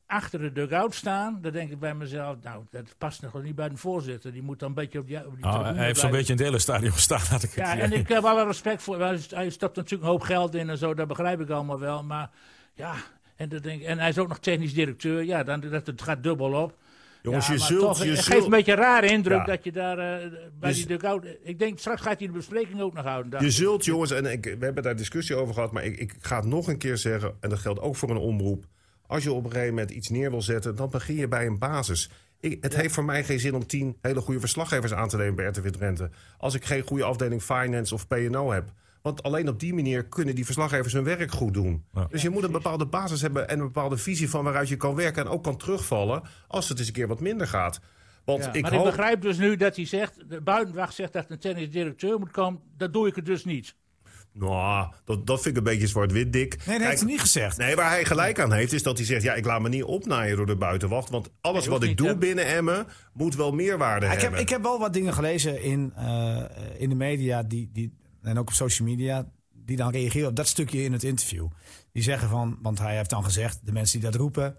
S5: achter de dugout staan. Dan denk ik bij mezelf, nou, dat past nog wel niet bij een voorzitter. Die moet dan een beetje op die, op die
S2: Nou,
S5: tribune
S2: hij heeft zo'n
S5: blijven.
S2: beetje in het hele stadion gestaan, had ik het
S5: Ja,
S2: idee.
S5: en ik heb alle respect voor. Hij st- Hij stapt natuurlijk een hoop geld in en zo, dat begrijp ik allemaal wel. Maar ja, en, dat denk, ik- en hij is ook nog technisch directeur. Ja, dan, dat, het gaat dubbel op.
S4: Jongens,
S5: Ja,
S4: je
S5: maar
S4: zult...
S5: toch,
S4: je
S5: het
S4: zult-
S5: geeft een beetje een rare indruk
S4: Ja. Dus-
S5: dat je daar eh, bij
S4: Je z-
S5: die dugout... Ik denk, straks gaat hij de bespreking ook nog houden. daar.
S4: Je zult, jongens, en ik, we hebben daar discussie over gehad, maar ik, ik ga het nog een keer zeggen, en dat geldt ook voor een omroep. Als je op een gegeven moment iets neer wil zetten, dan begin je bij een basis. Ik, het heeft voor mij geen zin om tien hele goede verslaggevers aan te nemen bij RTV Drenthe. Als ik geen goede afdeling finance of P&O heb. Want alleen op die manier kunnen die verslaggevers hun werk goed doen. Dus je moet een bepaalde basis hebben en een bepaalde visie van waaruit je kan werken. En ook kan terugvallen als het eens een keer wat minder gaat. Want
S5: Ja,
S4: ik
S5: maar
S4: hoop...
S5: ik begrijp dus nu dat hij zegt, de buitenwacht zegt dat een technisch directeur moet komen. Dat doe ik het dus niet.
S4: Nou, dat, dat vind ik een beetje zwart-wit dik.
S3: Nee, dat heeft hij niet gezegd.
S4: Nee, waar hij gelijk aan heeft, is dat hij zegt: ja, ik laat me niet opnaaien door de buitenwacht. Want alles
S5: hoeft
S4: wat ik
S5: niet,
S4: doe
S5: hè?
S4: binnen Emmen moet wel meerwaarde
S3: Ja, ik,
S4: hebben.
S3: heb, ik heb wel wat dingen gelezen in, eh, in de media die, die, en ook op social media. Die dan reageren op dat stukje in het interview. Die zeggen van, want hij heeft dan gezegd, de mensen die dat roepen,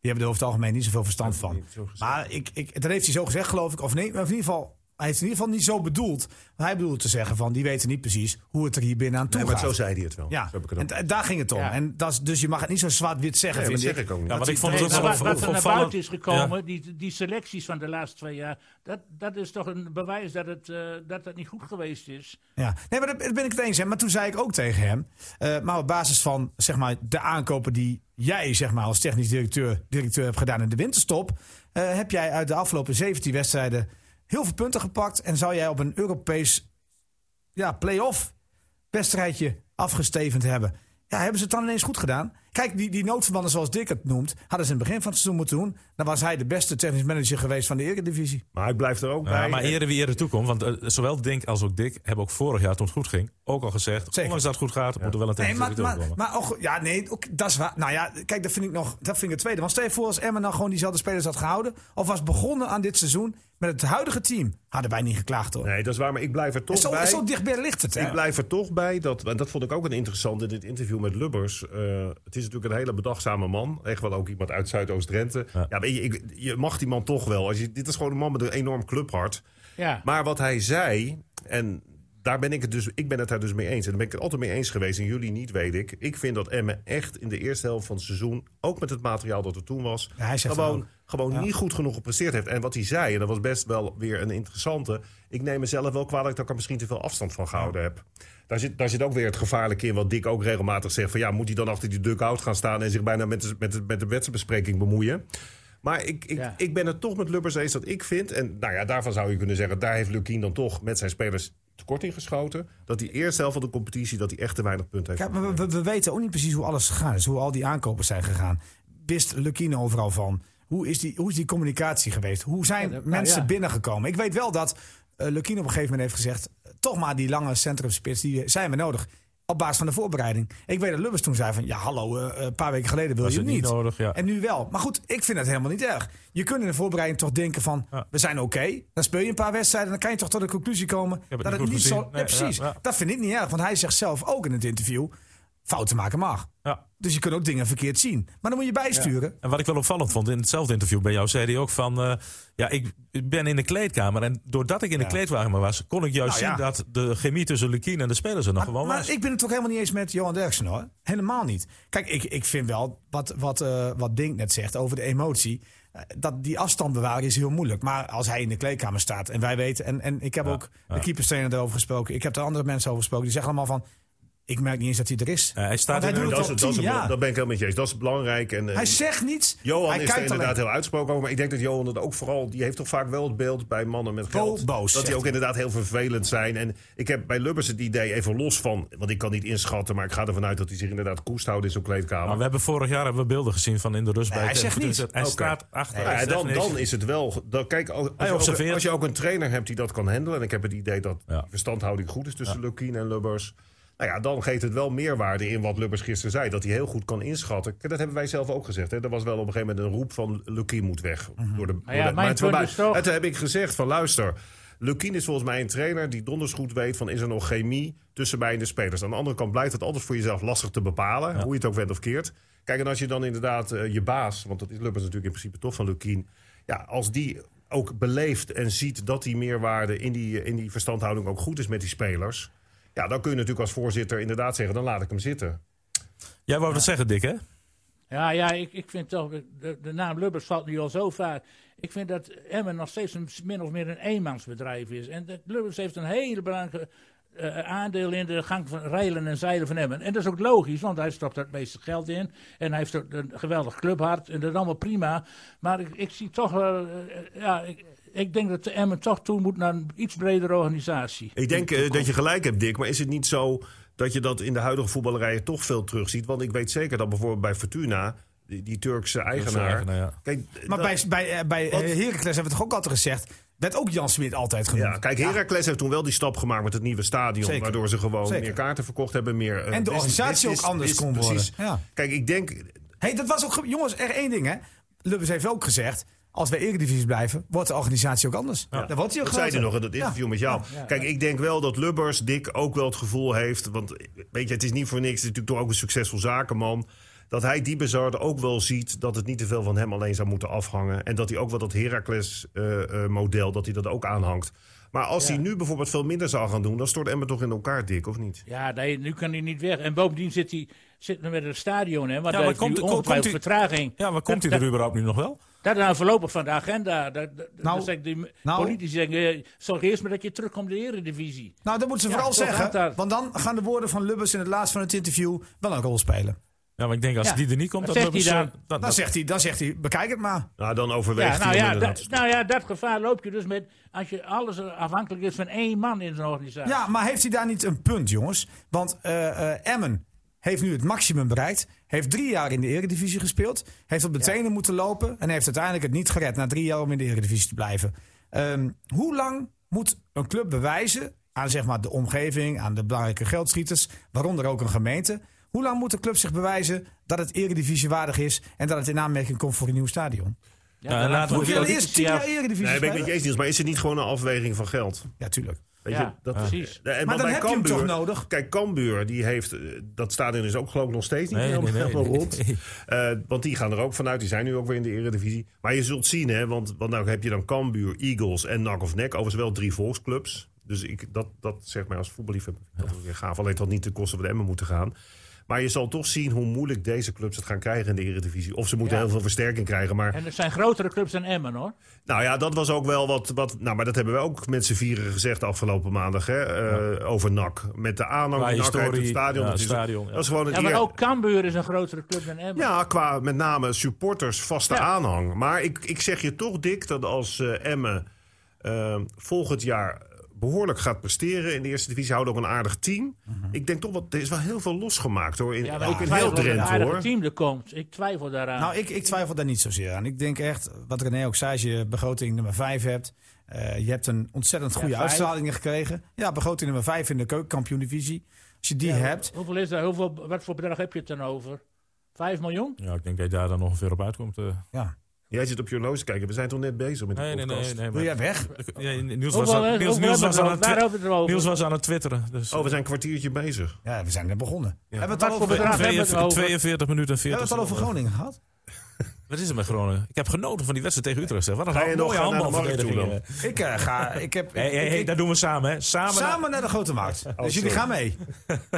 S3: die hebben er over het algemeen niet zoveel verstand van. Maar ik, ik, dat heeft hij zo gezegd, geloof ik. Of nee, maar in ieder geval, hij heeft het in ieder geval niet zo bedoeld. Hij bedoelt te zeggen van, die weten niet precies hoe het er hier binnen aan toe
S4: Nee, maar
S3: gaat.
S4: zo zei hij het wel.
S3: ja,
S4: Zo heb ik het
S3: en
S4: ook.
S3: da- daar ging het om.
S5: Ja.
S3: En dat is, dus je mag het niet zo zwart-wit zeggen,
S4: Nee, dat
S3: vind
S4: zeg ik ook niet.
S2: Ja, want ik vond
S3: hij-
S2: het ook
S5: Maar
S2: wel
S5: wat, wat er naar
S2: opvallend.
S5: buiten is gekomen, die, die selecties van de laatste twee jaar, dat, dat is toch een bewijs dat het, eh, dat, dat niet goed geweest is.
S3: Ja, nee, maar dat dat ben ik het eens. Hè. Maar toen zei ik ook tegen hem, eh, maar op basis van zeg maar, de aankopen die jij zeg maar, als technisch directeur, directeur hebt gedaan in de winterstop, eh, heb jij uit de afgelopen 17 wedstrijden heel veel punten gepakt en zou jij op een Europees ja, play-off wedstrijdje afgestevend hebben. Ja, hebben ze het dan ineens goed gedaan? Kijk, die, die noodverbanden zoals Dick het noemt, hadden ze in het begin van het seizoen moeten doen. Dan was hij de beste technisch manager geweest van de Eredivisie.
S4: Maar ik blijf er ook
S2: Ja,
S4: bij.
S2: maar eerder wie eerder toekomt. Want eh, zowel Dink als ook Dick hebben ook vorig jaar, toen het goed ging, ook al gezegd...
S3: Zeker.
S2: ondanks dat het goed gaat, moet er wel een
S3: Nee,
S2: technische
S3: maar, maar,
S2: directeur komen.
S3: maar ook, ja, nee, ook, dat is waar. Nou ja, kijk, dat vind ik nog, dat vind ik het tweede. Want stel je voor als Emma nou gewoon diezelfde spelers had gehouden, of was begonnen aan dit seizoen met het huidige team, hadden wij niet geklaagd hoor.
S4: Nee, dat is waar, maar ik blijf er toch
S3: En zo,
S4: bij.
S3: zo dichtbij ligt het. Hè?
S4: Ik blijf er toch bij dat, en dat vond ik ook een interessant in dit interview met Lubbers. eh, het is natuurlijk een hele bedachtzame man. Echt wel ook iemand uit Zuidoost-Drenthe. Ja. weet je, ik, je mag die man toch wel. Als je, dit is gewoon een man met een enorm clubhart.
S5: Ja.
S4: Maar wat hij zei, en daar ben ik het dus, ik ben het daar dus mee eens. En daar ben ik het altijd mee eens geweest. En jullie niet, weet ik. Ik vind dat Emme echt in de eerste helft van het seizoen, ook met het materiaal dat er toen was,
S3: Ja, hij zegt
S4: gewoon,
S3: het ook.
S4: gewoon niet goed genoeg gepresteerd heeft. En wat hij zei, en dat was best wel weer een interessante. Ik neem mezelf wel kwalijk dat ik er misschien te veel afstand van gehouden heb. Daar zit, daar zit ook weer het gevaarlijke in, wat Dick ook regelmatig zegt. Van ja, moet hij dan achter die duck-out gaan staan en zich bijna met de, met de, met de wedstrijdbespreking bemoeien? Maar ik, ik,
S5: Ja.
S4: ik ben het toch met Lubbers eens dat ik vind. En nou ja, daarvan zou je kunnen zeggen, daar heeft Lukien dan toch met zijn spelers tekort in geschoten. Dat die eerste helft van de competitie dat hij echt te weinig punten heeft.
S3: Kijk, maar we, we, we weten ook niet precies hoe alles gegaan is, hoe al die aankopen zijn gegaan. Wist Lukine overal van? Hoe is die, hoe is die communicatie geweest? Hoe zijn
S5: dat- nou,
S3: mensen
S5: ja.
S3: binnengekomen? Ik weet wel dat eh Lukine op een gegeven moment heeft gezegd: toch maar die lange centrumspits, die eh, zijn we nodig. Op basis van de voorbereiding. Ik weet dat Lubbers toen zei van... ja, hallo, eh, een paar weken geleden wil
S2: Was
S3: je
S2: het
S3: hem
S2: niet
S3: niet.
S2: nodig, ja.
S3: En nu wel. Maar goed, ik vind dat helemaal niet erg. Je kunt in de voorbereiding toch denken van...
S2: Ja.
S3: we zijn oké, dan speel je een paar wedstrijden... dan kan je toch tot de conclusie komen
S2: het
S3: dat
S2: niet
S3: het
S2: goed
S3: niet zo...
S2: gezien.
S3: Ja,
S2: Nee, ja,
S3: precies.
S2: ja.
S3: Dat vind ik niet erg, want hij zegt zelf ook in het interview: fouten maken mag.
S2: Ja.
S3: Dus je kunt ook dingen verkeerd zien. Maar dan moet je bijsturen.
S2: En wat ik wel opvallend vond, in hetzelfde interview bij jou zei hij ook van... eh, ja, ik ben in de kleedkamer en doordat ik in de kleedkamer was... kon ik juist
S3: Nou ja.
S2: zien dat de chemie tussen Lukien en de spelers er nog gewoon
S3: maar
S2: was.
S3: ik ben het toch helemaal niet eens met Johan Derksen hoor. Helemaal niet. Kijk, ik, ik vind wel wat, wat, eh, wat Dink net zegt over de emotie. eh, Dat die afstand bewaren is heel moeilijk. Maar als hij in de kleedkamer staat en wij weten. En, en ik heb ook de keeperstrainer erover gesproken. Ik heb er andere mensen over gesproken. Die zeggen allemaal van. Ik merk niet eens dat hij er is.
S2: Ja, hij staat
S3: Want hij
S2: in-
S3: doet
S4: dat, is,
S3: het al
S4: het- dat, is,
S3: tien
S4: het-
S3: jaar.
S4: dat ben ik helemaal met je eens. Dat is belangrijk. En, eh,
S3: Hij zegt niets.
S4: Johan
S3: hij
S4: is er
S3: kijkt alleen.
S4: inderdaad heel uitsproken over. Maar ik denk dat Johan dat ook vooral... die heeft toch vaak wel het beeld bij mannen met geld...
S3: boos,
S4: dat
S3: zegt
S4: die ook inderdaad heel vervelend zijn. En ik heb bij Lubbers het idee, even los van... want ik kan niet inschatten, maar ik ga ervan uit... dat hij zich inderdaad koest houdt in zo'n kleedkamer.
S2: Maar we hebben vorig jaar hebben we beelden gezien van in de rust bij
S3: hij
S2: het-
S3: zegt niets.
S2: Hij
S4: Oké.
S2: staat achter.
S4: Nou
S2: hij
S4: ja,
S2: zegt
S4: dan,
S2: niks.
S4: dan is het wel. ge- Dan, kijk, als, als,
S2: Hij
S4: je ook,
S2: observeert.
S4: als je ook een trainer hebt die dat kan handelen. En ik heb het idee dat
S2: Ja.
S4: die verstandhouding goed is tussen Lukien en Lubbers. Nou ja, dan geeft het wel meerwaarde in wat Lubbers gisteren zei. Dat hij heel goed kan inschatten. Kijk, Dat hebben wij zelf ook gezegd. Hè. Er was wel op een gegeven moment een roep van Lukien moet weg.
S2: Mhm.
S4: door de, door de-
S5: mijn
S4: maar het
S5: punt
S4: voorbij-
S5: is toch-
S4: En toen heb ik gezegd van luister. Lukien is volgens mij een trainer die donders goed weet van is er nog chemie tussen mij en de spelers. Aan de andere kant blijft het altijd voor jezelf lastig te bepalen, hoe je het ook went of keert. Kijk, en als je dan inderdaad eh, je baas, want dat is Lubbers natuurlijk in principe toch van Lukien. Ja, als die ook beleeft en ziet dat die meerwaarde in die, in die verstandhouding ook goed is met die spelers. Ja, dan kun je natuurlijk als voorzitter inderdaad zeggen, dan laat ik hem zitten.
S2: Jij wou dat zeggen, Dick, hè?
S5: Ja, ja ik, ik vind toch, de, de, de naam Lubbers valt nu al zo vaak. Ik vind dat Emmen nog steeds een, min of meer een eenmansbedrijf is. En dat Lubbers heeft een hele belangrijke eh, aandeel in de gang van reilen en zeilen van Emmen. En dat is ook logisch, want hij stopt daar het meeste geld in. En hij heeft ook een geweldig clubhart. En dat is allemaal prima. Maar ik, ik zie toch, eh, eh, ja, ik, ik denk dat de Emmen toch toe moet naar een iets bredere organisatie.
S4: Ik denk eh, dat je gelijk hebt, Dick. Maar is het niet zo dat je dat in de huidige voetballerijen toch veel terugziet? Want ik weet zeker dat bijvoorbeeld bij Fortuna, die, die Turkse eigenaar.
S2: eigenaar, ja.
S4: Kijk,
S3: Maar
S4: dat-
S3: bij, bij, eh, bij eh, Heracles hebben we toch ook altijd gezegd... werd ook Jan Smit altijd genoemd.
S4: Ja, kijk, Heracles heeft toen wel die stap gemaakt met het nieuwe stadion.
S3: Zeker.
S4: Waardoor ze gewoon
S3: Zeker.
S4: meer kaarten verkocht hebben. Meer, eh,
S3: En de organisatie ook anders kon
S4: precies.
S3: worden. Ja.
S4: Kijk, ik denk...
S3: Hey, dat was ook, ge- jongens, er één ding hè. Lubbers heeft ook gezegd, als wij eredivisie blijven, wordt de organisatie ook anders. Dan wordt hij ook
S4: Dat zei hij
S3: groter.
S4: nog in dat interview met jou. Kijk, ik denk wel dat Lubbers, Dick, ook wel het gevoel heeft... Want weet je, het is niet voor niks. Het is natuurlijk toch ook een succesvol zakenman. Dat hij die bezarde ook wel ziet dat het niet te veel van hem alleen zou moeten afhangen. En dat hij ook wel dat Heracles-model, dat hij dat ook aanhangt. Maar als hij nu bijvoorbeeld veel minder zou gaan doen... dan stort Emmen toch in elkaar, Dick, of niet?
S5: Ja, nee, nu kan hij niet weg. En bovendien zit hij zit hij met het stadion, hè? Want
S2: Ja,
S5: daar
S2: maar
S5: heeft hij
S2: komt- komt-
S5: ongetwijfeld
S2: komt
S5: vertraging.
S2: Ja, maar komt
S5: Dat-
S2: hij er überhaupt nu nog wel?
S5: Dat is nou voorlopig van de agenda. Dat, dat,
S3: Nou,
S5: dat zeggen die
S3: nou.
S5: politici zeggen, eh, zorg eerst maar dat je terugkomt in de eredivisie.
S3: Nou, dat moeten ze
S5: Ja,
S3: vooral
S5: zo gaat
S3: zeggen.
S5: dat.
S3: Want dan gaan de woorden van Lubbers in het laatst van het interview wel een rol spelen.
S2: Ja, maar ik denk als
S5: Ja.
S2: die er niet komt...
S5: Wat
S2: dat
S5: zegt hij
S2: Lubbers,
S5: dan?
S2: eh, dat-
S3: Dan
S2: dat-
S3: zegt hij, dan zegt hij bekijk het maar.
S4: Nou, dan overweegt
S5: Ja,
S4: hij
S5: nou,
S4: om
S5: ja,
S4: inderdaad te
S5: dat, nou ja, dat gevaar loop je dus met als je alles afhankelijk is van één man in zo'n organisatie.
S3: Ja, maar heeft hij daar niet een punt, jongens? Want eh, eh, Emmen heeft nu het maximum bereikt. Heeft drie jaar in de eredivisie gespeeld. Heeft op de tenen moeten lopen. En heeft uiteindelijk het niet gered na drie jaar om in de eredivisie te blijven. Ehm, hoe lang moet een club bewijzen aan zeg maar, de omgeving, aan de belangrijke geldschieters, waaronder ook een gemeente. Hoe lang moet de club zich bewijzen dat het eredivisie waardig is en dat het in aanmerking komt voor een nieuw stadion?
S5: Ja,
S2: Ja,
S5: dan
S2: en laten
S5: laten
S2: we
S3: Moet
S5: we
S3: je
S2: ook-
S3: dan
S5: politici
S3: eerst tien jaar
S5: af-
S3: eredivisie
S4: Nee, ben ik met je
S3: spelen?
S4: eens, Niels, maar is het niet gewoon een afweging van geld?
S3: Ja, tuurlijk.
S4: Weet
S5: Ja,
S4: je, dat,
S5: precies.
S4: Eh, en-
S3: Maar dan
S4: bij
S3: heb je hem toch nodig?
S4: Kijk, Cambuur, die heeft, eh, dat stadion is ook geloof ik nog steeds niet
S2: Nee, nee,
S4: helemaal,
S2: nee,
S4: helemaal
S2: nee,
S4: rond.
S2: nee.
S4: Eh, want die gaan er ook vanuit, die zijn nu ook weer in de eredivisie. Maar je zult zien, hè, want, want nou heb je dan Cambuur, Eagles en NAC of NEC. Overigens wel drie volksclubs. Dus ik, dat, dat zeg maar als voetballiefhebber, dat is weer gaaf. Alleen dat niet ten koste van de Emmen moeten gaan. Maar je zal toch zien hoe moeilijk deze clubs het gaan krijgen in de eredivisie. Of ze moeten
S5: Ja.
S4: heel veel versterking krijgen, maar...
S5: En het zijn grotere clubs dan Emmen hoor.
S4: Nou ja, dat was ook wel wat. wat nou, maar dat hebben we ook met z'n vieren gezegd de afgelopen maandag. Hè, eh, Over NAC. Met de aanhang
S2: Qua
S4: die NAC heeft, het
S2: historie,
S4: stadion.
S2: ja,
S4: dat is-
S2: stadion, ja.
S4: Dat is gewoon het
S5: Ja, maar
S4: eer-
S5: ook Cambuur is een grotere club dan Emmen.
S4: ja, qua met name supporters, vaste
S5: Ja.
S4: aanhang. Maar ik, ik zeg je toch, Dick, dat als eh Emmen eh, volgend jaar behoorlijk gaat presteren in de eerste divisie, houden ook een aardig team.
S2: Mhm.
S4: Ik denk toch, wat, er is wel heel veel losgemaakt hoor. In,
S5: Ja, maar
S4: ook
S5: ik
S4: in heel
S5: twijfel dat er een
S4: Drenthe
S5: aardige
S4: hoor.
S5: team er komt. Ik twijfel daaraan.
S3: Nou, ik, ik twijfel daar niet zozeer aan. Ik denk echt, wat René ook zei, als je begroting nummer 5 hebt. eh, je hebt een ontzettend goede
S5: vijf.
S3: uitstraling gekregen. Ja, begroting nummer 5 in de keukenkampioen-divisie. Als je die hebt.
S5: Hoeveel is dat? Hoeveel, wat voor bedrag heb je het dan over? Vijf miljoen?
S2: Ja, ik denk dat je daar dan ongeveer op uitkomt. eh.
S3: Ja.
S4: Jij zit op je horloge te kijken. We zijn toch net bezig met de
S2: Nee, nee,
S4: podcast.
S2: nee. nee
S3: Wil
S2: maar-
S3: jij
S2: Ja,
S3: weg?
S2: Niels was
S5: Hoeveel,
S2: aan-
S5: eh,
S2: Niels- Niels
S5: hoeveel hebben
S2: was aan
S5: we er
S2: het
S5: over? Waar
S2: twi-
S5: hebben we het over?
S2: Niels was aan het twitteren. Dus,
S4: Oh, we zijn een kwartiertje bezig.
S3: Ja, we zijn net begonnen. Hebben we
S5: Wat
S3: het al
S5: voor
S3: over,
S5: bedrag?
S3: hebben
S2: 42,
S5: over.
S2: 42 minuten en
S3: we
S2: 40
S3: het al over Groningen gehad?
S2: Wat is er met Groningen? Ik heb genoten van die wedstrijd tegen Utrecht. Zeg. Wat een
S4: Ga je nog
S2: mooie
S4: naar de markt
S2: handbalverdediging.
S4: toe
S2: eh.
S4: dan?
S3: Ik eh, ga. Ik heb,
S2: Hé, hé,
S3: ik-
S2: hé,
S3: ik-
S2: dat doen we samen, hè? Samen.
S3: samen naar de grote markt. dus jullie
S4: sorry.
S3: gaan mee.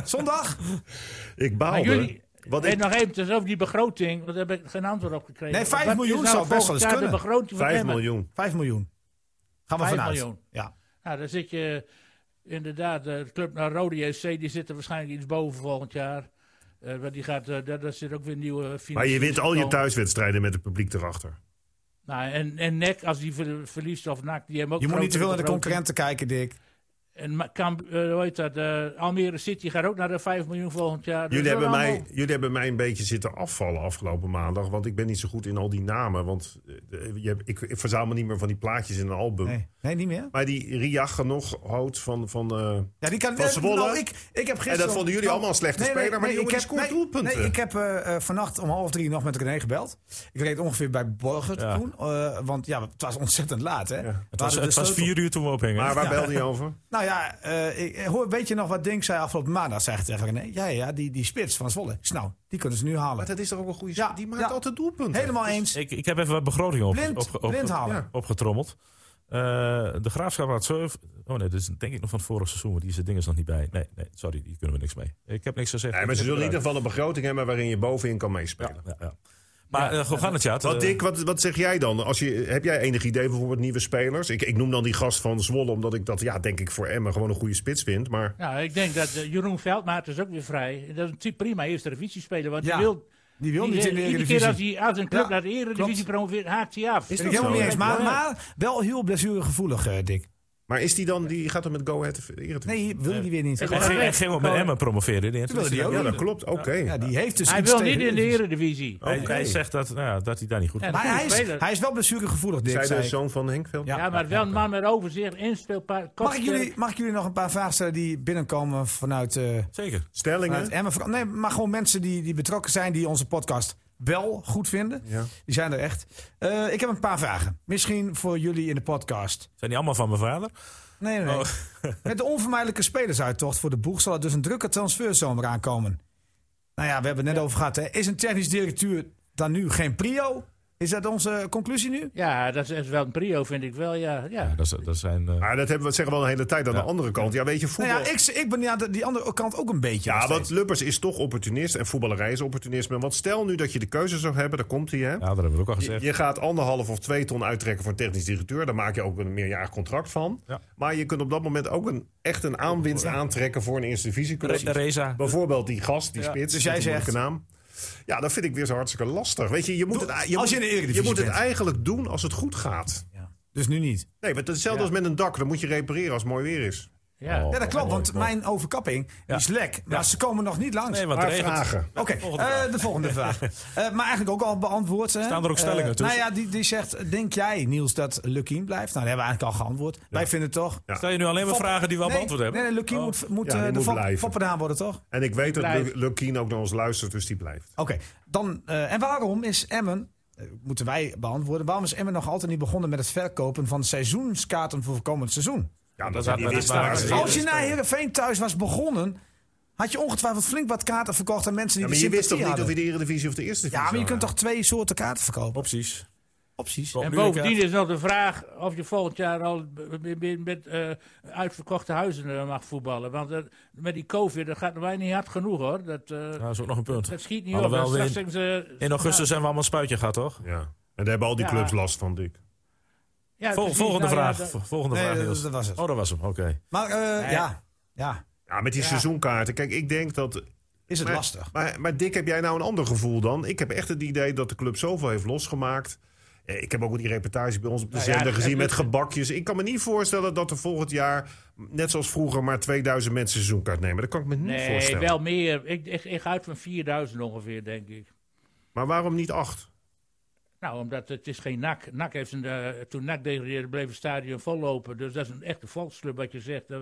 S3: Zondag?
S4: Ik
S5: Maar
S4: baalde.
S5: jullie,
S4: want
S5: weet
S4: ik,
S5: nog even, het is over die begroting, want daar heb ik geen antwoord op gekregen.
S3: Nee, vijf
S5: Wat
S3: miljoen
S5: is nou
S3: zou best wel
S5: volgend
S3: eens
S5: jaar
S3: kunnen.
S5: De begroting van
S4: 5
S5: Emmen?
S4: miljoen.
S3: 5 miljoen. Gaan we
S5: Vijf
S3: vanuit.
S5: miljoen.
S3: Ja.
S5: Nou, dan zit je inderdaad, eh, de club naar Rode JC, die zit er waarschijnlijk iets boven volgend jaar. Eh, want die gaat, eh, daar, daar zit ook weer nieuwe financiën.
S4: Maar je wint al je
S5: komen.
S4: thuiswedstrijden met het publiek erachter.
S5: Nou, en, en NEC, als die ver- verliest of NAC, die hebben ook
S3: Je moet niet te
S5: grotere
S3: veel naar de
S5: begroting.
S3: concurrenten kijken, Dick.
S5: En Ma- Kamp, eh, hoe heet dat, eh, Almere City gaat ook naar de 5 miljoen volgend jaar. Dus
S4: Jullie
S5: dat
S4: hebben, mij,
S5: allemaal-
S4: jullie hebben mij een beetje zitten afvallen afgelopen maandag. Want ik ben niet zo goed in al die namen. Want eh, je hebt- ik, ik verzamel niet meer van die plaatjes in een album.
S3: Nee, nee niet meer.
S4: Maar die Riacha nog houdt van. van eh,
S3: Ja, die kan
S4: Van
S3: eh,
S4: Zwolle.
S3: nou, ik, ik heb gisteren...
S4: En dat vonden jullie allemaal een slechte speler, maar die jongen
S3: ik
S4: die scoort
S3: nee,
S4: doelpunten.
S3: Nee, ik heb eh, eh, vannacht om half drie nog met René gebeld. Ik reed ongeveer bij Borgert
S2: Ja.
S3: toen. eh, want ja, het was ontzettend laat. Hè? We
S2: Het was,
S3: hadden de
S2: het was
S3: sleutel.
S2: vier uur toen we ophingen.
S4: maar waar belde je over?
S3: Nou ja, eh, ik, hoor, weet je nog wat Dink zei afgelopen maandag? Zei ik tegen René. Ja, ja, die, die spits van Zwolle. Ik zeg, Nou, die kunnen ze nu halen.
S4: Maar dat is toch ook een goede.
S3: Ja,
S4: sp- die maakt
S3: ja.
S4: altijd doelpunten.
S3: Helemaal eens.
S2: ik, ik heb even wat begroting op,
S3: Blind,
S2: op, op-
S3: blind halen.
S4: ja.
S2: opgetrommeld. Eh, de Graafschap had 7... Oh nee, dat is denk ik nog van het vorige seizoen. Want die is er dinges nog niet bij. Nee, nee, sorry. Hier kunnen we niks mee. Ik heb niks gezegd.
S4: Nee, maar ze
S2: Ik
S4: zullen in
S2: heb
S4: ieder geval een begroting hebben waarin je bovenin kan meespelen.
S2: eruit. Ja, ja. Maar eh, gewoon gaan het, ja. het,
S4: Wat,
S2: eh,
S4: Dick, wat, wat zeg jij dan? Als je, heb jij enig idee bijvoorbeeld nieuwe spelers? Ik, ik noem dan die gast van Zwolle, omdat ik dat, ja, denk ik voor Emmen gewoon een goede spits vind. Maar
S5: Nou, ik denk dat eh, Jeroen Veldmaat is ook weer vrij. En Dat is een type prima eerste divisie speler, want
S3: Ja,
S5: die wil...
S3: Die wil niet in de
S5: Iedere keer als,
S3: Eredivisie.
S5: hij, als een club
S3: Ja,
S5: naar de Eredivisie
S3: klopt.
S5: promoveert, haakt hij af.
S3: Ben ik helemaal
S4: zo?
S3: niet eens. Maar,
S5: Ja.
S3: maar wel heel blessuregevoelig, eh Dick.
S4: Maar is die dan, die gaat dan met Go Ahead de Eredivisie?
S3: Nee, wil die weer niet.
S2: Hij ging, hij ging ook met Emmen promoveren. in de
S3: willen die
S2: Eredivisie.
S3: ook
S4: Ja,
S3: niet.
S4: dat klopt. Oké.
S3: Ja, die heeft dus
S5: Hij
S3: iets
S5: wil
S3: tegen
S5: niet in de
S3: Eredivisie.
S5: Eredivisie.
S2: Hij,
S4: Oké.
S2: hij zegt dat, nou, ja, dat hij daar niet goed
S5: Ja,
S2: komt.
S3: Maar hij
S5: Goeie
S3: is,
S5: speler.
S3: hij is wel blessuregevoelig, Dirk.
S4: Zij dus
S3: zei
S4: de
S3: ik.
S4: zoon van Henkveld?
S3: Ja.
S5: Ja, maar wel een man met overzicht, inspeelpaar.
S3: Mag ik, jullie, mag ik jullie nog een paar vragen stellen die binnenkomen vanuit, eh
S2: Zeker.
S4: Stellingen?
S3: vanuit Emmen? Vooral- Nee, maar gewoon mensen die, die betrokken zijn, die onze podcast wel goed vinden.
S4: Ja.
S3: Die zijn er echt. Eh, ik heb een paar vragen. Misschien voor jullie in de podcast.
S2: Zijn die allemaal van mijn vader?
S3: Nee, nee. nee.
S2: Oh.
S3: Met de onvermijdelijke spelersuittocht voor de boeg zal er dus een drukke transferzomer aankomen. Nou ja, we hebben het net over gehad. Hè. Is een technisch directeur dan nu geen prio? Is dat onze conclusie nu? Nou
S5: Ja, dat is wel een prio, vind ik wel. Ja, ja.
S2: Ja, dat, is- dat zijn... eh,
S4: Maar Ah, dat hebben we, zeggen we al een hele tijd aan de andere kant. Ja, weet je,
S3: Nou
S4: voetbal...
S3: ja, ik, ik ben ja, de- die andere kant ook een beetje. nog
S4: Ja,
S3: steeds.
S4: want Lubbers is toch opportunist en voetballerij is opportunisme. Want stel nu dat je de keuze zou hebben, daar komt hij hè.
S2: ja, dat hebben we ook al
S4: Je,
S2: gezegd.
S4: je gaat anderhalf of twee ton uittrekken voor een technisch directeur. Daar maak je ook een meerjarig contract van.
S2: Ja.
S4: Maar je kunt op dat moment ook een, echt een aanwinst aantrekken voor een eerste divisieclub.
S2: Re- Reza.
S4: Bijvoorbeeld die gast, die
S2: Ja,
S4: spits.
S3: dus jij
S4: met die
S3: zegt-
S4: moeilijke naam. Ja, dat vind ik weer zo hartstikke lastig. Weet je, je moet,
S3: Doe-
S4: het, je moet-
S3: als je in de Eredivisie
S4: je moet het
S3: bent.
S4: eigenlijk doen als het goed gaat.
S3: Ja. Dus nu niet.
S4: Nee, maar het is hetzelfde als met een dak. Dan moet je repareren als het mooi weer is.
S5: ja.
S2: Oh.
S3: Ja, dat klopt,
S2: mooi,
S3: want
S2: mooi.
S3: mijn overkapping die
S2: Ja.
S3: is lek. Maar
S2: Ja.
S3: ze komen nog niet langs.
S2: Nee, want
S4: Maar
S2: het regent.
S4: vragen.
S3: Oké, eh,
S2: Volgende vraag.
S3: de volgende vraag. Eh, maar eigenlijk ook al beantwoord. Hè?
S2: Staan er ook
S3: Eh,
S2: stellingen tussen?
S3: Nou ja, die, die zegt, denk jij Niels dat Lukien blijft? Nou, dat hebben we eigenlijk al geantwoord. Wij vinden toch...
S4: Ja.
S2: Stel je nu alleen maar
S3: Fop-
S2: vragen die we al
S3: nee,
S2: beantwoord hebben?
S3: Nee, nee Lukien
S2: Oh.
S3: moet, moet
S4: Ja,
S3: eh,
S4: die
S3: de
S4: moet
S3: Fop-
S4: blijven.
S3: Foppendaan worden, toch? Oké,
S4: En ik weet dat
S5: Blijf.
S4: Lu- Lukien ook naar ons luistert, dus die blijft.
S3: dan... eh, en waarom is Emmen... eh, moeten wij beantwoorden. Waarom is Emmen nog altijd niet begonnen met het verkopen van seizoenskaarten voor komend seizoen?
S4: Ja,
S2: dat had-
S4: die
S2: dat
S4: wist
S2: waren
S4: daar-
S2: ze
S4: Ja,
S3: Als je naar Heerenveen thuis was begonnen... had je ongetwijfeld flink wat kaarten verkocht aan mensen die
S4: maar
S3: de
S4: je wist toch
S3: sympathie
S4: niet of je
S3: hadden.
S4: de Eredivisie of de Eerste Divisie
S3: Ja, maar je
S4: zou
S3: kunt
S4: hebben?
S3: toch twee soorten kaarten verkopen?
S2: Opties.
S3: Opties.
S2: Op
S5: En
S2: Oh, nu
S5: bovendien
S2: elkaar.
S5: is nog de vraag of je volgend jaar al b- b- b- met eh, uitverkochte huizen eh, mag voetballen. Want eh, met die COVID, dat gaat wij niet hard genoeg hoor. Dat,
S2: Ja,
S5: eh,
S2: Nou, dat is ook nog een punt.
S5: dat schiet niet
S2: Alhoewel,
S5: op. Dan
S2: we in-
S5: straks zeggen ze-
S2: In augustus zijn we allemaal een spuitje gehad, toch?
S4: Ja. En daar hebben al die
S5: Ja.
S4: clubs last van, Dick.
S5: Ja,
S2: Vol-
S5: precies.
S2: volgende
S5: Nou ja,
S2: vraag.
S5: dat-
S2: Vo- volgende
S3: Nee,
S2: vraag,
S3: dat-
S2: Niels.
S3: dat was het.
S2: Oh, dat was hem. Oké.
S3: Maar eh, ja, ja,
S4: Ja, met die
S5: Ja.
S4: seizoenkaarten. Kijk, ik denk dat
S3: is het
S4: Maar-
S3: lastig.
S4: Maar, maar Dick, heb jij nou een ander gevoel dan? Ik heb echt het idee dat de club zoveel heeft losgemaakt. Eh, Ik heb ook die reportage bij ons op de
S5: Nou ja,
S4: zender
S5: het-
S4: gezien
S5: het-
S4: met gebakjes. Ik kan me niet voorstellen dat er volgend jaar, net zoals vroeger, maar 2000 mensen seizoenkaart nemen. Dat kan ik me niet
S5: Nee,
S4: voorstellen.
S5: wel meer. Ik, ik, ik ga uit van 4000 ongeveer, denk ik.
S4: Maar waarom niet acht?
S5: Nou, omdat het is geen NAC. NAC heeft een, eh, toen NAC degradeerde, bleef het stadion vollopen. Dus dat is een echte volksclub wat je zegt. eh,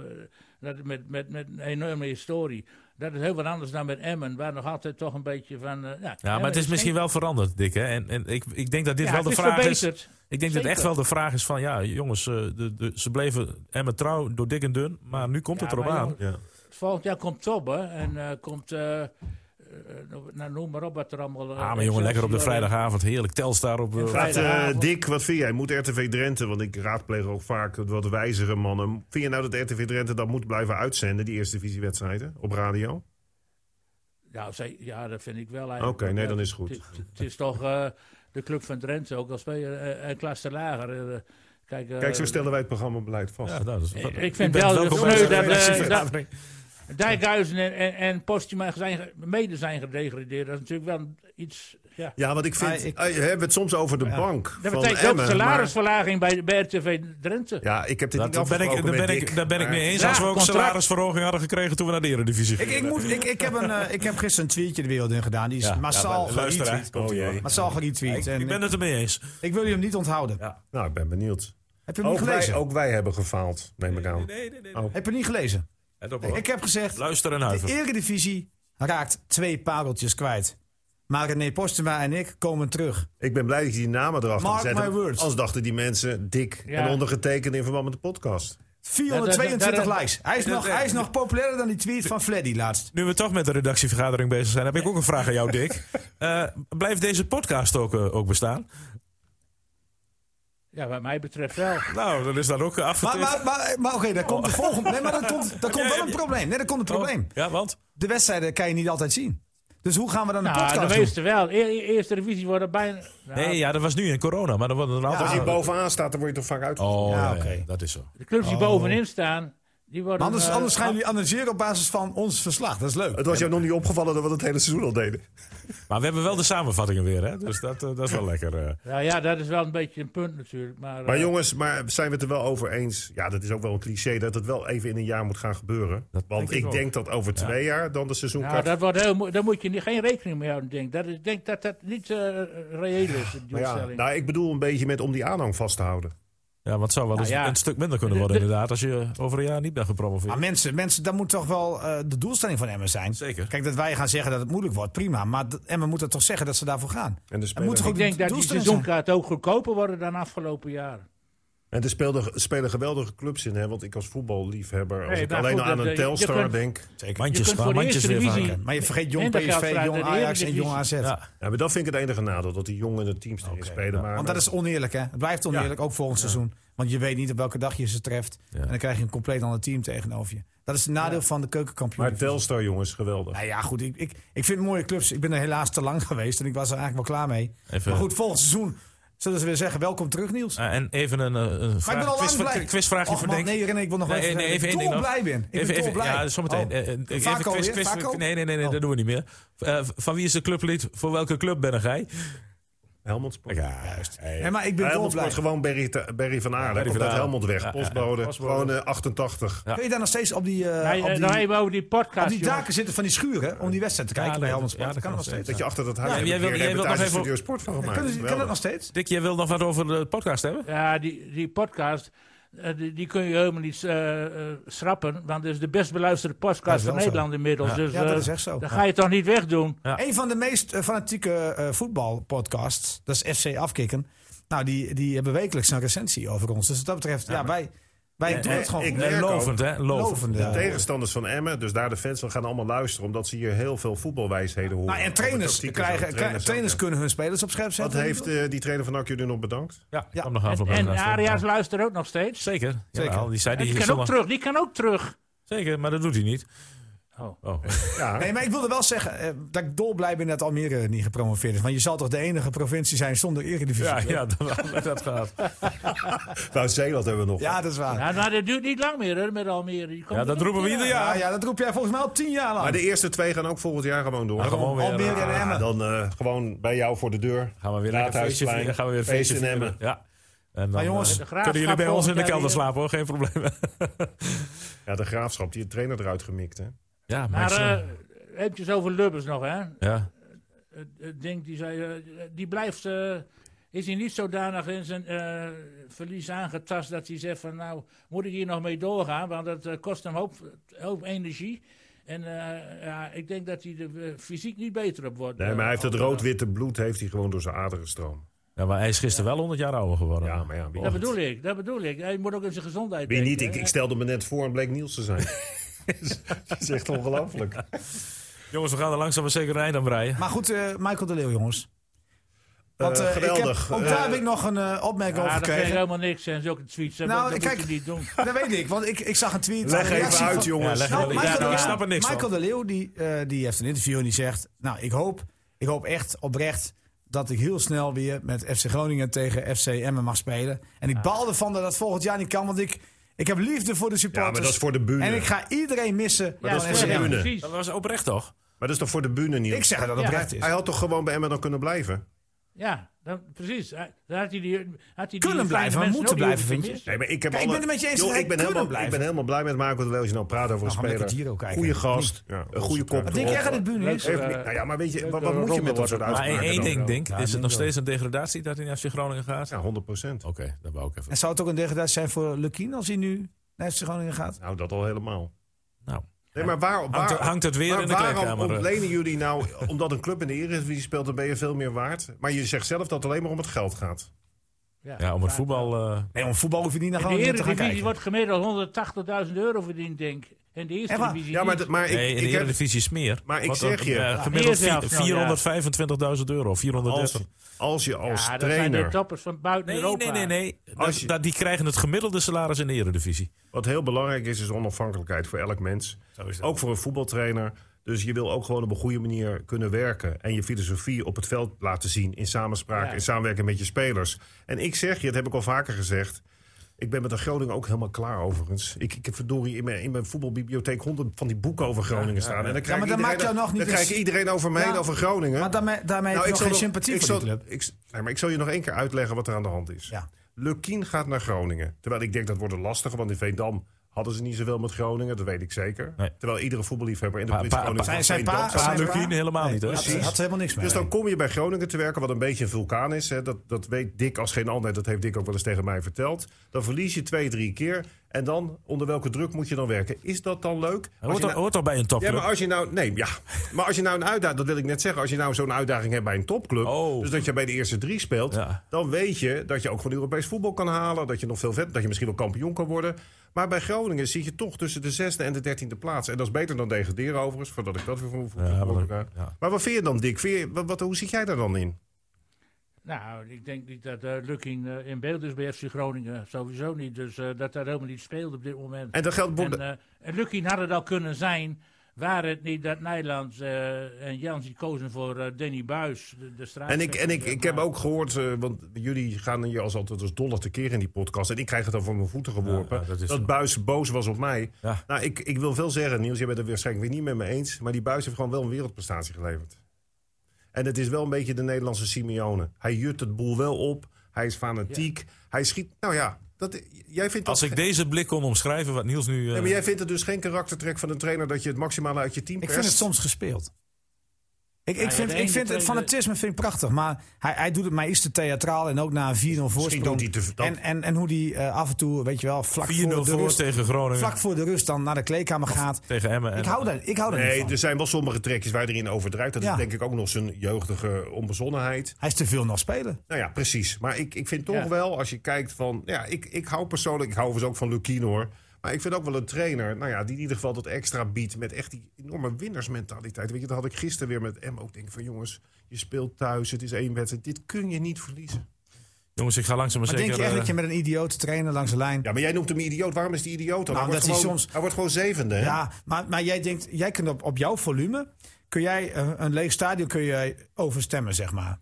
S5: dat, met, met, met een enorme historie. Dat is heel wat anders dan met Emmen. Waar nog altijd toch een beetje van... eh, ja,
S2: Ja, maar het is misschien wel veranderd, Dick. Hè? En, en ik, ik denk dat dit wel de vraag dus- is.
S5: verbeterd.
S2: Ik denk dat
S5: Zeker.
S2: echt wel de vraag is van, ja, jongens, eh, de, de, ze bleven Emmen trouw door dik en dun, maar nu komt
S5: Ja,
S2: het erop
S5: maar
S2: aan.
S5: jongens, Volgend jaar komt Tobbe en eh, komt... eh, eh, nou, noem maar op wat er allemaal... eh,
S2: Ah, maar jongen, lekker op de
S5: Excelsior en-
S2: vrijdagavond, heerlijk Telstar op. eh,
S5: En
S4: Gaat, eh
S5: Vrijdagavond.
S4: Dick, wat vind jij? Moet RTV Drenthe, want ik raadpleeg ook vaak wat wijzere mannen. Vind je nou dat RTV Drenthe dat moet blijven uitzenden, die eerste divisiewedstrijden, op radio?
S5: Ja, zij- ja, dat vind ik wel eigenlijk.
S4: Oké, nee, dan is het goed.
S5: Het- Het het is toch eh, de club van Drenthe, ook als wij eh een klasse lager. eh, kijk, eh,
S4: Kijk, zo stellen wij het programmabeleid vast.
S2: Ja, nou, dat is-
S5: Ik-
S2: dat-
S5: ik
S2: u
S5: vind
S2: bent
S5: wel dat
S2: welkom
S5: het
S2: bij
S5: sneu
S2: de
S5: dat, eh, dat
S2: redactievergadering.
S5: Dijkhuizen en, en, en Postuma zijn, ge- mede zijn gedegradeerd. Dat is natuurlijk wel iets... Ja.
S4: Ja, want ik vind,
S3: Maar ik-
S4: eh, we hebben het soms over de bank
S5: Dat
S4: van
S5: betekent ook
S4: Emmen, maar-
S5: salarisverlaging bij, bij RTV Drenthe.
S4: Ja, ik heb dit
S2: Dat-
S4: niet
S2: Daar ben ik, daar
S4: afgesproken
S2: ben
S4: met
S2: ik,
S4: Dick,
S2: daar ben ik
S4: maar-
S2: mee eens.
S5: Ja,
S2: als we ook
S5: contract.
S2: salarisverhoging hadden gekregen toen we naar de Eredivisie
S3: Ik,
S2: gingen.
S3: ik, moet, ik, ik, heb een, eh, ik heb gisteren een tweetje de wereld in gedaan. Die is
S2: Ja,
S3: massaal
S2: ja, luister, hè.
S3: geretweet.
S2: Komt-ie, hoor.
S3: Massaal geretweet. En
S2: Ik ben het ermee eens.
S3: ik wil jullie hem niet onthouden.
S4: Nou, ik ben benieuwd.
S3: Heb je hem
S4: Ook
S3: niet gelezen?
S4: wij, ook wij hebben gefaald, neem ik aan.
S3: Heb je hem niet gelezen?
S2: Let op, hoor.
S3: Ik heb gezegd,
S2: Luister en
S3: de
S2: huiver.
S3: Eredivisie raakt twee pareltjes kwijt. Maar René Postema en ik komen terug.
S4: Ik ben blij dat je die namen erachter
S3: Mark
S4: gezet
S3: my
S4: hebt.
S3: words.
S4: Anders dachten die mensen dik
S5: Ja.
S4: en ondergetekend in verband met de podcast.
S3: 422
S5: dat- dat-
S3: likes. Hij is, nog, hij is nog populairder dan die tweet van Fleddy laatst.
S2: Nu we toch met de redactievergadering bezig zijn, heb ik ook een vraag aan jou, Dick. Eh, blijft deze podcast ook, eh, ook bestaan?
S5: Ja, wat mij betreft wel.
S2: Nou, dan is dat ook eh,
S3: Maar,
S2: afgetikt.
S3: maar, maar, maar oké, daar
S5: Oh.
S3: komt de volgende. Nee, maar daar komt, daar komt wel een probleem. Nee, daar komt een probleem.
S2: Oh, ja, want?
S3: de wedstrijden kan je niet altijd zien. Dus hoe gaan we dan de
S5: Nou,
S3: podcast
S5: de
S3: doen?
S5: meeste wel. E- e- eerste divisie worden bijna... Nou,
S2: Nee, ja, dat was nu in corona, maar dan wordt er een aantal...
S4: Als je bovenaan staat, dan word je toch vaak uit.
S2: Ah. Oh, ja,
S3: oké.
S2: ja, dat is zo.
S5: De clubs die bovenin staan, Die worden,
S3: Maar anders,
S5: eh,
S3: anders gaan jullie analyseren op basis van ons verslag. Dat is leuk.
S4: Het was jou nog niet opgevallen dat we dat hele seizoen al deden.
S2: Maar we hebben wel de samenvattingen weer, hè? Dus dat, eh, dat is wel lekker. eh.
S5: Nou ja, dat is wel een beetje een punt natuurlijk. Maar,
S4: Maar
S5: eh,
S4: jongens, maar zijn we het er wel over eens? Ja, dat is ook wel een cliché dat het wel even in een jaar moet gaan gebeuren. Want
S2: denk ik
S4: ik
S2: ook.
S4: denk dat over twee jaar dan de seizoenkaart...
S5: nou, dat wordt heel, moe- daar moet je niet, geen rekening mee houden, denk ik. Dat is- Ik denk dat dat niet eh, reëel is, die
S4: Maar ja,
S5: opstelling.
S4: nou, ik bedoel een beetje met om die aanhang vast te houden.
S2: Ja, want het zou wel
S3: Nou
S2: eens
S5: ja.
S2: een stuk minder kunnen worden, inderdaad, als je over een jaar niet bent gepromoveerd.
S3: Maar mensen, mensen, dat moet toch wel eh, de doelstelling van Emmen zijn.
S2: Zeker.
S3: Kijk, dat wij gaan zeggen dat het moeilijk wordt, prima. Maar d- Emmen moet er toch zeggen dat ze daarvoor gaan.
S4: En de
S3: Er
S4: speler,
S3: moet gewoon
S5: ik denk
S3: de
S5: dat die
S3: doelstelling zijn.
S5: seizoenkaarten ook goedkoper worden dan afgelopen jaren.
S4: en er speelden- spelen geweldige clubs in, hè? Want ik als voetballiefhebber, als
S5: Nee,
S4: ik
S5: maar
S4: alleen
S5: goed,
S4: al aan
S5: dat-
S4: een
S5: je
S4: Telstar
S5: kunt-
S4: denk...
S5: Je
S2: mandjes
S5: kunt
S2: gaan,
S5: voor de
S2: mandjes
S5: eerste
S2: weer
S5: divisie-
S2: vangen.
S3: Maar je vergeet jong
S5: En dat geldt
S3: PSV,
S5: vanuit
S3: jong
S5: de
S3: Ajax en
S5: Eredivisie.
S3: jong AZ.
S2: Ja.
S4: Ja, maar dat vind ik het enige nadeel, dat die jongere teams erin spelen. Maar,
S3: Want dat is oneerlijk, hè? Het blijft oneerlijk, ook volgend seizoen. Want je weet niet op welke dag je ze treft. En dan krijg je een compleet ander team tegenover je. Dat is het nadeel van de keukenkampioen.
S4: maar Telstar, jongens, geweldig.
S3: Nou ja, goed. Ik, ik, ik vind mooie clubs. Ik ben er helaas te lang geweest en ik was er eigenlijk wel klaar mee.
S2: Even-
S3: Maar goed, volgend seizoen zullen ze weer zeggen: welkom terug, Niels.
S2: Ah, en even een, eh, een
S3: Maar
S2: vraag,
S3: ik ben al lang
S2: quiz-
S3: blij.
S2: quizvraagje
S3: Och,
S2: voor
S3: man,
S2: Denk.
S3: Nee, René, ik wil nog wel
S2: Nee, nee, even één ding nog.
S3: blij ben. Ik
S2: Even,
S3: ben
S2: even,
S3: dolblij.
S2: ja, zometeen.
S3: Oh.
S2: Eh, eh, even
S3: Vaco
S2: quiz-
S3: weer?
S2: quiz-
S3: Vaco?
S2: nee, nee, nee, nee
S3: Oh.
S2: dat doen we niet meer. Eh, van wie is de clublied? Voor welke club ben jij?
S4: Helmond Sport.
S2: Ja, juist.
S3: Hé, maar ik ben
S4: Helmond
S3: dolblij.
S4: Sport, gewoon Berry, te- Berry van Aarde.
S2: Berry
S4: Ja,
S2: van
S4: dat
S2: Aarde.
S4: Helmond weg,
S2: Ja, ja, ja.
S4: postbode, gewoon eh, 88.
S3: Kun je daar nog steeds op die, eh,
S5: Hij,
S3: op
S5: eh,
S3: die,
S5: nou, even over die podcast.
S3: op die
S5: jongen.
S3: daken zitten van die schuren om die wedstrijd te kijken
S2: Ja,
S3: bij
S2: nee,
S3: Helmond
S2: dat-
S3: Sport?
S2: ja,
S3: dat kan nog
S2: dat kan
S3: steeds.
S4: Dat je achter dat huis
S2: Ja,
S4: hebt
S2: jij
S4: een
S2: wil-
S4: keer
S2: jij wilt nog
S4: reportage
S2: even-
S4: Studio Sport van gemaakt.
S3: Kunnen ze- Kan dat
S4: Geweldig.
S3: nog steeds?
S2: Dick, jij wil nog wat over de podcast hebben?
S5: Ja, die, die podcast, eh, die, die kun je helemaal niet eh, eh, schrappen. Want het is de best beluisterde
S3: Dat is
S5: podcast
S3: wel
S5: van Nederland inmiddels. Dus,
S3: Ja, dat
S5: eh,
S3: is echt zo.
S5: Dat ga je toch niet wegdoen?
S2: Ja.
S3: Een van de meest eh, fanatieke eh, voetbalpodcasts, dat is FC Afkikken. Nou, die, die hebben wekelijks een recensie over ons. Dus wat dat betreft, ja, wij, wij doen
S4: en-
S3: het gewoon. Nou,
S4: ik
S3: goed.
S4: merk
S2: En
S4: ook-
S2: lovend, hè? Lovend.
S3: Lovend,
S4: De
S3: ja.
S4: tegenstanders van Emmen, dus daar de fans van, gaan allemaal luisteren... omdat ze hier heel veel voetbalwijsheden horen.
S3: Nou, en trainers,
S4: Tactieken,
S3: krijgen,
S4: zo,
S3: trainers,
S4: ook, ja.
S3: kunnen hun spelers op scherp
S4: Wat
S3: zetten.
S4: heeft eh, die trainer van Akje nu nog bedankt?
S2: Ja, ik
S3: Ja.
S2: kwam nog aan
S5: En,
S2: voorbij.
S5: en
S2: laatst.
S5: Arias luistert ook nog steeds.
S2: Zeker.
S3: Zeker.
S2: Jawel, die zei
S5: En
S2: die
S5: die
S2: hier
S5: kan ook
S2: zomaar-
S5: terug, die kan ook terug.
S2: Zeker, maar dat doet hij niet.
S5: Oh.
S2: Oh.
S4: Ja,
S3: Nee, maar ik wilde wel zeggen eh, dat ik dolblij ben dat Almere niet gepromoveerd is. Want je zal toch de enige provincie zijn zonder eredivisie?
S2: Ja, ja, dat, dat gaat.
S4: nou, Zeeland hebben we nog.
S3: Ja, dat is waar.
S5: Nou, nou, dat duurt niet lang meer hè, met Almere. Die komt
S2: Ja,
S5: er
S2: dat
S5: nog
S2: roepen we
S5: een keer
S2: ieder
S5: aan.
S3: Ja,
S2: jaar.
S3: ja, dat roep jij volgens mij al tien jaar lang.
S4: Maar de eerste twee gaan ook volgend jaar gewoon door.
S2: Ja, gewoon weer,
S3: Almere en
S4: Ah,
S3: Emmen.
S4: dan eh, gewoon bij jou voor de deur.
S2: Gaan we weer lekker feestje
S4: Raadhuisplein,
S2: vieren. Gaan we weer een feestje
S4: feest in
S2: vieren.
S4: Emmen.
S2: Ja. En dan,
S3: Maar jongens,
S2: eh,
S5: De Graafschap
S2: kunnen jullie bij ons in de
S5: volgend jaar
S2: kelder
S5: weer.
S2: slapen hoor, geen probleem.
S4: Ja, de graafschap, die de trainer eruit gemikt. Hè?
S2: Ja,
S5: Maar eh eventjes over Lubbers nog, hè.
S2: ja.
S5: Het- het ding, die zei, eh, die blijft, eh, is hij niet zodanig in zijn eh, verlies aangetast dat hij zegt van nou, moet ik hier nog mee doorgaan, want dat eh, kost hem hoop, hoop energie. En eh, ja, ik denk dat hij er eh, fysiek niet beter op wordt.
S4: Nee,
S5: Eh,
S4: maar hij heeft het
S5: op-
S4: rood-witte bloed heeft hij gewoon door zijn aderen stroom.
S2: ja, maar hij is gisteren wel 100 jaar ouder geworden.
S4: Ja, maar ja, wie,
S5: Dat bedoel ik, dat bedoel ik. Hij moet ook in zijn gezondheid
S4: wie
S5: denken,
S4: niet? Ik,
S5: hè.
S4: ik stelde me net voor en bleek Niels te zijn. Eh, dat is echt ongelooflijk.
S2: Jongens, we gaan er langzaam maar zeker een eind aan breien.
S3: Maar goed, eh, Michael de Leeuw, jongens. Want,
S4: Eh,
S3: eh, ik heb-
S4: geweldig.
S3: ook daar
S4: Eh,
S3: heb ik nog een eh, opmerking over
S5: Ja, dat vind ik
S3: gekregen.
S5: helemaal niks. En zulke tweets, hè,
S3: Nou,
S5: want dat
S3: kijk,
S5: moet je niet doen.
S3: Dat weet ik, want ik, ik zag een tweet.
S4: Leg even
S3: een reactie
S4: uit,
S3: van-
S2: Ja,
S4: jongens.
S2: leg
S3: Nou,
S2: even-
S5: Michael
S2: ik,
S5: de-
S2: ik snap er niks
S3: Michael
S2: van.
S3: de Leeuw die, eh, die heeft een interview en die zegt... Nou, ik hoop, ik hoop echt oprecht dat ik heel snel weer met FC Groningen tegen FC Emmen mag spelen. En ik baal ervan dat dat volgend jaar niet kan, want ik, ik heb liefde voor de supporters.
S4: Ja, maar dat is voor de bühne.
S3: En ik ga iedereen missen
S4: Maar
S3: van
S4: dat is
S3: FC
S4: voor de
S3: Emmen.
S4: bühne.
S5: precies.
S2: Dat was oprecht toch?
S4: Maar dat is toch voor de bühne, Niels?
S3: Ik zeg dat het
S5: Ja.
S3: oprecht is.
S4: Hij had toch gewoon bij Emmen dan kunnen blijven?
S5: Ja, dan, precies. Hij- Dan had hij die, had hij die
S3: Kunnen
S5: fijne
S3: blijven, maar moeten
S5: mensen ook, die
S3: blijven,
S5: hoeven te
S3: vind
S5: missen.
S4: Nee, maar ik, heb
S3: Kijk, ik
S4: alle-
S3: ben het met je eens
S4: Joh,
S3: dat hij
S4: ik ben,
S3: kunnen
S4: helemaal, ik
S3: blijven.
S4: ben helemaal blij met Marco de Leeuw. Als je nou praat over een
S3: gaan we lekker
S4: speler.
S3: Giro kijken.
S4: Goeie gast. Een goede
S2: eh,
S4: kop.
S3: Wat denk jij dat het bühne is?
S5: Leuk.
S4: Heeft- nou ja, maar weet je,
S5: Leuke
S4: wat, wat moet je
S5: ronde
S4: met dat
S5: wordt
S4: soort
S5: het.
S2: Maar
S4: uitspraken
S2: één, één
S4: dan?
S2: ding, Dink.
S3: Ja,
S2: is het
S3: denk
S2: nog
S3: wel.
S2: steeds een degradatie dat hij naar FC Groningen gaat?
S4: Ja, 100 procent.
S2: Oké, dat wou ik even.
S3: En zou het ook een degradatie zijn voor Lukien als hij nu naar FC Groningen gaat?
S4: Nou, dat al helemaal.
S2: Nou,
S4: Nee, maar waar, waar,
S2: hangt, er- hangt het weer
S4: maar
S2: in de
S4: waarom
S2: kleedkamer? eh.
S4: ontlenen jullie nou... Omdat een club in de Eredivisie speelt, dan ben je veel meer waard. Maar je zegt zelf dat het alleen maar om het geld gaat.
S2: Ja, om het voetbal... eh,
S3: Nee, om voetbal hoef je niet naar
S5: In de
S3: Groningen te gaan
S5: Eredivisie
S3: kijken.
S5: wordt gemiddeld 180.000 euro verdiend, denk ik. En de Eerste
S3: Echt waar?
S5: Divisie
S4: Ja, maar,
S5: niet.
S4: d- maar ik,
S2: nee, in
S4: ik
S2: de
S4: heb...
S2: Eredivisie is meer.
S4: Maar ik
S2: Want,
S4: zeg
S2: eh,
S4: je-
S2: eh,
S4: Ja,
S2: gemiddeld
S5: eerst zelfs nog, ja.
S2: vi- 425.000 euro. 430.
S4: Als, als je als
S5: ja, dat zijn de
S4: trainer...
S5: toppers van buiten
S2: Nee,
S5: Europa.
S2: nee, nee. nee. Dat-
S4: Als je-
S2: dat, die krijgen het gemiddelde salaris in de eredivisie.
S4: Wat heel belangrijk is, is onafhankelijkheid voor elk mens. Ook voor een voetbaltrainer. Dus je wil ook gewoon op een goede manier kunnen werken. En je filosofie op het veld laten zien. In samenspraak,
S5: Ja.
S4: in samenwerking met je spelers. En ik zeg je, dat heb ik al vaker gezegd. Ik ben met de Groningen ook helemaal klaar overigens. Ik, ik heb verdorie in mijn, in mijn voetbalbibliotheek honderd van die boeken over Groningen staan. En dan krijg,
S3: maar dat
S4: iedereen,
S3: maakt jou nog niet
S4: dan
S3: eens-
S4: krijg iedereen over mij
S3: Ja,
S4: en over Groningen.
S3: Maar daarmee, daarmee
S4: Nou,
S3: heb je
S4: zal
S3: nog geen
S4: nog-
S3: sympathie
S4: ik
S3: voor
S4: zal,
S3: die club.
S4: ik s- nee, maar ik zal je nog één keer uitleggen wat er aan de hand is.
S3: Ja.
S4: Lukien gaat naar Groningen. Terwijl ik denk dat wordt een lastige, want in Veendam hadden ze niet zoveel met Groningen. Dat weet ik zeker.
S2: Nee.
S4: Terwijl iedere voetballiefhebber in de
S2: Pa-
S4: provincie
S2: pa- pa-
S4: Groningen... van
S3: zijn
S4: Veendam
S3: pa-
S4: zou-
S3: zijn
S2: Aan
S3: Luc
S2: Lukien
S3: Hien
S2: helemaal niet, hè?
S3: Had,
S4: precies.
S3: had ze helemaal niks mee.
S4: Dus dan kom je bij Groningen te werken, wat een beetje een vulkaan is. Hè. Dat, dat weet Dick als geen ander. Dat heeft Dick ook wel eens tegen mij verteld. Dan verlies je twee, drie keer. En dan, onder welke druk moet je dan werken? Is dat dan leuk? Als je
S2: Hoort,
S4: nou-
S2: toch- hoort toch bij een
S4: ja,
S2: topclub?
S4: maar als je nou. Nee, ja. Maar als je nou een uitdaging. Dat wil ik net zeggen. Als je nou zo'n uitdaging hebt bij een topclub.
S2: Oh.
S4: Dus dat je bij de eerste drie speelt.
S2: Ja.
S4: Dan weet je dat je ook gewoon Europees voetbal kan halen. Dat je nog veel vet. Dat je misschien wel kampioen kan worden. Maar bij Groningen zit je toch tussen de zesde en de dertiende plaats. En dat is beter dan degraderen overigens. Voordat ik dat weer voor voor-
S2: Ja,
S4: voor
S2: maar-
S4: elkaar.
S2: ja.
S4: Maar wat vind je dan, Dick? Vind je- wat, wat- hoe zit jij daar dan in?
S5: Nou, ik denk niet dat eh Lukking eh, in beeld is bij FC Groningen. Sowieso niet. Dus eh, dat daar helemaal niet speelt op dit moment.
S4: En dat geldt. voor-
S5: En, eh, en Lukien had het al kunnen zijn. Waar het niet dat Nederlands eh, en Jans die kozen voor eh, Danny Buis, de, de straat.
S4: En ik, en ik, ik heb ook gehoord, eh, want jullie gaan hier als altijd als dolle tekeer in die podcast. En ik krijg het dan van mijn voeten geworpen.
S2: Ja, ja, dat
S4: dat
S2: is zo.
S4: Buis boos was op mij.
S2: Ja.
S4: Nou, ik, ik wil veel zeggen, Niels, jij bent het waarschijnlijk weer niet met me eens. Maar die Buis heeft gewoon wel een wereldprestatie geleverd. En het is wel een beetje de Nederlandse Simeone. Hij jut het boel wel op. Hij is fanatiek. Hij schiet. Nou ja, dat, jij vindt dat.
S2: Als ik deze blik kon omschrijven, wat Niels nu... eh,
S4: Nee, maar jij vindt het dus geen karaktertrek van een trainer dat je het maximale uit je team
S3: Ik
S4: perst.
S3: vind het soms gespeeld. Nou Ik,
S5: Ja,
S3: ik vind,
S5: de
S3: ik
S5: ene
S3: vind het
S5: tweede-
S3: fanatisme vind ik prachtig, maar hij, hij doet het mij iets te theatraal en ook na een 4-0
S4: doet
S3: voorsprong.
S4: hij te- dat-
S3: en, en, en hoe die eh, af en toe, weet je wel, vlak
S2: 4-0
S3: voor, de
S2: voor
S3: rust,
S2: tegen Groningen.
S3: vlak voor de rust dan naar de kleedkamer gaat.
S2: Tegen Emmen. en-
S3: Ik hou daar, ik hou daar niet
S4: Nee,
S3: van.
S4: er zijn wel sommige trekjes waar je erin overdrijft. Dat
S3: Ja.
S4: is denk ik ook nog zijn jeugdige onbezonnenheid.
S3: Hij is te veel nog spelen.
S4: Nou ja, precies. Maar ik, ik vind toch
S5: Ja.
S4: wel, als je kijkt van... Ja, ik, ik hou persoonlijk, ik hou dus ook van Lukien hoor. Maar ik vind ook wel een trainer, nou ja, die in ieder geval dat extra biedt... met echt die enorme winnersmentaliteit. Weet je, dat had ik gisteren weer met M ook. Denk van jongens, je speelt thuis, het is één wedstrijd. Dit kun je niet verliezen.
S2: Jongens, ik ga langzaam maar
S3: Maar
S2: zeker...
S3: denk je echt
S2: eh,
S3: dat je met een idioot trainer langs de lijn...
S4: Ja, maar jij noemt hem idioot. Waarom is die idioot dan? hij,
S3: Nou,
S4: wordt
S3: omdat hij
S4: gewoon,
S3: soms-
S4: hij wordt gewoon zevende. hè?
S3: Ja, maar, maar jij denkt, jij kunt op, op jouw volume, kun jij eh, een leeg stadion kun je overstemmen, zeg maar.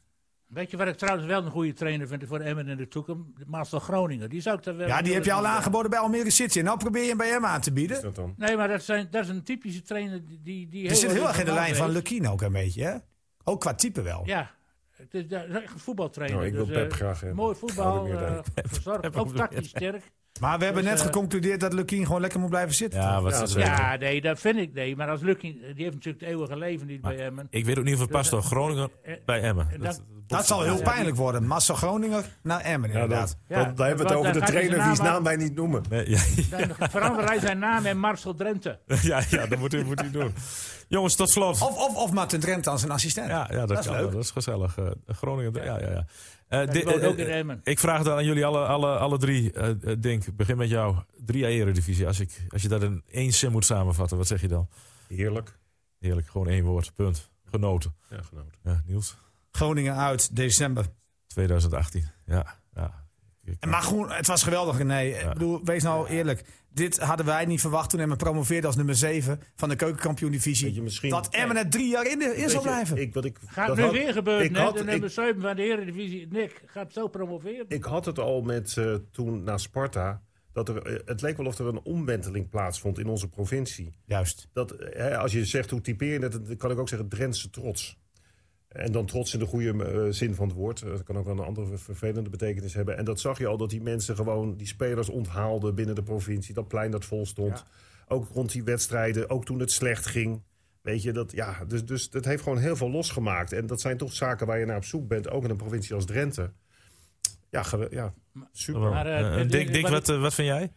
S5: Weet je waar ik trouwens wel een goede trainer vind voor Emmen in de toekomst? Marcel Groningen. Die zou ik daar wel.
S3: Ja, die heb je al aangeboden bij Almere City. En nou probeer je hem bij hem aan te bieden.
S4: Is dat dan?
S5: Nee, maar dat, zijn, dat is een typische trainer die. die, die
S3: Je zit heel erg in de lijn van
S5: Lukien.
S3: Lukien ook een beetje, hè? Ook qua type wel.
S5: Ja. Het is dat is echt een voetbaltrainer.
S4: Nou, ik wil
S5: dus,
S4: Pep
S5: eh,
S4: graag hebben.
S5: Mooi voetbal,
S4: Hou er meer
S5: eh, verzorgd, ook tactisch sterk.
S3: Maar we hebben
S5: Dus,
S3: net
S5: eh,
S3: geconcludeerd dat Lukien gewoon lekker moet blijven zitten.
S2: Ja,
S3: toch?
S2: wat
S4: Ja,
S2: ze zeggen.
S5: Ja, nee, dat vind ik. Nee, maar als Lucky, die heeft natuurlijk het eeuwige leven niet bij Emmen.
S2: Ik weet ook niet of het past toch. Groningen
S5: eh,
S2: bij Emmen.
S5: En
S2: Dat-
S5: dat-
S3: dat zal heel pijnlijk worden. Marcel Groninger naar Emmen,
S4: Ja,
S3: inderdaad.
S4: dat,
S5: Ja,
S4: dan, dan hebben we het
S5: want
S3: eh,
S4: over de
S5: dan gaat hij zijn
S4: trainer wiens
S5: naam
S4: naam wij niet noemen.
S2: Nee, ja,
S5: Dan verander hij zijn naam in Marcel Drenthe.
S2: ja, ja, dat moet hij, moet hij doen. Jongens, tot slot.
S3: Of, of, of Martin Drent als een assistent.
S2: Ja, ja dat,
S3: is
S2: kan
S3: leuk.
S2: wel. Dat is gezellig. Eh, Groningen, ja, ja, ja. Eh,
S5: die
S2: di-
S5: woont
S2: eh,
S5: ook in
S2: eh,
S5: Emmen.
S2: ik vraag dan aan jullie alle, alle, alle drie. eh, eh, Dink, begin met jou. Drie jaar Eredivisie. Als, ik, als je dat in één zin moet samenvatten, wat zeg je dan?
S4: Heerlijk.
S2: Heerlijk, gewoon één woord. Punt. Genoten.
S4: Ja, genoten.
S2: Ja, Niels,
S3: Groningen uit, december.
S2: 2018. Ja, ja. Ik-
S3: En Maar groen, het was geweldig, nee. Ik bedoel, wees nou eerlijk. Dit hadden wij niet verwacht toen Emmen promoveerde als nummer 7 van de
S4: Weet je,
S3: keukenkampioen-divisie.
S4: misschien-
S3: Dat Emmen er drie jaar in, de, in zou
S4: Weet je,
S3: blijven.
S4: Ik, wat ik,
S5: Gaat
S4: dat
S5: nu
S4: had-
S5: weer gebeuren,
S4: ik
S5: hè?
S4: had-
S5: De
S4: ik-
S5: nummer 7 van de Eredivisie. Nick gaat zo promoveren.
S4: Ik had het al met eh, toen na Sparta. Dat er, eh, het leek wel of er een omwenteling plaatsvond in onze provincie.
S3: Juist.
S4: Dat, eh, hè, als je zegt hoe typeer je dat, dan kan ik ook zeggen Drentse trots. En dan trots in de goede eh, zin van het woord. Eh, Dat kan ook wel een andere ver- vervelende betekenis hebben. En dat zag je al, dat die mensen gewoon die spelers onthaalden binnen de provincie. Dat plein dat vol stond. Ook rond die wedstrijden, ook toen het slecht ging. Weet je, dat, ja, dus, dus dat heeft gewoon heel veel losgemaakt. En dat zijn toch zaken waar je naar op zoek bent, ook in een provincie als Drenthe. Ja, gewe- ja super.
S2: Wel.
S5: Maar, eh,
S2: Eh,
S5: dit-
S2: Dink,
S5: dit-
S2: Dink,
S5: wat
S2: wat, eh, wat vind jij?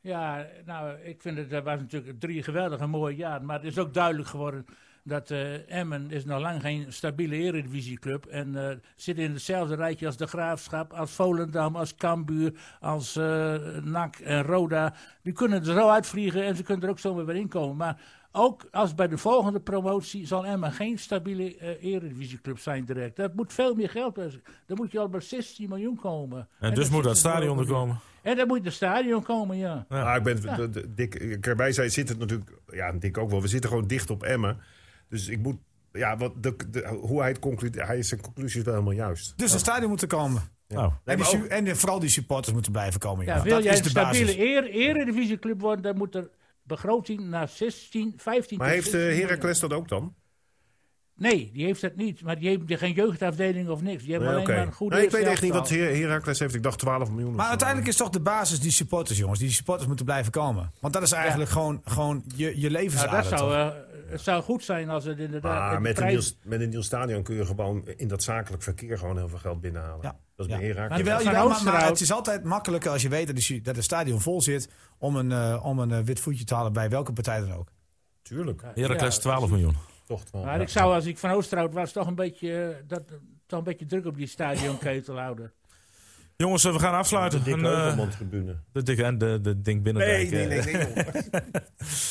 S5: Ja, nou, ik vind het, dat was natuurlijk drie geweldige mooie jaren. Maar het is ook duidelijk geworden dat eh, Emmen is nog lang geen stabiele eredivisieclub. En eh, zit in hetzelfde rijtje als de Graafschap, als Volendam, als Cambuur, als eh NAC en Roda. Die kunnen er zo uitvliegen en ze kunnen er ook zomaar weer inkomen. Maar ook als bij de volgende promotie zal Emmen geen stabiele eh, eredivisieclub zijn direct. Dat moet veel meer geld. bij- Dan moet je al bij 16 miljoen komen.
S2: En,
S5: daar
S2: dus moet
S5: zitten
S2: dat
S5: ze nu
S2: stadion
S5: ook
S2: er
S5: niet.
S2: komen.
S5: En dan moet het stadion komen, ja.
S4: Maar ik ben, de, de, Dick, ik erbij zei, zit het natuurlijk, ja, Dick ook wel. We zitten gewoon dicht op Emmen. Dus ik moet, ja, wat de, de- hoe hij het concludeert, hij is zijn conclusie is wel helemaal juist.
S3: Dus een stadion moet er komen.
S2: Nou,
S3: En, die
S4: maar
S3: su-
S4: ook-
S3: en vooral die supporters moeten blijven komen.
S5: Ja,
S3: jongen.
S5: wil
S3: dat
S5: jij
S3: is
S5: een
S3: de
S5: stabiele
S3: basis.
S5: eer, eredivisieclub worden, dan moet er begroting naar 16, 15...
S4: Maar
S5: tot
S4: heeft eh,
S5: 16 miljoen.
S4: Heracles dat ook dan?
S5: Nee, die heeft dat niet. Maar die heeft geen jeugdafdeling of niks. Die hebben
S4: Nee,
S5: alleen
S4: oké.
S5: maar een goede
S4: Nee, ik weet echt
S5: eerste
S4: niet wat
S5: elftal.
S4: Her- Heracles heeft. Ik dacht 12 miljoen. of
S3: Maar
S4: zo.
S3: uiteindelijk is toch de basis die supporters, jongens. Die supporters moeten blijven komen. Want dat is eigenlijk gewoon, gewoon je, je
S5: Nou,
S3: levensader.
S5: dat zou,
S3: toch?
S5: eh, het zou goed zijn als het inderdaad...
S4: Maar
S5: de
S4: Ah, met, een
S5: eh, prijs-
S4: nieuw, met een nieuw stadion kun je gewoon in dat zakelijk verkeer gewoon heel veel geld binnenhalen.
S3: Ja.
S4: Dat is bij
S3: Ja.
S4: Heracles.
S5: Maar
S3: Jawel,
S5: Van
S3: jawel, maar,
S5: Oosterhout-
S3: maar het is altijd makkelijker als je weet dat de, su- dat het stadion vol zit... om een, eh, om een eh, wit voetje te halen bij welke partij dan ook.
S4: Tuurlijk.
S2: Heracles
S5: Ja,
S2: 12 miljoen.
S4: Toch wel.
S5: Maar ik zou, als ik van Oosterhout was, toch een beetje, eh, dat, toch een beetje druk op die stadionketel houden.
S2: Jongens, eh, we gaan
S4: de
S2: afsluiten.
S4: dikke
S2: En, eh,
S4: Heuvelmondtribune.
S2: de dikke en de, de eh. ding binnen.
S4: eh,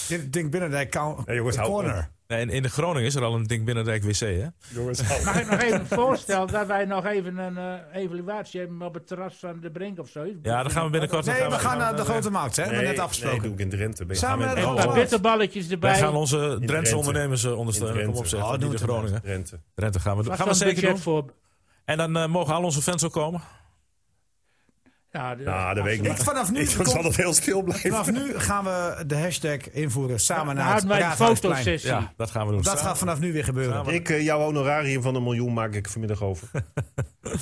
S3: Dit ding binnen de count-
S4: Ja, jongens,
S3: de
S4: hou op.
S3: corner.
S2: Nee, in, in de Groningen is er al een Dink Binnendijk wc, hè?
S4: Jongens,
S5: Mag ik nog even voorstellen dat wij nog even een eh, evaluatie hebben op het terras van de Brink of zoiets?
S2: Ja, dan gaan we binnenkort...
S3: Nee, we gaan naar de grote markt, hè? We hebben
S4: eh, nee,
S3: net
S4: nee,
S3: afgesproken.
S4: doe ik in Drenthe. Ben je
S3: Samen
S4: gaan
S3: met-
S4: met
S5: Een
S2: Oh,
S5: paar
S2: oh.
S5: bitterballetjes
S2: Wij
S5: erbij.
S2: gaan onze Drentse
S4: Drenthe.
S2: ondernemers eh, ondersteunen.
S4: In
S2: Kom op,
S4: Drenthe.
S2: zeg.
S4: Oh,
S2: niet
S3: doe
S2: de
S3: het inderdaad.
S2: Groningen.
S4: Drenthe.
S2: Drenthe gaan we,
S5: Vast
S2: gaan we
S5: een
S2: zeker
S5: budget
S2: doen.
S5: voor.
S2: En dan eh, mogen al onze fans ook komen.
S5: Ja, dus- de-
S4: Nou, dat weet ik
S3: Ik,
S4: niet.
S3: vanaf, nu
S4: Ik
S3: komt-
S4: zal het heel stil blijven.
S3: vanaf nu gaan we de hashtag invoeren samen
S5: dan
S3: naar het
S5: houden wij een
S3: Raadhuisplein.
S5: fotosessie.
S2: Ja, dat gaan we doen.
S3: Dat gaat vanaf nu weer gebeuren.
S4: Ik, eh, jouw honorarium van een miljoen maak ik vanmiddag over.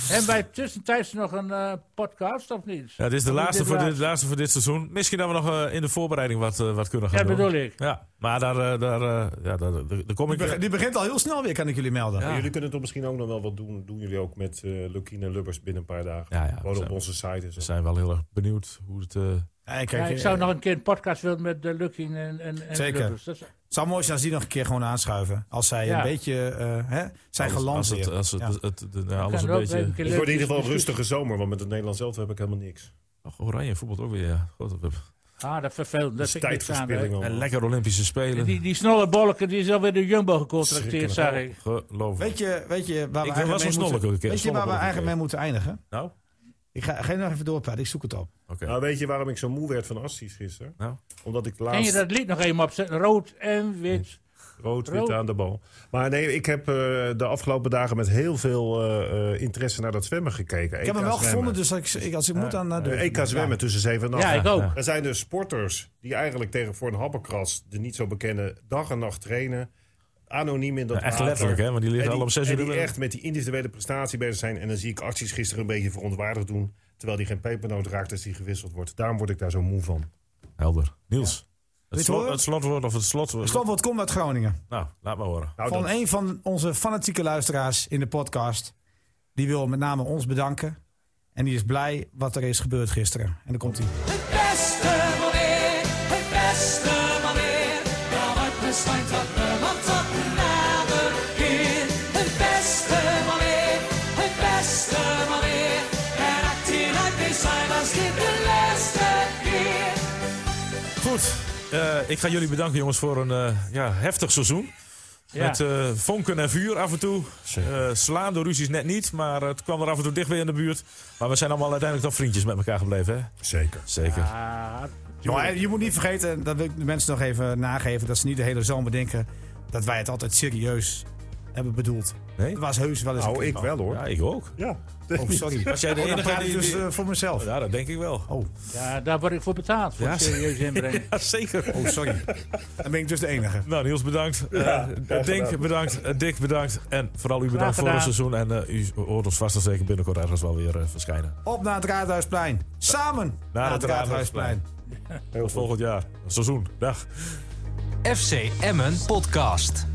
S5: En wij tussentijds nog een eh, podcast of niet?
S2: Ja, dit is de
S5: Dit
S2: laatste voor, dit,
S5: laatste.
S2: laatste voor dit seizoen. Misschien dat we nog eh, in de voorbereiding wat, eh, wat kunnen gaan
S5: Ja,
S2: doen.
S5: bedoel ik.
S2: Ja, maar daar, eh, daar, eh, ja, daar, daar, daar kom
S3: Die
S2: ik...
S3: beg- Die begint al heel snel weer, kan ik jullie melden.
S2: Ja.
S4: Jullie kunnen toch misschien ook nog wel wat doen. Doen jullie ook met eh Lukien en Lubbers binnen een paar dagen.
S2: Ja, ja,
S4: Gewoon
S2: we
S4: op
S2: zijn-
S4: onze site en zo.
S2: We zijn wel heel erg benieuwd hoe het... eh,
S3: Hey, kijk,
S5: Ja, ik
S3: eh,
S5: zou nog een keer een podcast willen met de Lukking en, en, en
S3: Zeker.
S5: Lubbers. Dat is-
S3: Het zou mooi zijn als die nog een keer gewoon aanschuiven. Als zij
S5: Ja.
S3: een beetje eh, hè, zijn
S2: als- als het,
S3: gelanceerd.
S2: als het,
S3: Ja.
S2: het, het- de- nou, alles
S5: kan
S2: een
S5: ook
S2: beetje...
S5: een keer
S4: Het wordt in ieder geval een
S5: discussie.
S4: rustige zomer, want met het Nederlands elftal heb ik helemaal niks.
S2: Ach, oranje voetbalt ook weer, ja. God, dat-
S5: Ah, dat vervelend. Dat
S4: Dat
S5: is
S4: is
S5: tijdverspilling.
S4: tijdverspilling.
S2: en
S4: allemaal.
S2: lekker Olympische Spelen.
S5: Die, die snolle bolken, die is alweer door Jumbo gecontracteerd, zag ik.
S2: Geloof ik.
S3: Weet je, weet je waar we
S2: eh, Ik wil wel
S3: eigenlijk mee
S2: zo'n
S3: moeten,
S2: snolleke keer.
S3: Weet je waar
S2: snolleke keer.
S3: we eigenlijk mee moeten eindigen?
S2: Nou,
S3: Ik ga, ga je nog even doorpraten, ik zoek het op.
S2: oké.
S4: Nou, weet je waarom ik zo moe werd van Assis gisteren?
S2: Nou.
S4: Omdat ik
S5: Ken je
S4: laatst
S5: dat lied nog even opzetten? Rood en wit.
S4: rood-wit
S5: Rood.
S4: aan de bal. Maar nee, ik heb eh, de afgelopen dagen met heel veel eh, eh, interesse naar dat zwemmen gekeken.
S3: Ik heb hem wel gevonden, dus als ik, ik- als ik moet aan... eh, de-
S4: EK zwemmen tussen 7 en 8.
S5: Ja, ik ook.
S4: Er zijn dus sporters die eigenlijk tegen voor een habberkras, de niet zo bekende, dag en nacht trainen. Anoniem in dat
S2: Ja, echt
S4: water.
S2: letterlijk, hè, want die liggen
S4: En
S2: al om zes uur
S4: En die
S2: erin.
S4: echt met die individuele prestatie bezig zijn. En dan zie ik acties gisteren een beetje verontwaardigd doen. Terwijl die geen pepernoot raakt als die gewisseld wordt. Daarom word ik daar zo moe van.
S2: Helder. Niels. Het,
S3: het
S2: slot,
S3: horen?
S2: het slotwoord of het slotwoord.
S3: Het Slotwoord komt uit Groningen.
S2: Nou, laat maar horen.
S4: Nou,
S3: Van
S4: dat-
S3: een van onze fanatieke luisteraars in de podcast. Die wil met name ons bedanken. En die is blij wat er is gebeurd gisteren. En dan komt hij.
S6: Het beste moment, het beste er. moment. Ja, wat besluit dat we want dat nader keer. Het beste moment, het beste moment. Er acteeruit weer zijn als dit de laatste keer.
S2: Goed. eh, ik ga jullie bedanken, jongens, voor een eh, ja, heftig seizoen.
S5: Ja.
S2: Met eh, vonken en vuur af en toe. Eh slaan door ruzies net niet, maar het kwam er af en toe dicht weer in de buurt. Maar we zijn allemaal uiteindelijk toch vriendjes met elkaar gebleven, hè?
S4: Zeker.
S2: Zeker.
S5: Ah,
S3: Jongen, en je moet niet vergeten, dat wil ik de mensen nog even nageven, dat ze niet de hele zomer denken dat wij het altijd serieus hebben bedoeld.
S2: Nee?
S3: Het was heus wel eens.
S4: Nou, ik wel hoor.
S2: Ja, ik ook.
S4: Ja.
S3: Oh, sorry.
S2: Was jij de
S3: Oh, dan
S2: enige
S3: praat ik
S2: die-
S3: dus
S2: die-
S3: eh, voor mezelf.
S2: Ja, dat denk ik wel.
S3: Oh,
S5: ja, daar word ik voor betaald. Voor
S2: Ja,
S5: het serieus inbrengen.
S2: Ja, zeker.
S3: oh, sorry. Dan ben ik dus de enige.
S2: Nou, Niels, bedankt. Eh
S4: graag
S2: Dink,
S4: gedaan.
S2: bedankt. Eh, Dick, bedankt. En vooral u bedankt voor
S5: gedaan.
S2: het seizoen. En eh, u hoort ons vast en zeker binnenkort ergens wel weer eh, verschijnen.
S3: Op naar het Raadhuisplein. Samen naar,
S2: het
S3: het
S2: Raadhuisplein.
S3: Raadhuisplein.
S2: Tot volgend jaar. Seizoen. Dag.
S1: FC Emmen Podcast.